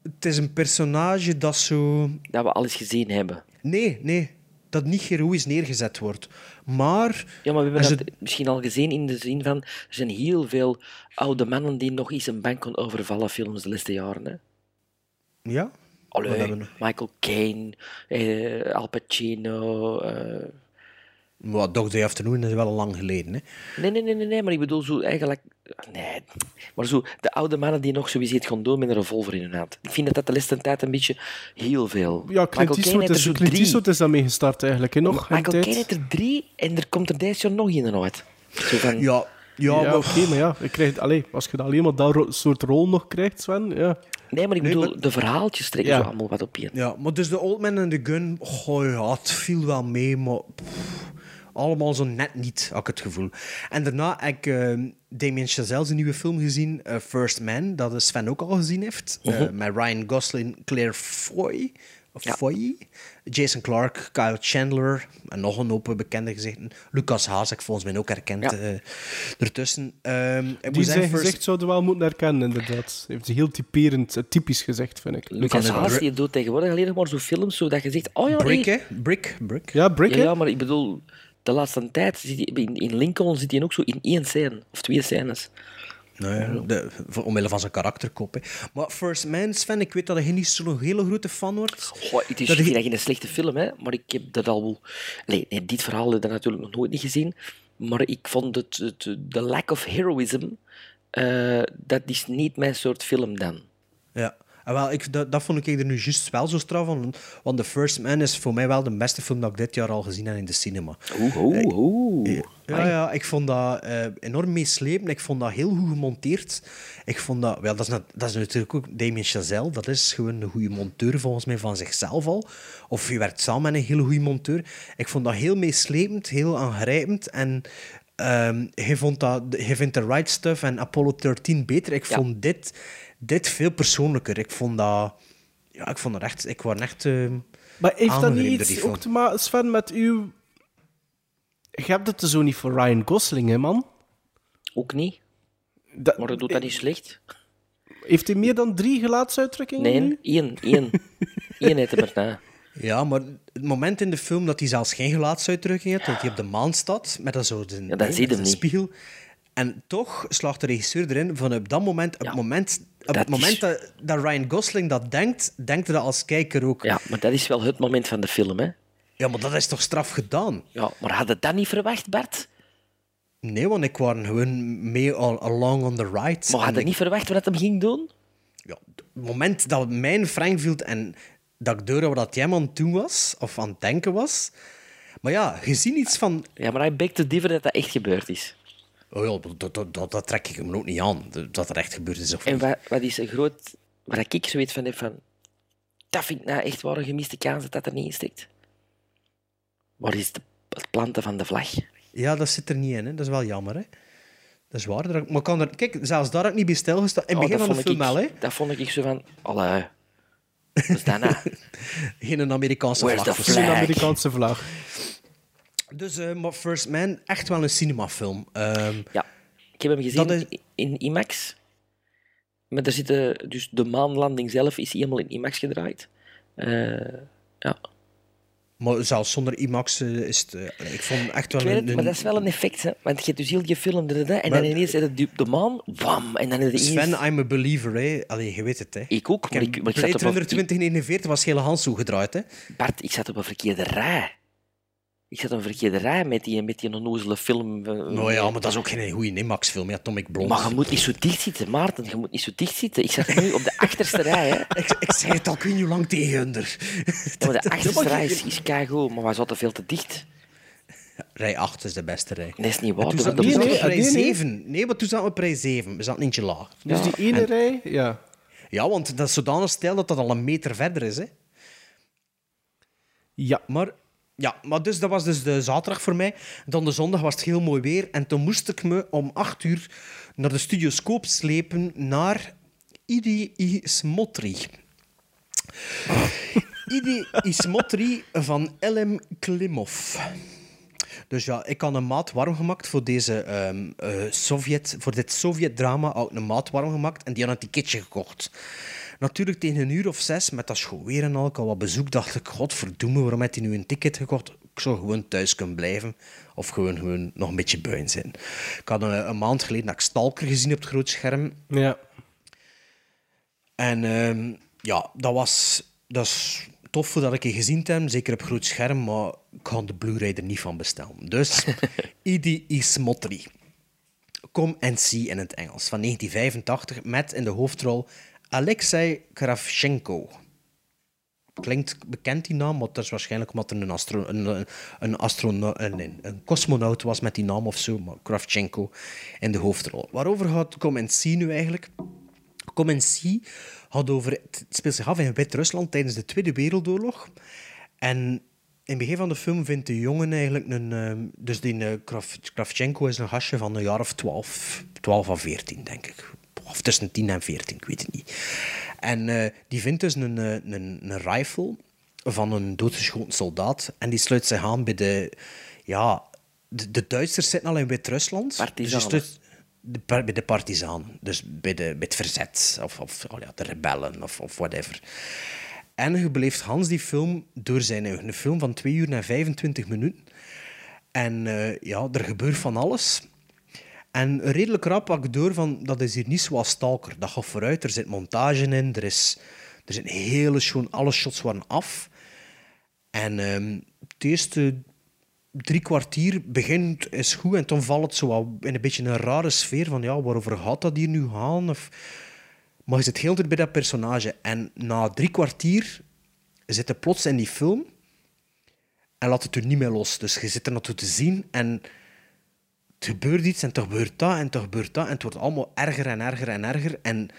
het is een personage dat zo...
Dat we alles gezien hebben.
Nee, nee. Dat niet heroïs neergezet wordt. Maar...
Ja, maar we
Als
hebben dat misschien al gezien in de zin van... Er zijn heel veel oude mannen die nog eens een bank kon overvallen films de laatste jaren. Hè?
Ja?
Allee,
Wat hebben we
Michael Caine, eh, Al Pacino... eh,
Maar Dog Day Afternoon is wel al lang geleden, hè.
Nee, nee, nee, nee, nee, maar ik bedoel zo eigenlijk... Nee, maar zo de oude mannen die nog zoiets gaan doen met een revolver in hun hand. Ik vind dat dat de laatste tijd een beetje heel veel...
Ja,
Michael
Clint
Caine
Eastwood
heeft er
is,
zo
Clint
drie.
Eastwood is daarmee gestart eigenlijk. Hè, nog een
Michael
tijd.
Caine heeft er drie en er komt er deze jaar nog in ooit. Zo van,
Ja,
Ja,
ja, maar...
oké, maar ja, ik krijg, allee, als je dan alleen maar dat ro- soort rol nog krijgt, Sven, ja.
Nee, maar ik
Nee,
bedoel,
maar-
de verhaaltjes trekken
Ja.
zo allemaal wat op je.
Ja, maar dus de Old Man and the Gun, goh ja, het viel wel mee, maar pff, allemaal zo net niet, had ik het gevoel. En daarna heb ik eh, Damien Chazelle zijn nieuwe film gezien, eh, First Man, dat eh, Sven ook al gezien heeft, eh,
Mhm.
met Ryan Gosling, Claire Foy, of
Ja.
Foy, Jason Clark, Kyle Chandler, en nog een hoop eh, bekende gezichten. Lucas Haas, heb ik volgens mij ook herkend
Ja.
eh, ertussen. Ehm, ik
Die zijn
moet zeggen, First-
gezicht zouden we wel moeten herkennen, inderdaad. Heeft ze heel typerend, eh, typisch gezegd, vind ik.
Lucas ah.
de
Haas
Bru-
die doet tegenwoordig alleen nog maar zo films zodat je zegt... Oh ja,
Brick,
hey.
hè? Brick, Brick.
Ja, Brick,
ja,
hè?
ja, maar ik bedoel, de laatste tijd zit hij- in, in Lincoln zit hij ook zo in één scène of twee scènes.
Nou ja, de, voor- omwille van zijn karakterkop. Hè. Maar First Man, Sven, ik weet dat je niet zo'n hele grote fan wordt.
Goh, het is
Dat
dat
die-
geen, geen slechte film, hè, maar ik heb dat al. wel- Nee, nee, dit verhaal heb ik natuurlijk nog nooit niet gezien. Maar ik vond het, het- de lack of heroism. eh, dat is niet mijn soort film dan.
Ja. En wel, ik, dat, dat vond ik er nu juist wel zo straf van. Want The First Man is voor mij wel de beste film dat ik dit jaar al gezien heb in de cinema.
Oeh, oeh, oeh.
Ja, ja, ik vond dat eh, enorm meeslepend. Ik vond dat heel goed gemonteerd. Ik vond dat... Wel, dat, is, nat- dat is natuurlijk ook Damien Chazelle. Dat is gewoon een goede monteur volgens mij van zichzelf al. Of je werkt samen met een hele goede monteur. Ik vond dat heel meeslepend, heel aangrijpend. En ehm hij, vond dat, hij vindt The Right Stuff en Apollo 13 beter. Ik
Ja.
vond dit, dit veel persoonlijker. Ik vond dat... Ja, ik vond dat echt... Ik was echt... ehm,
Maar heeft dat
aangegrepen
niet
door die
iets
film.
ook te maken, Sven, met uw... Je hebt het er zo niet voor Ryan Gosling, hè, man?
Ook niet.
Dat-
Maar dat doet dat niet slecht.
Heeft hij meer dan drie gelaatsuitdrukkingen
Nee,
nu?
één, één. Eén heet hem erna.
Ja, maar het moment in de film dat hij zelfs geen gelaatsuitdrukking heeft, dat hij op de maan staat, met dat zo de,
dat zie je hem niet.
spiegel. En toch slaagt de regisseur erin van op dat moment, op het moment, op
dat
het
is-
moment dat, dat Ryan Gosling dat denkt, denkt hij dat als kijker ook. Ja.
Ja, maar dat is wel het moment van de film, hè.
maar dat is toch straf gedaan?
Ja, maar had je dat niet verwacht, Bart?
Nee, want ik waren gewoon mee al along on the right.
Maar had
En
je
ik-
niet verwacht wat hem ging doen?
ja, het moment dat mijn Frankfield en dat ik door wat dat jij aan het doen was, of aan het denken was, maar Maar ja, gezien iets van...
Ja, maar hij bekt de dieven dat dat echt gebeurd is.
Oh ja, dat, dat, dat, dat trek ik hem ook niet aan, dat er echt gebeurd is. Of
En
niet.
wat, wat is een groot... Waar ik zoiets van heb van... Dat vind ik nou echt waar een gemiste kans dat dat er niet in steekt. Waar is de, het planten van de vlag?
Ja, dat zit er niet in, hè. dat is wel jammer. Hè. Dat is waar. daar- Maar kan er... Kijk, zelfs daar heb ik niet bij stilgestaan. In het
Oh,
begin
dat
van de
vond
film wel,
ik,
hè.
Dat vond ik zo van... Allee. Wat is dat nou?
Geen Amerikaanse
Where's
vlag.
the
voor
flag?
cinema.
Amerikaanse vlag.
Dus, eh, maar First Man, echt wel een cinemafilm. Ehm
ja, ik heb hem gezien in IMAX. Maar daar zitten... Dus de maanlanding zelf is helemaal in IMAX gedraaid. Eh, ja.
Maar zelfs zonder IMAX eh, is het... eh, ik vond echt wel
Ik weet
een...
het, maar
een-
dat is wel een effect, hè. Want je hebt dus heel je film, da, da, da, en
Maar-
dan ineens heb je die- de maan, wam, en dan ineens...
Sven, I'm a believer, hè. Allee, je weet het, hè.
Ik ook, maar
heb
ik, maar ik
Blade
zat Oh, op
Runner
een...
2049 was hele Hans toegedraaid, hè.
Bart, ik zat op een verkeerde rij. Ik zat op een verkeerde rij met die, met die onnozele film. eh,
Nou ja, maar dat is ook geen goede IMAX-film, ja, Atomic Blonde.
Maar je moet niet zo dicht zitten, Maarten. Je moet niet zo dicht zitten. Ik zat nu op de achterste rij, hè.
Ik, ik zeg het al, kun je lang tegen onder.
Maar de achterste rij is, is keigoed, maar wij zaten veel te dicht.
Rij 8 is de beste rij.
Dat is niet
En
waar.
toen
dat-
zaten
dat
we
was-
zaten op rij 7. Nee, maar toen zaten we op rij 7. We zaten eentje laag.
Dus die ene rij, ja.
Ja, want dat is zodanig stijl dat dat al een meter verder is, hè.
Ja.
Maar, ja, maar dus, dat was dus de zaterdag voor mij. Dan de zondag was het heel mooi weer. En toen moest ik me om 8 uur naar de studioscoop slepen naar Idi Ismotri. Idi Ismotri van LM Klimov. Dus ja, ik had een maat warm gemaakt voor, deze, ehm, eh, Sovjet, voor dit Sovjet-drama. Had ik een maat warm gemaakt en die had een ticketje gekocht. Natuurlijk tegen een uur of zes, met dat school weer en al, ik had wat bezoek, dacht ik, godverdomme, waarom heeft hij nu een ticket gekocht? Ik zou gewoon thuis kunnen blijven of gewoon, gewoon nog een beetje buiten zijn. Ik had een, een maand geleden dat ik Stalker gezien op het groot scherm.
Ja.
En ehm, ja, dat was dat is tof dat ik je gezien heb, zeker op groot scherm, maar ik ga de Blu-ray er niet van bestellen. Dus Idi Ismotri. Come and See in het Engels van 1985 met in de hoofdrol Alexei Kravchenko. Klinkt bekend die naam, maar dat is waarschijnlijk omdat er een, astro een, een, een, astrono- een, een- een cosmonaut was met die naam of zo, maar Kravchenko in de hoofdrol. Waarover gaat Come and See nu eigenlijk? Come and See had over, het speelt zich af in Wit-Rusland tijdens de Tweede Wereldoorlog. En in het begin van de film vindt de jongen eigenlijk een... ehm, dus die eh, Krav- Kravchenko is een hasje van een jaar of twaalf. Twaalf of veertien, denk ik. Of tussen tien en veertien, ik weet het niet. En eh, die vindt dus een, eh, een, een rifle van een doodgeschoten soldaat. En die sluit zich aan bij de... Ja, de, de Duitsers zitten al in Wit-Rusland. Dus die
Partizanen.
sluit- de, par- bij de partizanen, dus bij, de, bij het verzet, of, of oh ja, de rebellen, of, of whatever. En je beleeft Hans die film door zijn eigen. Een film van 2 uur en 25 minuten. En eh, ja, er gebeurt van alles. En redelijk rap pak ik door van, dat is hier niet zoals Stalker. Dat gaat vooruit, er zit montage in, er, is, er zijn hele schoon, alle shots waren af. En ehm het eerste drie kwartier begint is goed en dan valt het zo wat in een beetje een rare sfeer van ja, waarover gaat dat hier nu gaan? Of... Maar je zit heel de tijd bij dat personage en na drie kwartier zit je plots in die film en laat het er niet meer los. Dus je zit er naartoe te zien en het gebeurt iets en toch gebeurt dat en toch gebeurt dat en het wordt allemaal erger en erger en erger en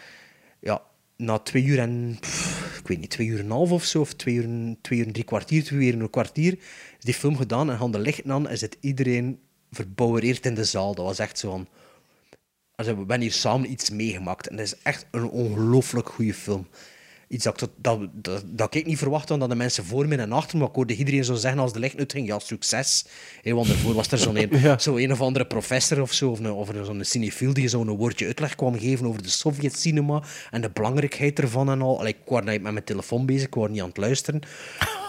ja, na twee uur en pff, ik weet niet, twee uur en een half of zo, of twee uur, en- twee uur en drie kwartier, twee uur en een kwartier, is die film gedaan en gaan de lichten aan en zit iedereen verbouwereerd in de zaal. Dat was echt zo'n. Also, we hebben hier samen iets meegemaakt en dat is echt een ongelooflijk goede film. Iets dat, ik tot- dat, dat, dat ik niet verwacht had dat de mensen voor me en achter me, maar ik hoorde iedereen zo zeggen als de licht uitging, ja, succes. Hé, want daarvoor was er zo'n een, zo een of andere professor of zo, of, een, of een- zo'n cinefiel die zo'n woordje uitleg kwam geven over de Sovjet-cinema en de belangrijkheid ervan en al. Allee, ik was niet met mijn telefoon bezig, ik was niet aan het luisteren.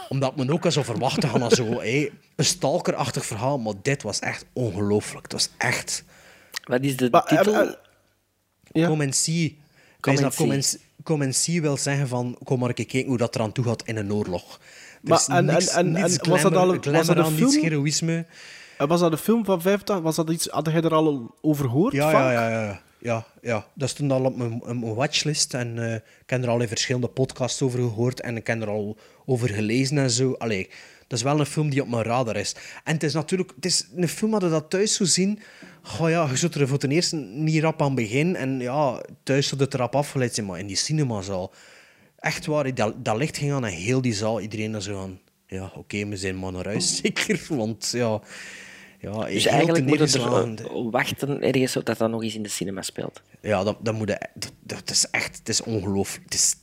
Omdat men ook al zo verwachtte gaan als zo, hé, een stalkerachtig verhaal, maar dit was echt ongelooflijk. Het was echt...
Wat is de
Maar, eh,
titel?
eh, Come and see.
Come
Wijs
and
dat Come and,
see.
come and see wil zeggen van, kom maar een keer kijken hoe dat eraan toe gaat in een oorlog. Er
Maar
is
en,
niks-
en, en, en
niets
was dat
glamour-
al was
glamour
dat een
aan,
film?
niets heroïsme.
En was dat een film van 50? Was dat iets, had jij er al over gehoord?
Ja,
Frank?
ja, ja, ja. Ja, ja, dat stond al op mijn, op mijn watchlist. En eh, ik heb er al in verschillende podcasts over gehoord. En ik heb er al over gelezen en zo. Allee, dat is wel een film die op mijn radar is. En het is natuurlijk... Het is een film dat je dat thuis zou zien... Goh ja, je zult er voor ten eerste niet rap aan beginnen. En ja, thuis zou het rap afgeleid zijn. Maar in die cinemazaal... Echt waar, dat, dat licht ging aan en heel die zaal. Iedereen dan zo aan... Ja, oké, we zijn maar naar huis, zeker. Want ja... ja
Dus
heel
eigenlijk moeten we
teneergeslagen.
er eh, wachten ergens op dat dat nog eens in de cinema speelt.
Ja, dat, dat moet je- dat, dat is echt, het is ongelooflijk. Het is,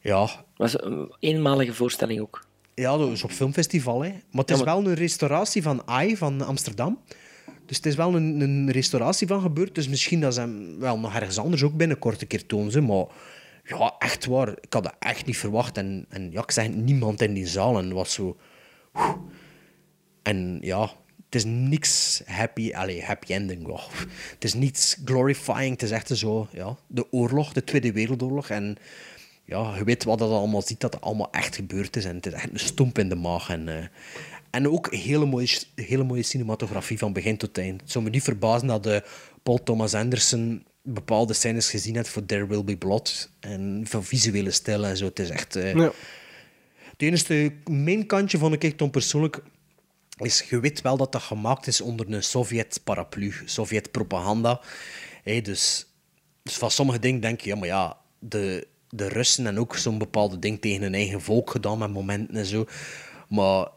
ja.
was een eenmalige voorstelling ook.
Ja, dat is op filmfestival, hè. Maar het
Ja,
is
maar-
wel een restauratie van AI van Amsterdam. Dus het is wel een, een restauratie van gebeurd. Dus misschien dat ze hem wel nog ergens anders ook binnenkort een keer tonen. ze. Maar ja, echt waar. Ik had dat echt niet verwacht. En, en ja, ik zeg het, niemand in die zaal. En het was zo... oeh. En ja, het is niks happy, allee, happy ending. goh. Het is niets glorifying. Het is echt zo, ja, de oorlog, de Tweede Wereldoorlog. En ja, je weet wat dat allemaal ziet, dat dat allemaal echt gebeurd is. En het is echt een stomp in de maag. En, eh, en ook hele mooie, hele mooie cinematografie van begin tot eind. Het zou me niet verbazen dat eh, Paul Thomas Anderson bepaalde scènes gezien heeft voor There Will Be Blood. En van visuele stijl en zo. Het is echt... eh,
Ja.
Het enige mijn kantje vond ik echt dan persoonlijk is je weet wel dat dat gemaakt is onder een Sovjet-paraplu, Sovjet-propaganda. Hé, dus, dus van sommige dingen denk je, ja, maar ja, de, de Russen hebben ook zo'n bepaalde ding tegen hun eigen volk gedaan met momenten en zo. Maar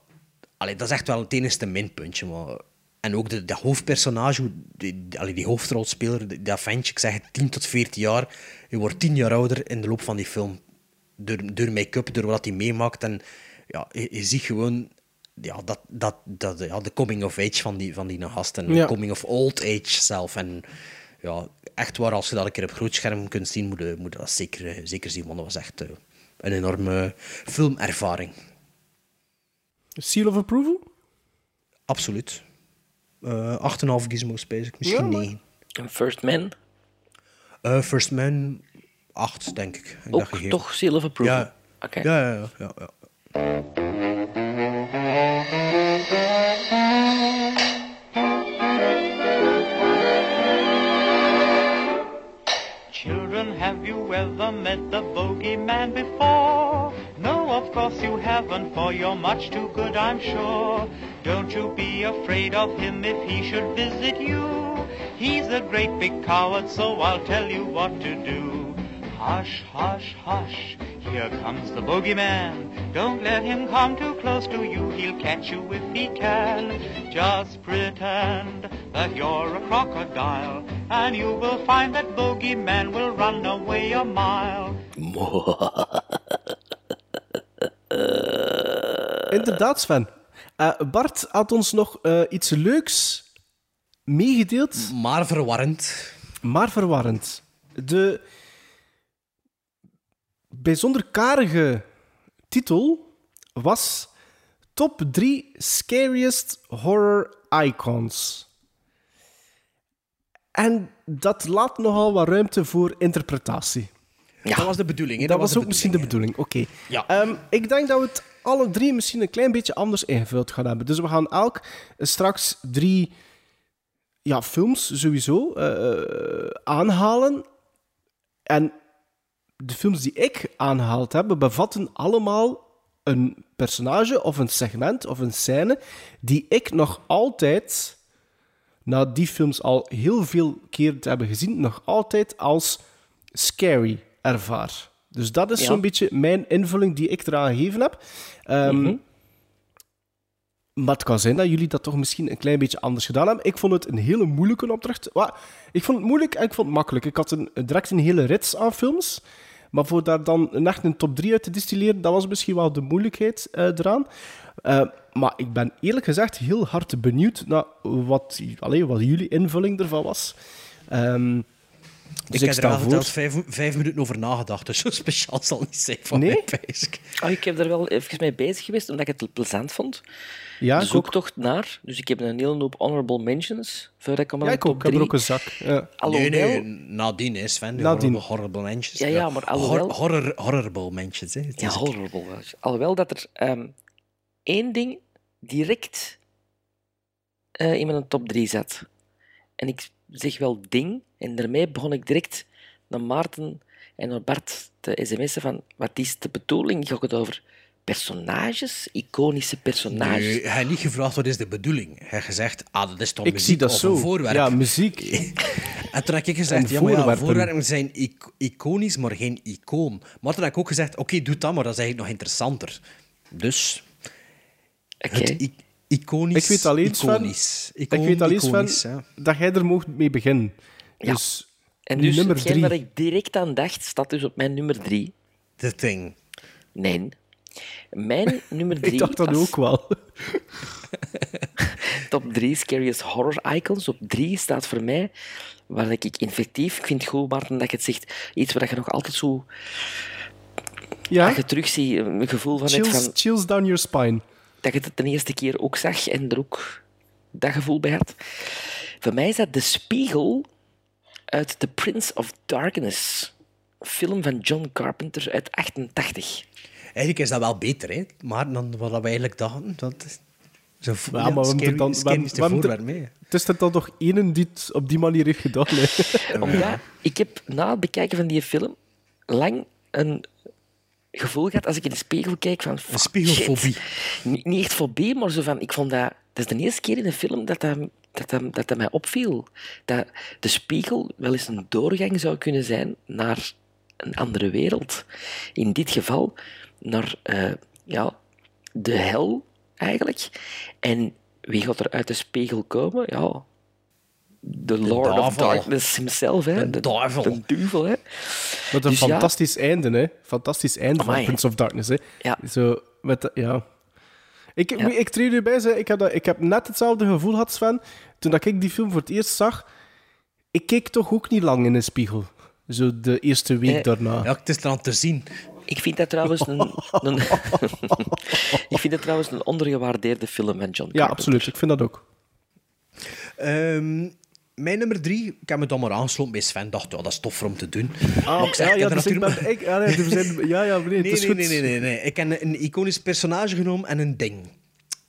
allee, dat is echt wel het enige minpuntje. Maar, en ook de, de hoofdpersonage, hoe- die, die- allee, die hoofdrolspeler, die- dat ventje, ik zeg het, 10 tot 14 jaar, je wordt 10 jaar ouder in de loop van die film. Door, door make-up, door wat hij meemaakt. En ja, je, je ziet gewoon ja, dat, dat, dat, ja, de coming of age van die, van die gast. En
Ja.
de coming of old age zelf. En ja, echt waar, als je dat een keer op groot scherm kunt zien, moet je, moet je dat zeker, eh, zeker zien. Want dat was echt eh, een enorme filmervaring.
Seal of Approval?
Absoluut. Eh 8,5 gizmo space, misschien
Ja,
9.
En First Man,
Eh, First Man 8, denk ik. ik
ook toch Seal of Approval.
Ja.
Oké.
Ja, ja, ja, ja, ja.
Children, have you ever met the bogeyman before? No, of course you haven't, for you're much too good, I'm sure. Don't you be afraid of him if he should visit you. He's a great big coward, so I'll tell you what to do. Hush, hush, hush, here comes the bogeyman. Don't let him come too close to you, he'll catch you if he can. Just pretend that you're a crocodile, and you will find that bogeyman will run away a mile.
Inderdaad, Sven. Eh, Bart had ons nog eh, iets leuks meegedeeld.
Maar verwarrend.
Maar verwarrend. De bijzonder karige titel was Top 3 Scariest Horror Icons. En dat laat nogal wat ruimte voor interpretatie.
Dat was de bedoeling. Hè?
Dat, was, ook misschien de bedoeling, oké. Ehm, ik denk dat we het alle drie misschien een klein beetje anders ingevuld gaan hebben. Dus we gaan elk straks drie ja, films sowieso eh, eh, aanhalen. En de films die ik aangehaald heb, bevatten allemaal een personage of een segment of een scène die ik nog altijd, na die films al heel veel keer te hebben gezien, nog altijd als scary ervaar. Dus dat is
Ja.
zo'n beetje mijn invulling die ik eraan gegeven heb. Ehm, maar het kan zijn dat jullie dat toch misschien een klein beetje anders gedaan hebben. Ik vond het een hele moeilijke opdracht. Wa- Ik vond het moeilijk en ik vond het makkelijk. Ik had een, direct een hele rits aan films. Maar voor daar dan een, echt een top 3 uit te distilleren, dat was misschien wel de moeilijkheid eh, eraan. Eh, maar ik ben eerlijk gezegd heel hard benieuwd naar wat, allee, wat jullie invulling ervan was. Ehm, dus
ik, heb er
sta
al
voor.
verteld vijf, vijf minuten over nagedacht, dus zo speciaal zal het niet zijn van
Nee?
mij, pijs ik.
Ah, ik heb er wel even mee bezig geweest, omdat ik het plezant vond.
Ja,
de
ik ook.
zoektocht naar. Dus ik heb een hele hoop honorable mentions. Voordat ik hem aan
Ja,
de
ik ook.
top
Ik heb er
drie-
ook een zak. Ja.
nee, nee,
Alhoewel-
nadien is Sven.
Nadien.
Horrible, horrible mensjes.
Ja, ja, maar alhoewel-
Hor horror, horrible mensjes, hè. Het
Ja,
is-
horrible. was. Alhoewel dat er ehm, één ding direct eh, in mijn top 3 zat. En ik zeg wel ding. En daarmee begon ik direct naar Maarten en naar Bart te sms'en van wat is de bedoeling? Gaat het over personages? Iconische personages?
Nee, hij heeft niet gevraagd wat is de bedoeling. Hij heeft gezegd, ah, dat is toch
Ik
muziek
zie dat
of
zo.
een voorwerp.
Ja, muziek.
en toen heb ik
En
gezegd, ja, maar ja,
voorwerpen.
voorwerpen zijn ic- iconisch, maar geen icoon. Maar toen heb ik ook gezegd, oké, doe dat, maar dat is eigenlijk nog interessanter. Dus, het i- iconisch,
Ik weet alleen, Sven,
iconisch. Icoon,
ik weet alleen
iconisch,
Sven,
ja.
dat jij er mocht mee beginnen. Dus,
En
nu
dus
nummer
hetgeen
drie.
waar ik direct aan dacht, staat dus op mijn nummer drie.
The Thing.
Nee. Mijn nummer drie
ik dacht dat
was
ook wel.
top drie scariest horror icons. Op drie staat voor mij, waar ik infectief... Ik vind het goed, Maarten, dat je het zegt. Iets waar je nog altijd zo...
Ja?
Dat je terugziet, een gevoel van... net
Chills,
van
chills down your spine.
dat je het de eerste keer ook zag en er ook dat gevoel bij had. Voor mij is dat de spiegel uit The Prince of Darkness, film van John Carpenter uit 88.
Eigenlijk is dat wel beter, hè? maar dan wat we eigenlijk dachten. Dat is zo
Ja, maar we moeten dan... we- we moeten- Het is er dan toch één die het op die manier heeft gedaan. hè.
Omdat ik heb na het bekijken van die film lang een gevoel gehad als ik in de spiegel kijk van... Een
spiegelfobie.
Niet, niet echt fobie, maar zo van... Ik vond dat... Dat is de eerste keer in een film dat dat, dat, dat, dat, dat mij opviel. Dat de spiegel wel eens een doorgang zou kunnen zijn naar een andere wereld. In dit geval naar eh, ja, de hel, eigenlijk. En wie gaat er uit de spiegel komen? Ja, de Lord of
duivel.
Darkness himself, hè? De
duivel.
De duivel, hè?
Wat een
Dus ja.
fantastisch einde, hè? Fantastisch einde
Amai.
van Prince of Darkness, hè?
Ja.
Zo, met de- ja. Ik,
Ja.
ik treed u bij, zei, ik, heb dat, ik heb net hetzelfde gevoel gehad, Sven. Toen dat ik die film voor het eerst zag, ik keek toch ook niet lang in de spiegel. Zo de eerste week
Eh,
daarna.
Ja, het is er aan te zien.
Ik vind dat trouwens een, een ik vind dat trouwens een ondergewaardeerde film van John
Ja,
Carpenter.
absoluut. Ik vind dat ook.
Ehm, mijn nummer drie, ik heb me dan maar aangesloten bij Sven. dacht, ja, dat is tof om te doen. Maar
Ah,
ik zeg,
ja,
ik
ja,
heb er
dus ik
natuurlijk
ben... Ik, ja, nee, we zijn- ja, ja, nee, het
nee,
is
nee,
goed.
nee, nee, nee, nee. Ik heb een iconisch personage genomen en een ding.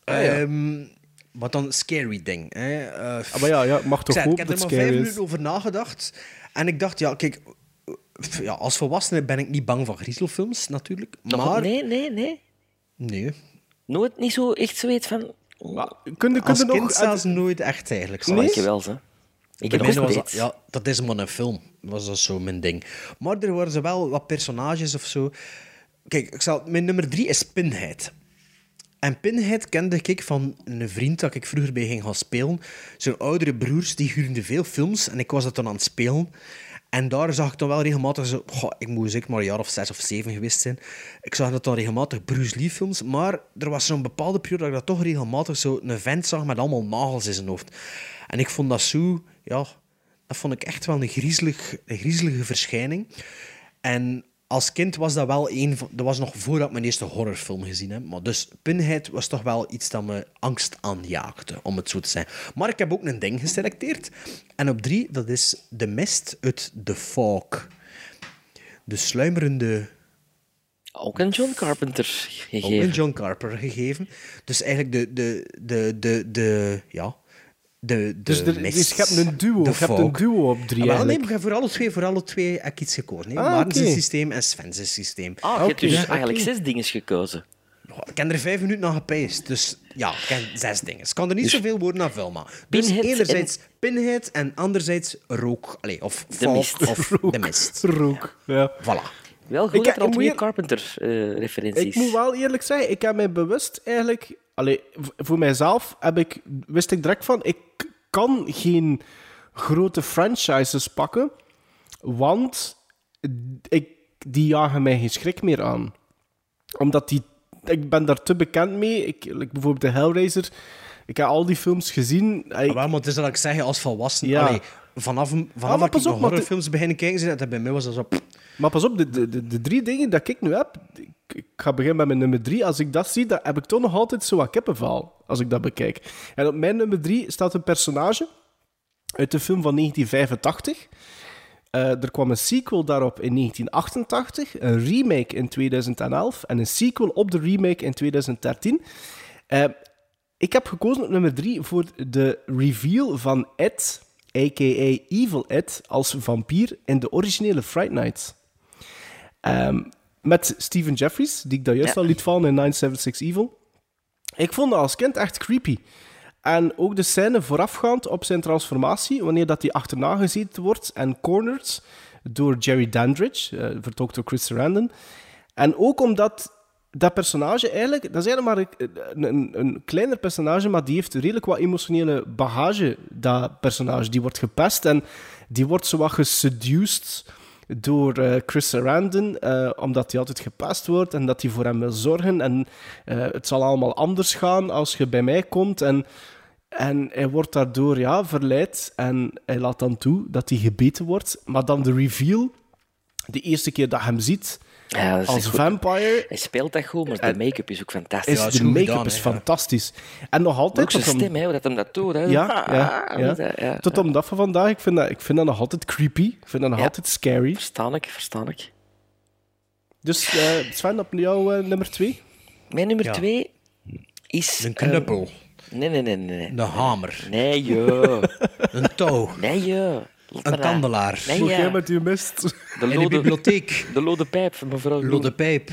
Ah, ja.
Ehm, wat dan scary ding. Hè? Eh,
Ah, maar ja, ja, mag toch
ik zei,
hopen
Ik heb
dat het
er maar
scary
vijf
is.
minuten over nagedacht. En ik dacht, ja, kijk... pff, Ja, als volwassene ben ik niet bang van griezelfilms, natuurlijk.
Nog-
Maar...
Nee, nee, nee.
Nee.
Nooit niet zo echt zoiets van...
Kun je, kun
Als
je nog...
kind zelfs nooit echt, eigenlijk.
Nee?
zelfs.
Ik wel, hè. Ik
Bij
heb
mij
nog
was dat,
steeds.
ja, dat is maar een film. Was dat zo mijn ding. Maar er waren ze wel wat personages of zo. Kijk, ik zal, mijn nummer drie is Pinhead. En Pinhead kende ik van een vriend dat ik vroeger bij ging gaan spelen. Zijn oudere broers, die huurden veel films en ik was dat dan aan het spelen. En daar zag ik dan wel regelmatig zo... Goh, ik moet zeker maar een jaar of zes of zeven geweest zijn. Ik zag dat dan regelmatig Bruce Lee films. Maar er was zo'n bepaalde periode dat ik dat toch regelmatig zo een vent zag met allemaal nagels in zijn hoofd. En ik vond dat zo... Ja, dat vond ik echt wel een, griezelig, een griezelige verschijning. En als kind was dat wel een van... Dat was nog voordat ik mijn eerste horrorfilm gezien heb. Maar dus Pinhead was toch wel iets dat me angst aanjaagde, om het zo te zijn. Maar ik heb ook een ding geselecteerd. En op drie, dat is de mist uit The Fog. De sluimerende...
Ook een John Carpenter gegeven.
Ook een John Carpenter gegeven. Dus eigenlijk de... de, de, de, de ja... De, de
Dus, er,
mist.
dus je hebt een duo.
The
Je hebt een
Fog.
duo op drie,
Ja, maar
eigenlijk.
nee, maar voor alle twee, voor alle twee heb ik iets gekozen. hè.
Ah,
Maarten's
oké.
systeem en Sven's systeem.
Ah, je hebt
Oké.
dus
Ja,
eigenlijk
oké.
zes dingen gekozen.
Ja, Ik heb er vijf minuten aan gepeest, dus ja, ik heb zes dingen. Ik kan er niet zoveel woorden aan vullen. Dus
Dus Pinhead
enerzijds pinhead en anderzijds rook. Allee, of
De
fog,
mist.
of de mist.
Rook, ja.
Voilà.
Wel goed
Ik-
dat er al
ik moet
twee eh,
je- Ik
Carpenter-referenties...
moet wel eerlijk zijn, ik heb mij bewust eigenlijk... Allee, v- voor mijzelf heb ik, wist ik direct van, ik kan geen grote franchises pakken, want ik, die jagen mij geen schrik meer aan. Omdat die... Ik ben daar te bekend mee. Ik, like bijvoorbeeld de Hellraiser. Ik heb al die films gezien. Ik-
Maar het is dat ik zeg, als volwassen,
Ja. Ah,
allee, vanaf, vanaf
maar
dat
pas
ik
op,
nog
maar
horrorfilms begin kijken, zei dat dat bij mij was dat zo... pff,
Maar pas op, de, de, de, de drie dingen dat ik nu heb... Ik, ik ga beginnen met mijn nummer drie. Als ik dat zie, dan heb ik toch nog altijd zo wat kippenval. Als ik dat bekijk. En op mijn nummer drie staat een personage uit de film van 1985. Eh, er kwam een sequel daarop in 1988, een remake in 2011 en een sequel op de remake in 2013. Eh, ik heb gekozen op nummer 3 voor de reveal van It a.k.a. Evil Ed, als vampier in de originele Fright Night. Ehm, met Steven Jeffries, die ik daar juist
Ja.
al liet vallen in 976 Evil. Ik vond dat als kind echt creepy. En ook de scène voorafgaand op zijn transformatie, wanneer dat hij achterna gezeten wordt en cornered door Jerry Dandridge, eh vertolkt door Chris Sarandon. En ook omdat dat personage eigenlijk, dat is eigenlijk maar een, een, een kleiner personage, maar die heeft redelijk wat emotionele bagage, dat personage. Die wordt gepest en die wordt zowat geseduced door eh, Chris Sarandon, eh, omdat hij altijd gepest wordt en dat hij voor hem wil zorgen. En eh, het zal allemaal anders gaan als je bij mij komt. En, en hij wordt daardoor ja, verleid en hij laat dan toe dat hij gebeten wordt. Maar dan de reveal, de eerste keer dat je hem ziet...
Ja, dat is
als
echt goed.
vampire
Hij speelt dat goed, maar de make-up is ook fantastisch.
is de make-up is fantastisch. En nog
Maar
altijd...
ook zijn
tot om-
stem, hè, hoe dat hem dat doet. Hè.
Ja, ja,
Ah,
ja.
dat, ja.
Tot om dat van vandaag, ik vind dat, ik vind dat nog altijd creepy. Ik vind dat nog
Ja.
altijd scary.
Verstaan ik, verstaan ik.
Dus eh, Sven, op jou eh, nummer twee?
Mijn nummer twee is... eh,
Een
knuppel.
nee, nee, nee, nee. nee.
eh, Een hamer.
Nee, joh.
een touw.
Nee, joh. Laat
Een
maar.
kandelaar.
Nee, ja.
met uw mist.
De
In de
lode-
bibliotheek.
De lode pijp van mevrouw Bloem.
Lode pijp.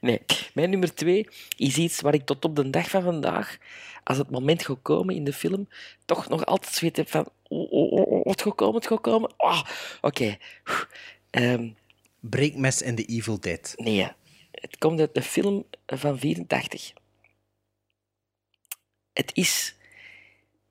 nee, mijn nummer twee is iets waar ik tot op de dag van vandaag, als het moment gaat komen in de film, toch nog altijd zoiets heb van... Oh, oh, oh, oh, het gaat komen, het gaat komen. Ah, Oké. Ehm,
Breekmes in de Evil Dead.
nee, het komt uit de film van 84. Het is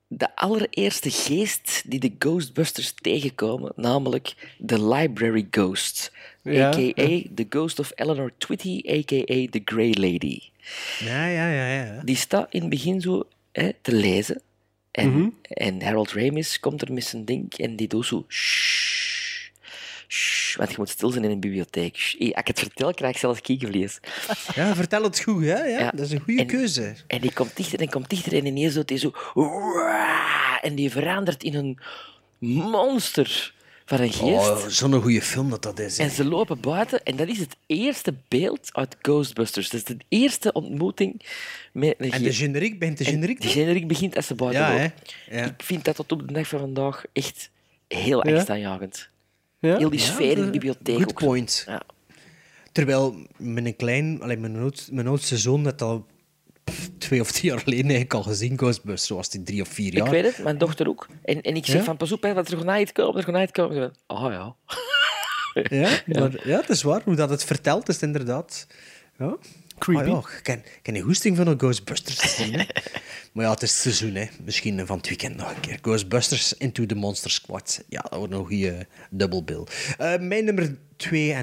de allereerste geest die de Ghostbusters tegenkomen, namelijk de Library Ghost,
Ja,
a.k.a.
ja.
The Ghost of Eleanor Twitty, a.k.a. The Grey Lady.
Ja, ja, ja, ja.
Die staat in het begin zo hè, te lezen. En,
Mhm.
en Harold Ramis komt er met zijn ding en die doet zo... "Shh, shh," want je moet stil zijn in een bibliotheek. Shh. Als ik het vertel, krijg ik zelfs kiekenvlies.
Ja, vertel het goed, hè? Ja,
Ja.
Dat is een goede
En-
keuze.
En die komt dichter en komt dichter en ineens doet hij zo... "Waa!" En die verandert in een monster van een geest.
Oh, zo'n goede film dat dat is. hè.
En ze lopen buiten en dat is het eerste beeld uit Ghostbusters. Dat is de eerste ontmoeting met een
En de
geest.
generiek bent de
En
generiek.
de generiek begint als ze buiten
Ja,
lopen.
hè? Ja.
Ik vind dat tot op de dag van vandaag echt heel
Ja.
angstaanjagend.
Ja?
Heel die
Ja,
sfeer in de
de-
bibliotheek
Good
ook.
point.
Ja.
Terwijl mijn klein, allee, mijn, oud, mijn oudste zoon had al pff, twee of drie jaar geleden eigenlijk al gezien Ghostbusters. Zo was hij drie of vier jaar.
Ik weet het, mijn dochter ook. En, en ik zeg
Ja?
van, pas op, hè, want er gaat na iets komen, er gaat na iets komen. En ik ben, Ah ja.
Ja, maar, ja, het is waar. Hoe dat het vertelt is het inderdaad... Ja.
Creepy.
Ah, ja, ik ken, ik ken die hoesting van een Ghostbusters. te zien, hè. maar ja, het is het seizoen, hè. Misschien van het weekend nog een keer. Ghostbusters Into the Monster Squad. Ja, dat wordt een goede dubbelbil. Eh, mijn nummer 2 en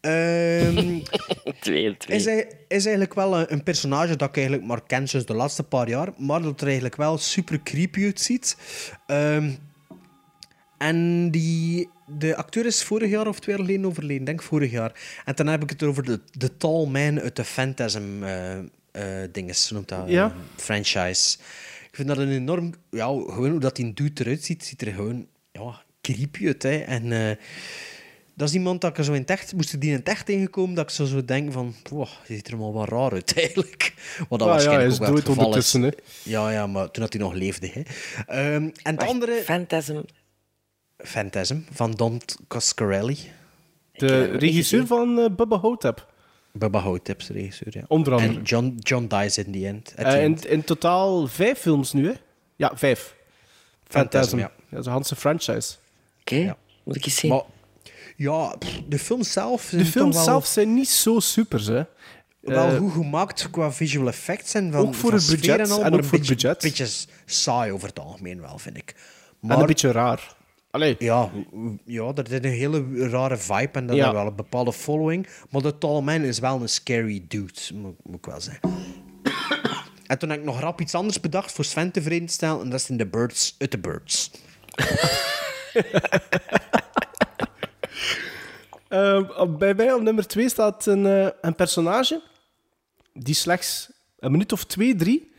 Ehm, 2.
Twee en twee.
Is, hij- is eigenlijk wel een, een personage dat ik eigenlijk maar ken sinds de laatste paar jaar, maar dat er eigenlijk wel super creepy uitziet. Ehm, en die, de acteur is vorig jaar of twee jaar geleden overleden, denk vorig jaar. En dan heb ik het over de, de Tall Man uit de Phantasm eh eh dinges, noemt dat,
Ja.
eh, franchise. Ik vind dat een enorm... Ja, gewoon hoe dat die dude eruit ziet, ziet er gewoon ja, creepy uit. Hè. En... eh, dat is iemand dat ik er zo in het echt... Moest ik die in het echt tegenkomen, dat ik zo zou denken van... Wow, die ziet er maar wat raar uit, eigenlijk. Wat dat
Ja, ja,
waarschijnlijk
hij is
ook wel het
dood
geval
ondertussen, hè.
Ja, ja, maar toen had hij nog leefde, hè. Ehm, en het andere...
Phantasm.
Phantasm, van Don Coscarelli.
De regisseur van eh, Bubba Hotep.
Bubba Hotep's regisseur, ja.
Onder andere.
En John, John dies in the end. At the
Eh, in,
end.
in totaal vijf films nu, hè? Ja, vijf. Phantasm.
Phantasm, ja.
ja. Dat is een hele franchise.
Oké, moet ik eens zien.
Maar, ja, pff, de film zelf... zijn
De
toch
films
wel,
zelf zijn niet zo super, hè?
Wel
Eh,
goed gemaakt qua visual effects en van
ook voor
van
het
sfeer
budget
en, al,
en
maar
ook
een
voor het
beetje,
budget.
beetje saai over het algemeen wel, vind ik.
En een beetje raar.
Ja, ja, er zit een hele rare vibe en dan
Ja.
hebben we wel een bepaalde following. Maar de Tallman is wel een scary dude, moet, moet ik wel zeggen. en toen heb ik nog rap iets anders bedacht voor Sven tevreden te stellen. En dat is in The Birds, uit The Birds.
Eh, op- bij mij op nummer 2 staat een, eh, een personage die slechts een minuut of twee, drie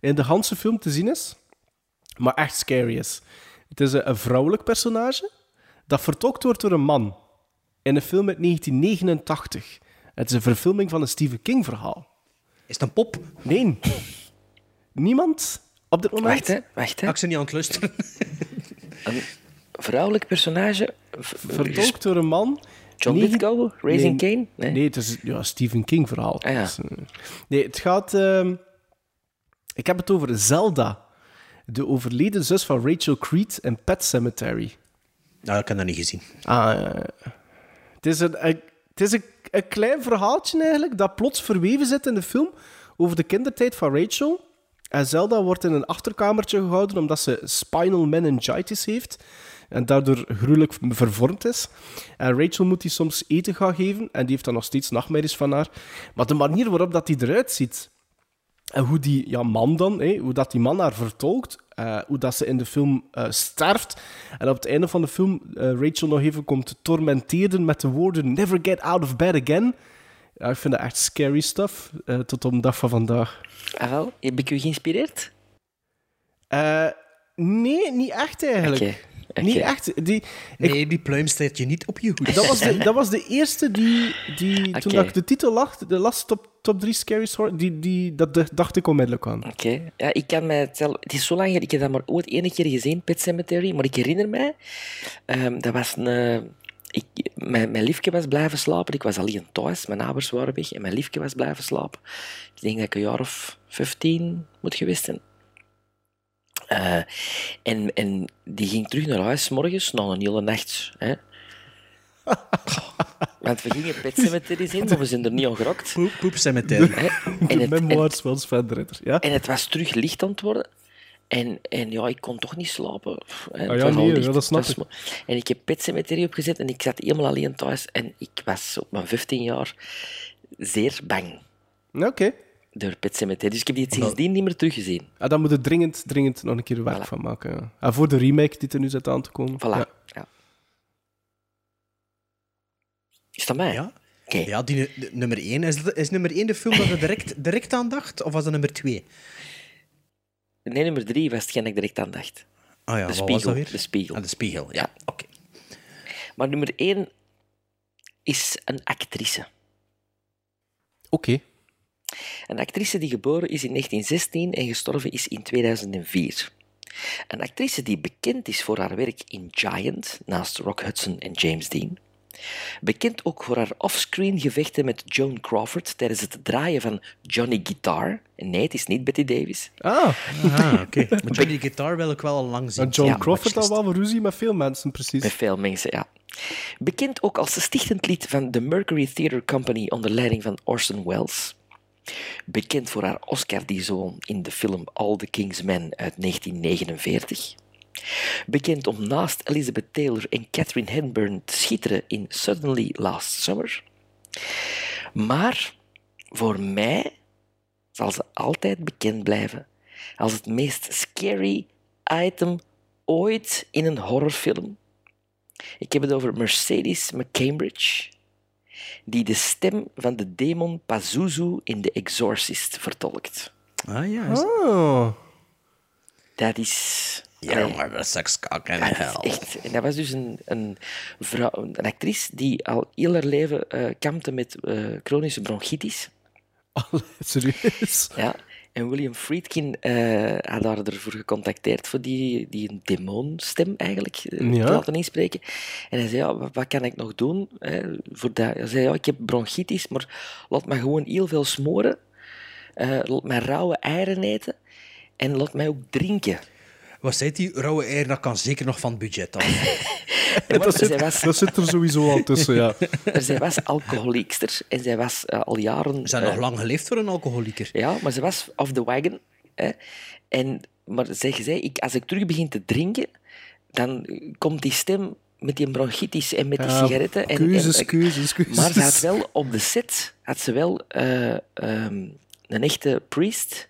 in de Hanse film te zien is, maar echt scary is. Het is een, een vrouwelijk personage dat vertolkt wordt door een man in een film uit 1989. Het is een verfilming van een Stephen King verhaal.
Is het een pop?
Nee. Niemand op dit moment.
Wacht, hè. Wacht, hè.
Ik ze niet aan het luisteren.
Een vrouwelijk personage... v-
Vertolkt door een man.
John
niet-
Lithgow? Raising Kane?
Nee. het is ja, Stephen King verhaal.
Ah, ja.
Dus, eh, nee, het gaat... ehm, ik heb het over Zelda. De overleden zus van Rachel Creed in Pet Cemetery.
Nou, ik heb dat niet gezien.
Ah, ja, ja. het is, een, een- het is een, een klein verhaaltje eigenlijk dat plots verweven zit in de film over de kindertijd van Rachel. En Zelda wordt in een achterkamertje gehouden omdat ze spinal meningitis heeft en daardoor gruwelijk vervormd is. En Rachel moet die soms eten gaan geven en die heeft dan nog steeds nachtmerries van haar. Maar de manier waarop dat die eruit ziet, en hoe die ja, man dan, hè, hoe dat die man haar vertolkt, eh, hoe dat ze in de film eh, sterft. En op het einde van de film eh, Rachel nog even komt tormenteren met de woorden Never get out of bed again. Ja, ik vind dat echt scary stuff, eh, tot op de dag van vandaag.
Ah, wel. Heb ik u geïnspireerd?
Eh, nee, niet echt eigenlijk. Niet echt. Die, ik-
Nee, die pluim staat je niet op je hoed.
dat, was de, dat was de eerste die, die toen
Oké.
dat ik de titel lag, de laatste top, top drie scary story, die, die, dat d- dacht ik onmiddellijk aan.
Oké. Ja, ik kan mij het zelf... Het is zo lang geleden. Ik heb dat maar ooit één keer gezien, Pet Cemetery. Maar ik herinner mij... ehm, dat was een... eh, Ik, mijn, mijn liefje was blijven slapen. Ik was alleen thuis. Mijn ouders waren weg. En mijn liefje was blijven slapen. Ik denk dat ik een jaar of 15 moet geweest zijn. Eh, en, en die ging terug naar huis 's morgens, na een hele nacht. Hè. Want we gingen Pet Cemetery in, maar we zijn er niet aan gerokt.
Poep, poep cemetery.
En
De
het- en-
memoirs van Sven de Ritter. Ja?
en het was terug licht aan het worden. En, en ja, ik kon toch niet slapen. Pff, hè,
Ah
het
ja,
was al
nee,
licht.
ja, dat snap
Het was mo- En ik heb Pet Cemetery opgezet en ik zat helemaal alleen thuis. En ik was op mijn 15 jaar zeer bang
Oké.
door Pet Cemetery. Dus ik heb die
Nou.
sindsdien niet meer teruggezien.
Ja, daar Ah, moet je dringend, dringend nog een keer werk van maken. ja. En voor de remake die er nu zit aan te komen.
Voilà.
Ja.
Ja. Is dat mij?
Ja?
Oké.
Ja, die nu- de- nummer 1. Is, dat- is nummer 1 de film dat je direct, direct aan dacht? Of was dat nummer 2?
Nee, nummer drie was hetgeen dat ik direct aan dacht.
Ah ja,
de,
wat
spiegel,
was dat weer?
de spiegel.
Ah, de spiegel, ja. Oké.
Maar nummer één is een actrice.
Oké.
Een actrice die geboren is in 1916 en gestorven is in 2004. Een actrice die bekend is voor haar werk in Giant, naast Rock Hudson en James Dean. Bekend ook voor haar offscreen gevechten met Joan Crawford tijdens het draaien van Johnny Guitar. Nee, het is niet Betty Davis.
Ah,
Ah, oké. Maar Johnny Guitar wil ik wel al lang zien.
en John
Ja,
Crawford
watchlist.
al wel ruzie met veel mensen, precies.
Met veel mensen, ja. Bekend ook als stichtend lid van de Mercury Theatre Company onder leiding van Orson Welles. Bekend voor haar Oscar die ze won in de film All the King's Men uit 1949. Bekend om naast Elizabeth Taylor en Catherine Hepburn te schitteren in Suddenly Last Summer. Maar voor mij zal ze altijd bekend blijven als het meest scary item ooit in een horrorfilm. Ik heb het over Mercedes McCambridge, die de stem van de demon Pazuzu in The Exorcist vertolkt.
Ah ja. is-
Oh.
Dat is...
Ja, maar dat is sekskak en
Dat is
hel.
echt. En dat was dus een, een, vrouw, een actrice die al heel haar leven eh, kampte met eh, chronische bronchitis.
Allee, Serieus.
Ja. En William Friedkin eh, had haar ervoor gecontacteerd voor die, die een demonstem eigenlijk eh,
Ja.
te laten inspreken. En hij zei, ja, wat, wat kan ik nog doen? eh, voor dat? Hij zei, ja, ik heb bronchitis, maar laat me gewoon heel veel smoren. Eh, laat mij rauwe eieren eten. En laat mij ook drinken.
Wat zei die rauwe eier? Dat kan zeker nog van het budget af.
En
Dat
zij
zit,
was,
dat zit er sowieso al tussen, ja.
zij was alcoholiekster en zij was eh, al jaren...
Is dat
eh,
nog lang geleefd voor een alcoholieker?
Ja, maar ze was off the wagon. Hè. En, maar zeg, zei, ik, als ik terug begin te drinken, dan eh, komt die stem met die bronchitis en met die
Ja,
sigaretten. En, en-
Keuzes, keuzes, keuzes.
Maar ze had wel op de set had ze wel eh, ehm, een echte priest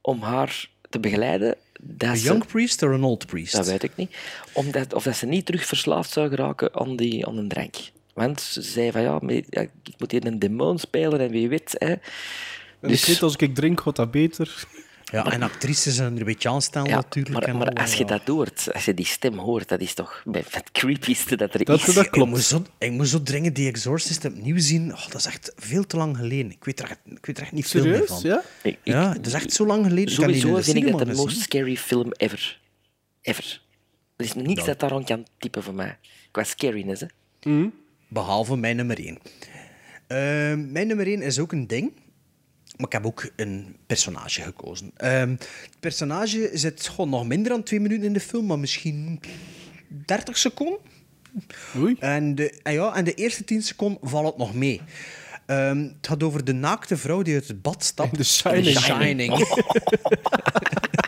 om haar te begeleiden. Dat
Een
ze-
young priest of een old priest?
dat weet ik niet. Omdat, of dat ze niet terug verslaafd zou geraken aan, die, aan een drank. Want ze zei van ja, maar, ja, ik moet hier een demon spelen en wie weet. Hè. Dus-
En ik weet, als ik drink, wordt dat beter.
Ja, en actrices en er een beetje aanstaan
Ja,
natuurlijk.
maar,
en
maar
al,
als je
ja.
dat hoort, als je die stem hoort, dat is toch bij- het creepieste dat er is.
Ik moest zo, ik moest zo dringend die Exorcist opnieuw zien. Oh, dat is echt veel te lang geleden. Ik weet er echt, ik weet er echt niet veel meer
Serieus,
van.
ja? Ik- ik-
ja, het is echt zo lang geleden. Ik kan die
Sowieso
in de
vind ik dat
cinema
de
gezien.
most scary film ever. Ever. Er is niks
Nou.
dat daar rond kan typen voor mij. Qua scariness, hè.
Behalve mijn nummer 1. mijn nummer 1 is ook een ding. Maar ik heb ook een personage gekozen. Ehm, het personage zit gewoon nog minder dan twee minuten in de film, maar misschien 30 seconden. En de, en ja, en de eerste 10 seconden valt het nog mee. Ehm, het gaat over de naakte vrouw die uit het bad stapt. In The
Shining. Oh.
Shining.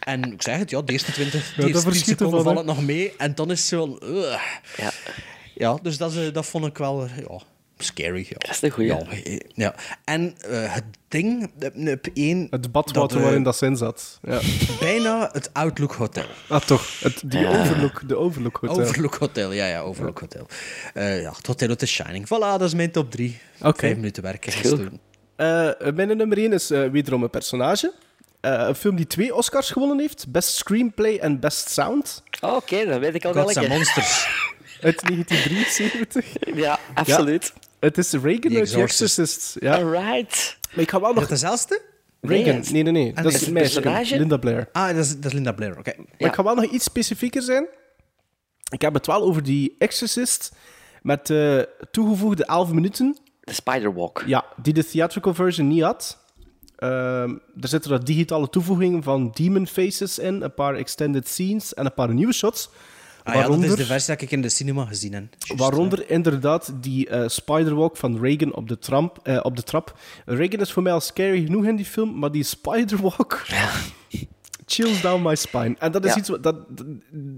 en ik zeg het, ja, de eerste 20 de
Ja, daar
eerste 10
verschiet
seconden
ervan,
valt
hè.
het nog mee. En dan is het zo... van, ugh.
Ja.
ja, dus dat, is, eh, dat vond ik wel ja, scary. Ja. Dat
is de goeie.
Ja, eh, ja. En eh, het ding, eh, op één...
Het
eh,
badwater waarin dat zin zat. Ja.
Bijna het Outlook Hotel.
Ah, toch. Het, die
Ja.
Overlook, de Overlook Hotel.
Overlook Hotel, ja, ja, Overlook Hotel. Eh, ja, het hotel uit The Shining. Voilà, dat is mijn top 3.
Oké.
Vijf minuten werken. gestolen.
Eh, mijn nummer 1 is eh, wederom een personage. Eh, een film die twee Oscars gewonnen heeft. Best Screenplay en Best Sound.
Oké, dan weet ik al
Gods
welke.
and Monsters. Uit 1973.
Ja, absoluut.
Het is Reagan
The
uit The
Exorcist. Ah,
Exorcist. Ja.
Alright.
Maar ik ga wel nog...
dezelfde?
Reagan.
Nee.
Nee, nee, nee.
En
dat
is
is
het
een meisje.
personage?
Linda Blair.
Ah, dat is, dat is Linda Blair, oké.
Maar ik ga wel nog iets specifieker zijn. Ik heb het wel over die Exorcist met eh, toegevoegde 11 minuten.
De Spider-Walk.
Ja, die de theatrical version niet had. Ehm er zitten wat digitale toevoegingen van demon faces in, een paar extended scenes en een paar nieuwe shots.
Ah, ja, dat is de versie die ik in de cinema gezien heb. Juist,
Waaronder inderdaad die eh, spiderwalk van Reagan op de, tramp, eh, op de trap. Reagan is voor mij al scary genoeg in die film, maar die spiderwalk... Chills down my spine. En dat is
Ja.
iets wat... Dat,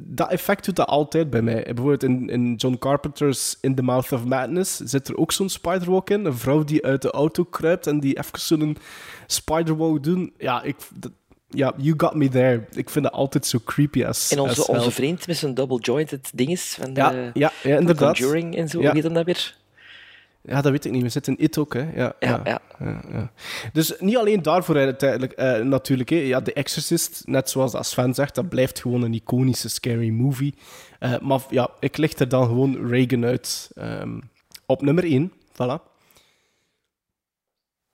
dat effect doet dat altijd bij mij. Bijvoorbeeld in, in John Carpenter's In the Mouth of Madness zit er ook zo'n spiderwalk in. Een vrouw die uit de auto kruipt en die even zo'n spiderwalk doen. Ja, ik... dat- ja, you got me there. Ik vind dat altijd zo creepy als
En
als
onze,
hel.
onze vriend met zijn double-jointed dinges van de,
Ja, ja, ja,
van
inderdaad.
Conjuring en zo.
Ja.
Hoe heet hem dat weer?
Ja, dat weet ik niet. We zitten in It ook, hè. Ja,
Ja, ja.
ja, ja. Dus niet alleen daarvoor uiteindelijk, eh, natuurlijk. Hè. Ja, The Exorcist, net zoals dat Sven zegt, dat blijft gewoon een iconische scary movie. Eh, maar ja, ik licht er dan gewoon Reagan uit ehm, op nummer 1. Voilà.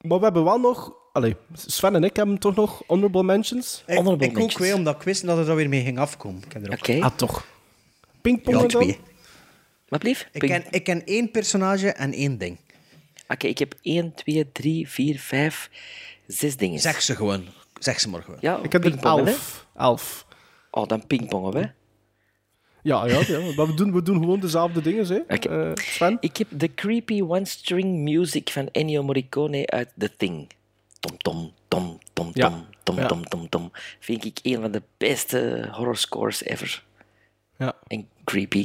Maar we hebben wel nog... Allee, Sven en ik hebben toch nog honorable mentions?
Ik, ik ook weer, omdat ik wist dat er dan weer mee ging afkomen. Ik heb er ook-
Ah, toch. Pingpongen
Ja,
dan?
twee.
Wat blief?
Ik ken, ik ken één personage en één ding.
Oké, ik heb 1, 2, 3, 4, 5, 6 dingen.
Zeg ze gewoon. Zeg ze maar gewoon.
Ja,
Ik heb er
pingpongen, hè.
elf. Elf.
Oh, dan pingpongen we.
Ja, ja, ja. Maar we doen, we doen gewoon dezelfde dingen, hè.
Oké.
Eh, Sven?
Ik heb de creepy one-string music van Ennio Morricone uit The Thing. Tom, tom, tom, tom,
Ja.
tom, tom,
Ja.
tom, tom, tom. Vind ik een van de beste horrorscores ever.
Ja.
En creepy.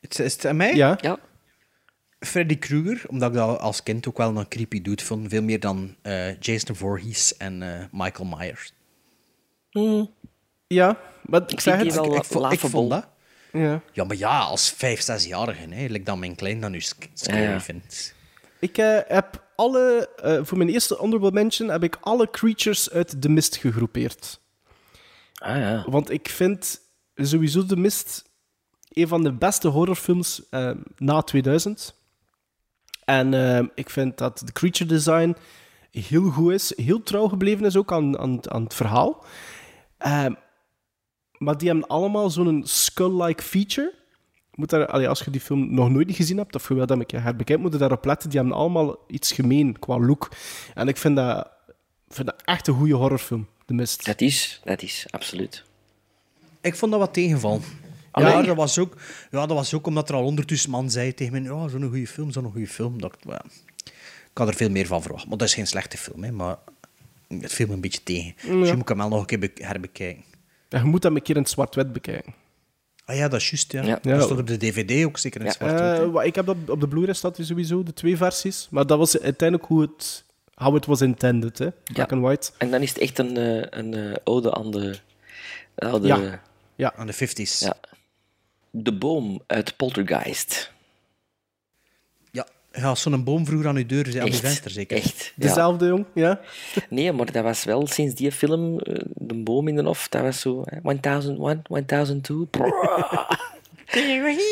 Het- Is het aan mij?
Ja.
Ja.
Freddy Krueger, omdat ik dat als kind ook wel een creepy dude vond. Veel meer dan eh, Jason Voorhees en eh, Michael Myers.
Ja, maar ik,
Ik
zeg
vind
het.
die wel
ik, vond- ik
laughable.
vond dat.
Ja.
Ja, maar ja, als vijf, zesjarige, hè, lijkt dat mijn klein dan nu sc- scary
Ja, ja.
vindt.
Ik eh, heb alle, eh, voor mijn eerste honorable mention, heb ik alle creatures uit de mist gegroepeerd.
Ah ja.
Want ik vind sowieso de mist een van de beste horrorfilms eh, na 2000. En eh, ik vind dat de creature design heel goed is, heel trouw gebleven is ook aan, aan, aan het verhaal. Ehm, maar die hebben allemaal zo'n skull-like feature. Moet daar, allee, als je die film nog nooit gezien hebt, of je wil dat ik je herbekijkt, moet je daarop letten. Die hebben allemaal iets gemeen qua look. En ik vind dat, vind dat echt een goede horrorfilm, De Mist.
Dat is, dat is, absoluut.
Ik vond dat wat tegenval.
Allee?
Ja dat, was ook, ja, dat was ook omdat er al ondertussen man zei tegen mij, ja, zo'n goede film, zo'n goede film. Dat, ik, ja, ik had er veel meer van verwacht. Maar dat is geen slechte film, hè, maar het viel me een beetje tegen. Dus je moet hem wel nog een keer be- herbekijken.
En je moet dat een keer in het zwart-wit bekijken.
Ah ja, dat is juist, ja.
Ja.
Dat stond op de DVD ook zeker in het zwart
Eh, wa- ik heb dat op de Blu-ray staat die sowieso, de twee versies. Maar dat was uiteindelijk hoe het, how it was intended, hè? Black and white.
En dan is het echt een, eh, een eh, ode aan de... Oude,
Ja. Ja.
Aan de 50s.
Ja. De boom uit Poltergeist.
Ja, Ja, zo'n boom vroeger aan uw deur, aan uw
Echt,
venster zeker.
Echt.
Dezelfde jong, ja.
Nee, maar dat was wel sinds die film, eh, De Boom in de Hof, dat was zo eh, 1001, 1002. Brrr,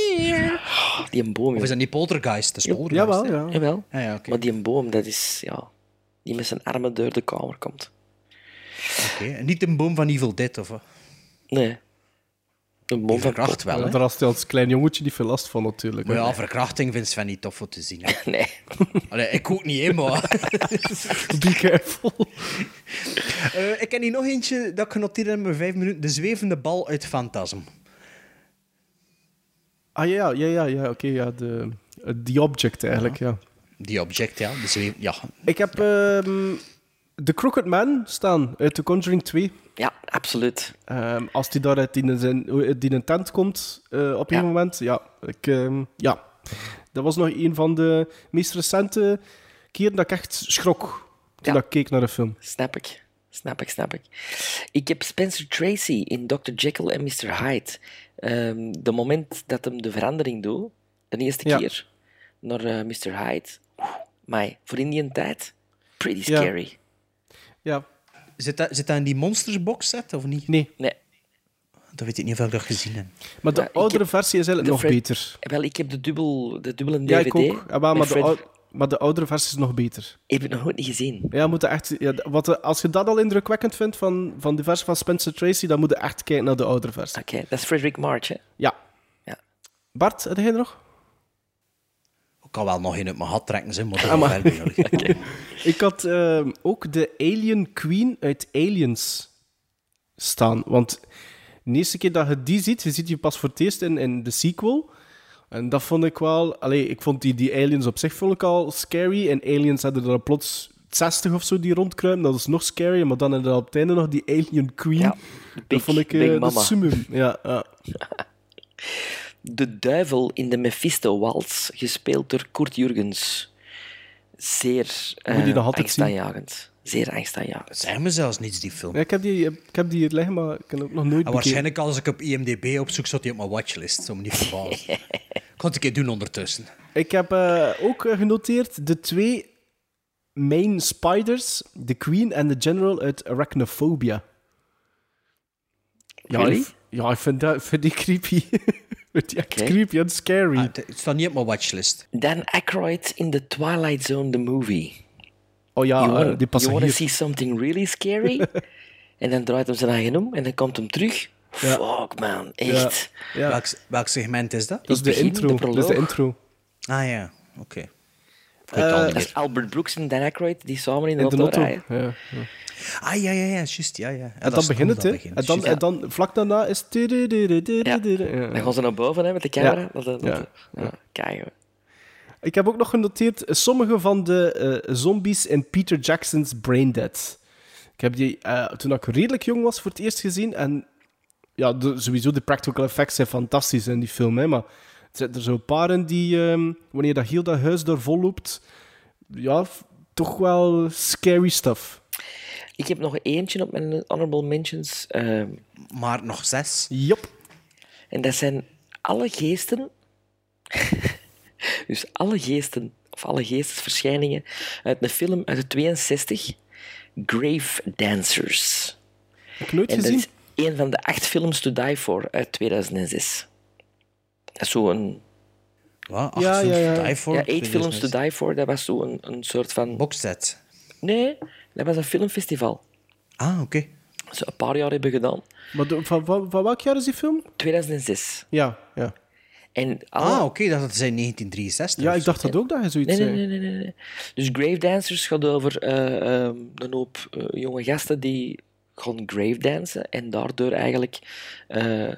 die boom.
Of is dat niet Poltergeist? Dat is Poltergeist. hè?
Jawel.
Ah, ja, oké.
Maar die boom, dat is, ja, die met zijn armen door de kamer komt.
Oké, en Niet een boom van Evil Dead, of wat?
Nee. Een
Die verkracht wel, hè?
Daar had hij als klein jongetje niet veel last van, natuurlijk.
Maar
hè.
ja, verkrachting vindt Sven niet tof om te zien. hè.
Nee.
Allee, ik ook niet, hè, maar...
Be careful.
Eh, ik ken hier nog eentje dat ik genoteerd heb in mijn vijf minuten. De zwevende bal uit Fantasm.
Ah ja, ja, ja, ja oké. ja, de, eh, die object eigenlijk, ja.
Die object, ja. De zweef... Ja.
Ik heb ehm, The Crooked Man staan uit The Conjuring 2.
Ja, absoluut.
Ehm, als die daar uit die, zijn, uit die tent komt eh, op een moment. Ja, ik, ehm, ja, dat was nog een van de meest recente keren dat ik echt schrok toen dat ik keek naar de film.
Snap ik. Snap ik, snap ik. Ik heb Spencer Tracy in Dr. Jekyll en Mr. Hyde. Ehm de moment dat hem de verandering doet, de eerste
Ja.
keer, naar eh, Mr. Hyde. Maar voor in die tijd, pretty
Ja.
scary.
Ja.
Zit dat, zit dat in die Monsters box set, of niet?
Nee.
Nee.
Dat weet ik niet of ik dat gezien heb.
Maar de
Ja, ik
oudere
heb-
versie is eigenlijk
de
nog
Fred-
beter.
Wel, ik heb de, dubbel, de dubbele DVD.
Ja, ik ook. Ja, maar, maar
met
de
Fred-
ou- maar de oudere versie is nog beter.
Ik heb het nog nooit niet gezien.
Ja, moet je echt, ja, wat, eh, als je dat al indrukwekkend vindt van, van de versie van Spencer Tracy, dan moet je echt kijken naar de oudere versie.
Oké, dat is Frederick March, hè?
Ja.
Ah. Ja.
Bart, heb jij er nog?
Ik kan wel nog in uit mijn hat trekken, zeg, maar dat
Ah,
wel
maar-
ver bij jullie.
Ik had ehm, ook de Alien Queen uit Aliens staan. Want de eerste keer dat je die ziet, je ziet die pas voor het eerst in, in de sequel. En dat vond ik wel... Allee, ik vond die, die aliens op zich vond ik al scary. En aliens hadden er plots 60 of zo die rondkruipen. Dat is nog scary. Maar dan inderdaad op het einde nog die Alien Queen.
big-
dat vond ik eh,
big
de
mama.
summum. Ja, ja.
De Duivel in de Mephisto-wals, gespeeld door Kurt Jurgens. Zeer
Moet je
eh,
nog altijd zien?
angstaanjagend. Zeer angstaanjagend.
Zeg me zelfs niets, die film.
Ja, ik, heb die, ik heb die hier liggen, maar ik heb ook nog nooit
En
bekeken.
Ah, waarschijnlijk als ik op IMDb opzoek, zat die op mijn watchlist. Zou me niet verbazen. ik kan het een keer doen ondertussen.
Ik heb eh, ook eh, genoteerd de twee main spiders, de Queen en de General uit Arachnophobia. Ja,
Really?
ik, ja, ik vind, dat, ik vind die creepy. Vind die echt
Oké.
creepy en scary.
Ah, het staat niet op mijn watchlist.
Dan Aykroyd in The Twilight Zone, the movie.
oh ja,
you
eh,
wanna,
die passen
you wanna
hier.
see something really scary? en dan draait hem zijn eigen om en dan komt hem terug. Fuck man, echt.
Welk, welk segment is dat?
Dat is
Ik
de
begin
intro.
de
dat is de
proloog.
intro.
Ah ja, oké. Ik weet het al
Eh,
niet
dat
meer.
is Albert Brooks en Dan Aykroyd die samen in de,
In de
auto
auto.
rijden.
Ja, ja.
Ah ja, ja, ja, juist. Ja, ja. Ja,
En
dat
dan
is-
begint het,
dat
hè? En dan,
juist.
en dan vlak daarna is. Ja.
Dan gaan ze naar boven hè, met de camera.
Ja.
Dat, dat,
Ja.
dat- ja. Kijk hoor.
Ik heb ook nog genoteerd eh, sommige van de eh, zombies in Peter Jackson's Braindead. Ik heb die eh, toen ik redelijk jong was voor het eerst gezien. En ja, de- sowieso de practical effects zijn fantastisch in die film. Hè, maar er zitten er zo'n paar in die, ehm, wanneer dat heel dat huis daar vol loopt, ja, f- toch wel scary stuff.
Ik heb nog eentje op mijn honorable mentions. ehm,
Maar nog zes.
Jop.
En dat zijn alle geesten. dus alle geesten, of alle geestesverschijningen uit de film uit de 62, Grave Dancers.
Heb ik nooit
en dus-
gezien.
dat is een van de acht films to die for uit 2006. Dat is zo'n...
Wat? Acht
Ja,
films
ja, ja.
to die for?
Ja, eight films to
2006.
die for, dat was zo'n een soort van...
Boxset.
Nee, dat was een filmfestival.
Ah, oké.
Dat ze een paar jaar hebben gedaan.
Maar de- van, van, van welk jaar is die film?
2006.
Ja, ja.
En alle-
Ah, oké, dat dat is in 1963.
ja ik dacht dat ook dat je zoiets
Nee, nee,
zei.
nee, nee, nee. nee. Dus Gravedancers gaat over eh, ehm, een hoop eh, jonge gasten die gaan gravedansen en daardoor eigenlijk eh,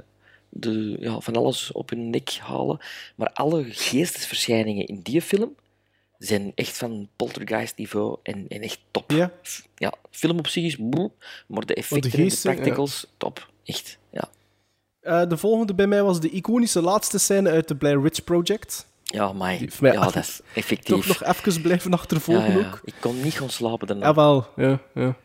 de, ja, van alles op hun nek halen. Maar alle geestesverschijningen in die film zijn echt van poltergeist-niveau en, en echt top.
Ja.
Ja, film op zich is boe, maar de effecten
geesten,
en
ja.
de practicals, top. Echt, ja.
Eh, de volgende bij mij was de iconische laatste scène uit de Blair Witch Project.
Ja, maar
voor mij
ja, dat is
Toch
effectief.
nog even blijven
ja,
achtervolgen
ja, ja.
ook.
Ik kon niet gaan slapen daarna.
Ja, wel. Ja, ja.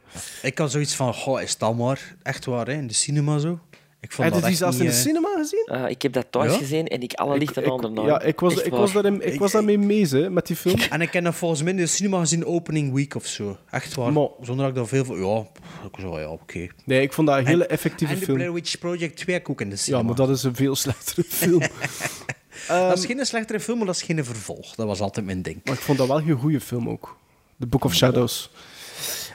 Ik had zoiets van, goh, is dat maar? Echt waar, hè? In de cinema zo. Ik
Heb je dus die zelfs in de cinema gezien?
Eh, ik heb dat thuis
Ja?
gezien en ik alle lichten onder nooit.
Ja, ik was,
Echt
ik
waar.
was, daarin, ik was daarmee mee, hè, met die film.
En ik heb dat volgens mij in de cinema gezien opening week of zo. Echt waar. Zonder dat ik daar veel van... Ja, pff, ik zo, ja, oké.
Nee, ik vond dat een
En-
hele effectieve
en
film.
de Blair Witch Project 2 heb ik ook in de cinema.
Ja,
Eh,
maar dat Ehm, is een veel slechtere film.
dat is geen slechtere film, maar dat is geen vervolg. Dat was altijd mijn ding.
Maar ik vond dat wel een goede film ook. The Book of Shadows.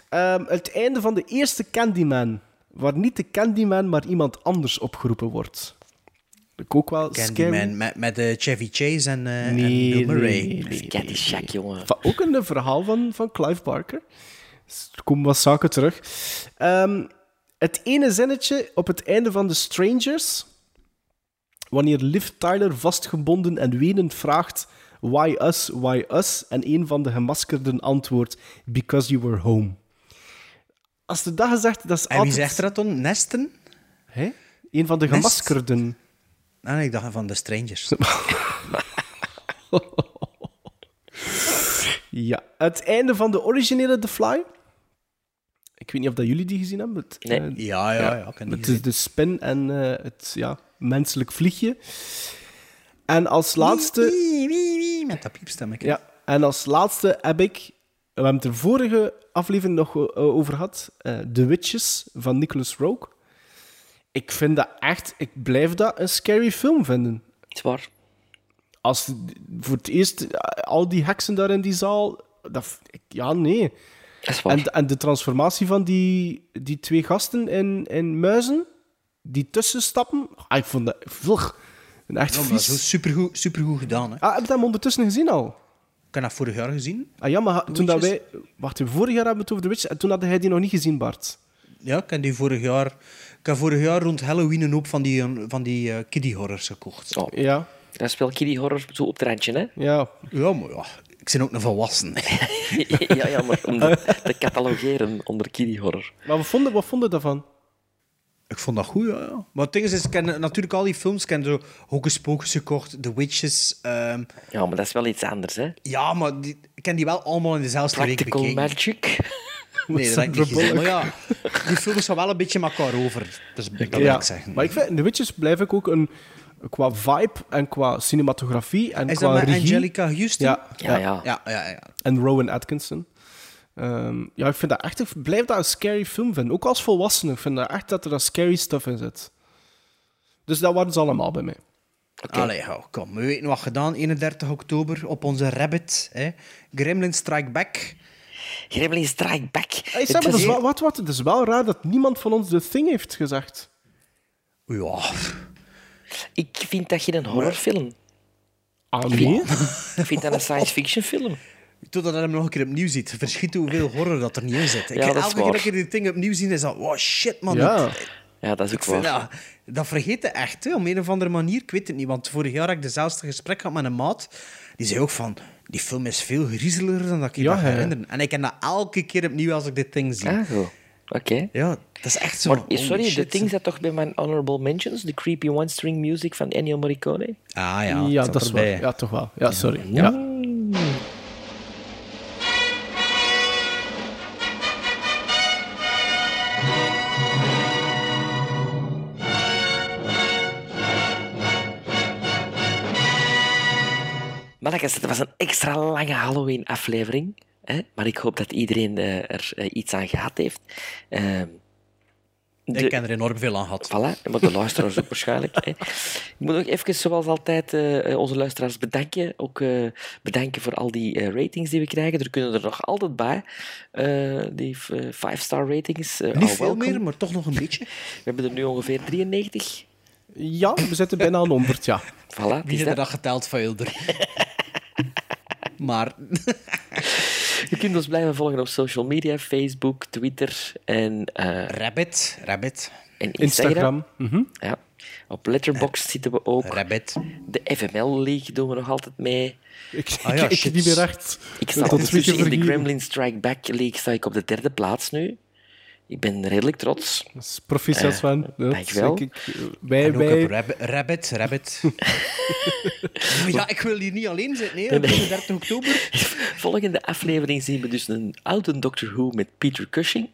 Ehm, het einde van de eerste Candyman, waar niet de Candyman, maar iemand anders opgeroepen wordt. Dat ik ook wel scary.
Candyman met, met eh, Chevy Chase en, eh
Nee,
en Bill Murray.
nee, nee,
Shack, jongen.
Va- ook een eh, verhaal van, van Clive Barker. Dus er komen wat zaken terug. Ehm, het ene zinnetje op het einde van The Strangers, wanneer Liv Tyler vastgebonden en wenend vraagt why us, why us, en een van de gemaskerden antwoordt because you were home. Als de dag zegt, dat is
En wie
altijd...
zegt dat dan? Nesten?
Hé? Een van de
Nest?
gemaskerden.
Ah, nee, ik dacht van de Strangers.
Ja, het einde van de originele The Fly. Ik weet niet of dat jullie die gezien hebben. Het,
Nee.
eh,
Ja, ja, ja, ik heb die
Met de,
gezien.
de spin en eh, het ja, menselijk vliegje. En als laatste...
met dat piepstemmetje.
Ja, en als laatste heb ik... We hebben het er vorige aflevering nog eh, over gehad. eh, The Witches van Nicholas Rogue. Ik vind dat echt... Ik blijf dat een scary film vinden.
Zwaar.
Als voor het eerst eh, al die heksen daar in die zaal... Dat, ik- ja, nee. En, en de transformatie van die, die twee gasten in, in muizen, die tussenstappen... Ah, ik vond dat... Vlug. Een echt
Ja, maar
vies...
dat is supergoed, supergoed gedaan. Hè.
Ah, heb je hem ondertussen gezien al?
Ik heb dat vorig jaar gezien.
Ah ja, maar ha- toen dat
Witches?
wij... Wacht, even, vorig jaar hebben we het over The Witch en toen had hij die nog niet gezien, Bart.
Ja, ik heb die vorig jaar... Ik heb vorig jaar rond Halloween een hoop van die, eh, van die eh, kiddie horrors gekocht.
Oh,
Ja.
Dat is wel kiddie horror zo op het randje, hè?
Ja.
Ja, maar ja. Ik ben ook een volwassen.
ja, ja, maar om dat te catalogeren onder kiddie horror.
Maar wat vonden, wat vonden daarvan?
Ik vond dat goed, ja. ja. Maar het ding is, ik ken natuurlijk al die films. Ik ken zo Hocus Pocus gekocht, The Witches. ehm,
Ja, maar dat is wel iets anders, hè?
ja, maar die, ik ken die wel allemaal in dezelfde week
Practical
bekeken.
Magic.
Nee, dat heb ik niet gezien. Maar ja, die films gaan wel een beetje elkaar over. Dus dat wil ik zeggen.
Maar ik vind, The Witches blijf ik ook een... Qua vibe en qua cinematografie en
Is
qua
dat met
regie.
Angelica Houston? Ah.
Ja.
ja, ja, ja.
En Rowan Atkinson. Ehm, ja, ik vind dat echt... Ik blijf dat een scary film vinden. Ook als volwassene. Ik vind dat echt dat er dat scary stuff in zit. Dus dat waren ze allemaal bij mij.
Allee, hou, kom. We weten wat gedaan. 31 oktober op onze Rabbit. Hè. Gremlin Strike Back.
Gremlin Strike Back.
Hey, Sam, dat is wel, wat, wat, het is wel raar dat niemand van ons The Thing heeft gezegd.
Ja.
Ik vind dat geen horrorfilm.
Ah,
Ik vind- Ik vind dat een science fiction film.
Totdat je hem nog een keer opnieuw ziet. Verschiet hoeveel horror dat er niet in zit. Ik
Ja, dat is
elke keer
waar.
dat ik die ding opnieuw zie, is dat... Wow, shit, man.
Ja. Ja, dat is ook
Ik vind,
waar.
ja, dat vergeet je echt, hè, om een of andere manier. Ik weet het niet, want vorig jaar had ik dezelfde gesprek gehad met een maat. Die zei ook van, die film is veel griezeliger dan dat ik je
Ja,
dat
hè.
herinner. En ik ken dat elke keer opnieuw als ik dit ding zie.
Ah, zo. Oké.
Ja, dat is echt zo.
Maar,
holy
sorry, de
shit.
ding zat toch bij mijn honorable mentions? De creepy one-string music van Ennio Morricone?
Ah
ja, Ja, dat dat is erbij. waar. Ja, toch wel. Ja, sorry. Ja.
Mannekes, het was een extra lange Halloween-aflevering. Hè? Maar ik hoop dat iedereen eh, er eh, iets aan gehad heeft. Ehm, de- Ah,
Ik ken er enorm veel aan gehad.
Voilà, maar de luisteraars ook waarschijnlijk. Hè. Ik moet nog even, zoals altijd, eh, onze luisteraars bedanken. Ook eh, bedanken voor al die eh, ratings die we krijgen. Er kunnen er nog altijd bij. Eh, die 5-star ratings. eh,
Niet
al
veel
welkom.
meer, maar toch nog een beetje.
We hebben er nu ongeveer 93.
Ja, we zitten bijna aan 100, ja.
Voilà, het
Wie
is
heeft er
dat.
dat geteld van Hilder? maar...
Je kunt ons blijven volgen op social media, Facebook, Twitter en...
Rabbit, Rabbit.
En
Instagram.
Instagram. Ja. Op Letterboxd
Eh,
zitten we ook.
Rabbit.
De FML League doen we nog altijd mee.
Ik, Ah ja, ik- ik shit. niet meer echt.
Ik
Dat
sta
is een
ondertussen
beetje
in de
vergeten.
Gremlin Strike Back League sta ik op de derde plaats nu. Ik ben redelijk trots.
Dat is Proficiat, Sven. Ja,
Eh, Dankjewel.
zeker. Wij,
En ook
wij...
op Rabbit, Rabbit. rabbit. ja, ik wil hier niet alleen zitten, nee.
Nee,
op
nee.
31 oktober.
Volgende aflevering zien we dus een oude Doctor Who met Peter Cushing.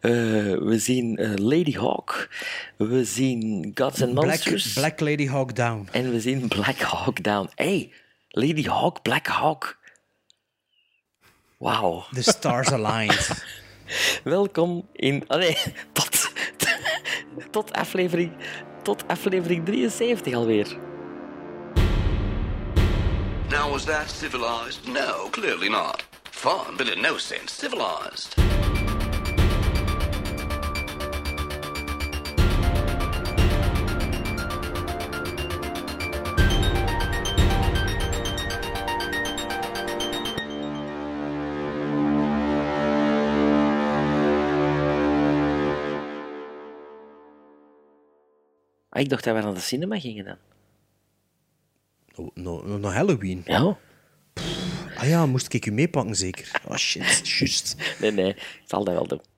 Eh, we zien eh, Lady Hawk. We zien Gods and Monsters.
Black, Black Lady Hawk Down.
En we zien Black Hawk Down. hey, Lady Hawk, Black Hawk. Wauw.
The stars aligned.
Welkom in... Oh nee, tot, tot, aflevering, tot aflevering 73 alweer.
Now, was that civilized? No, clearly not. Fun, but in no sense civilized.
Ah, ik dacht dat we naar de cinema gingen dan.
No, no, no Halloween.
Ja.
Ah ja, moest ik u meepakken zeker? Oh shit, juist.
Nee, nee, ik zal dat wel doen.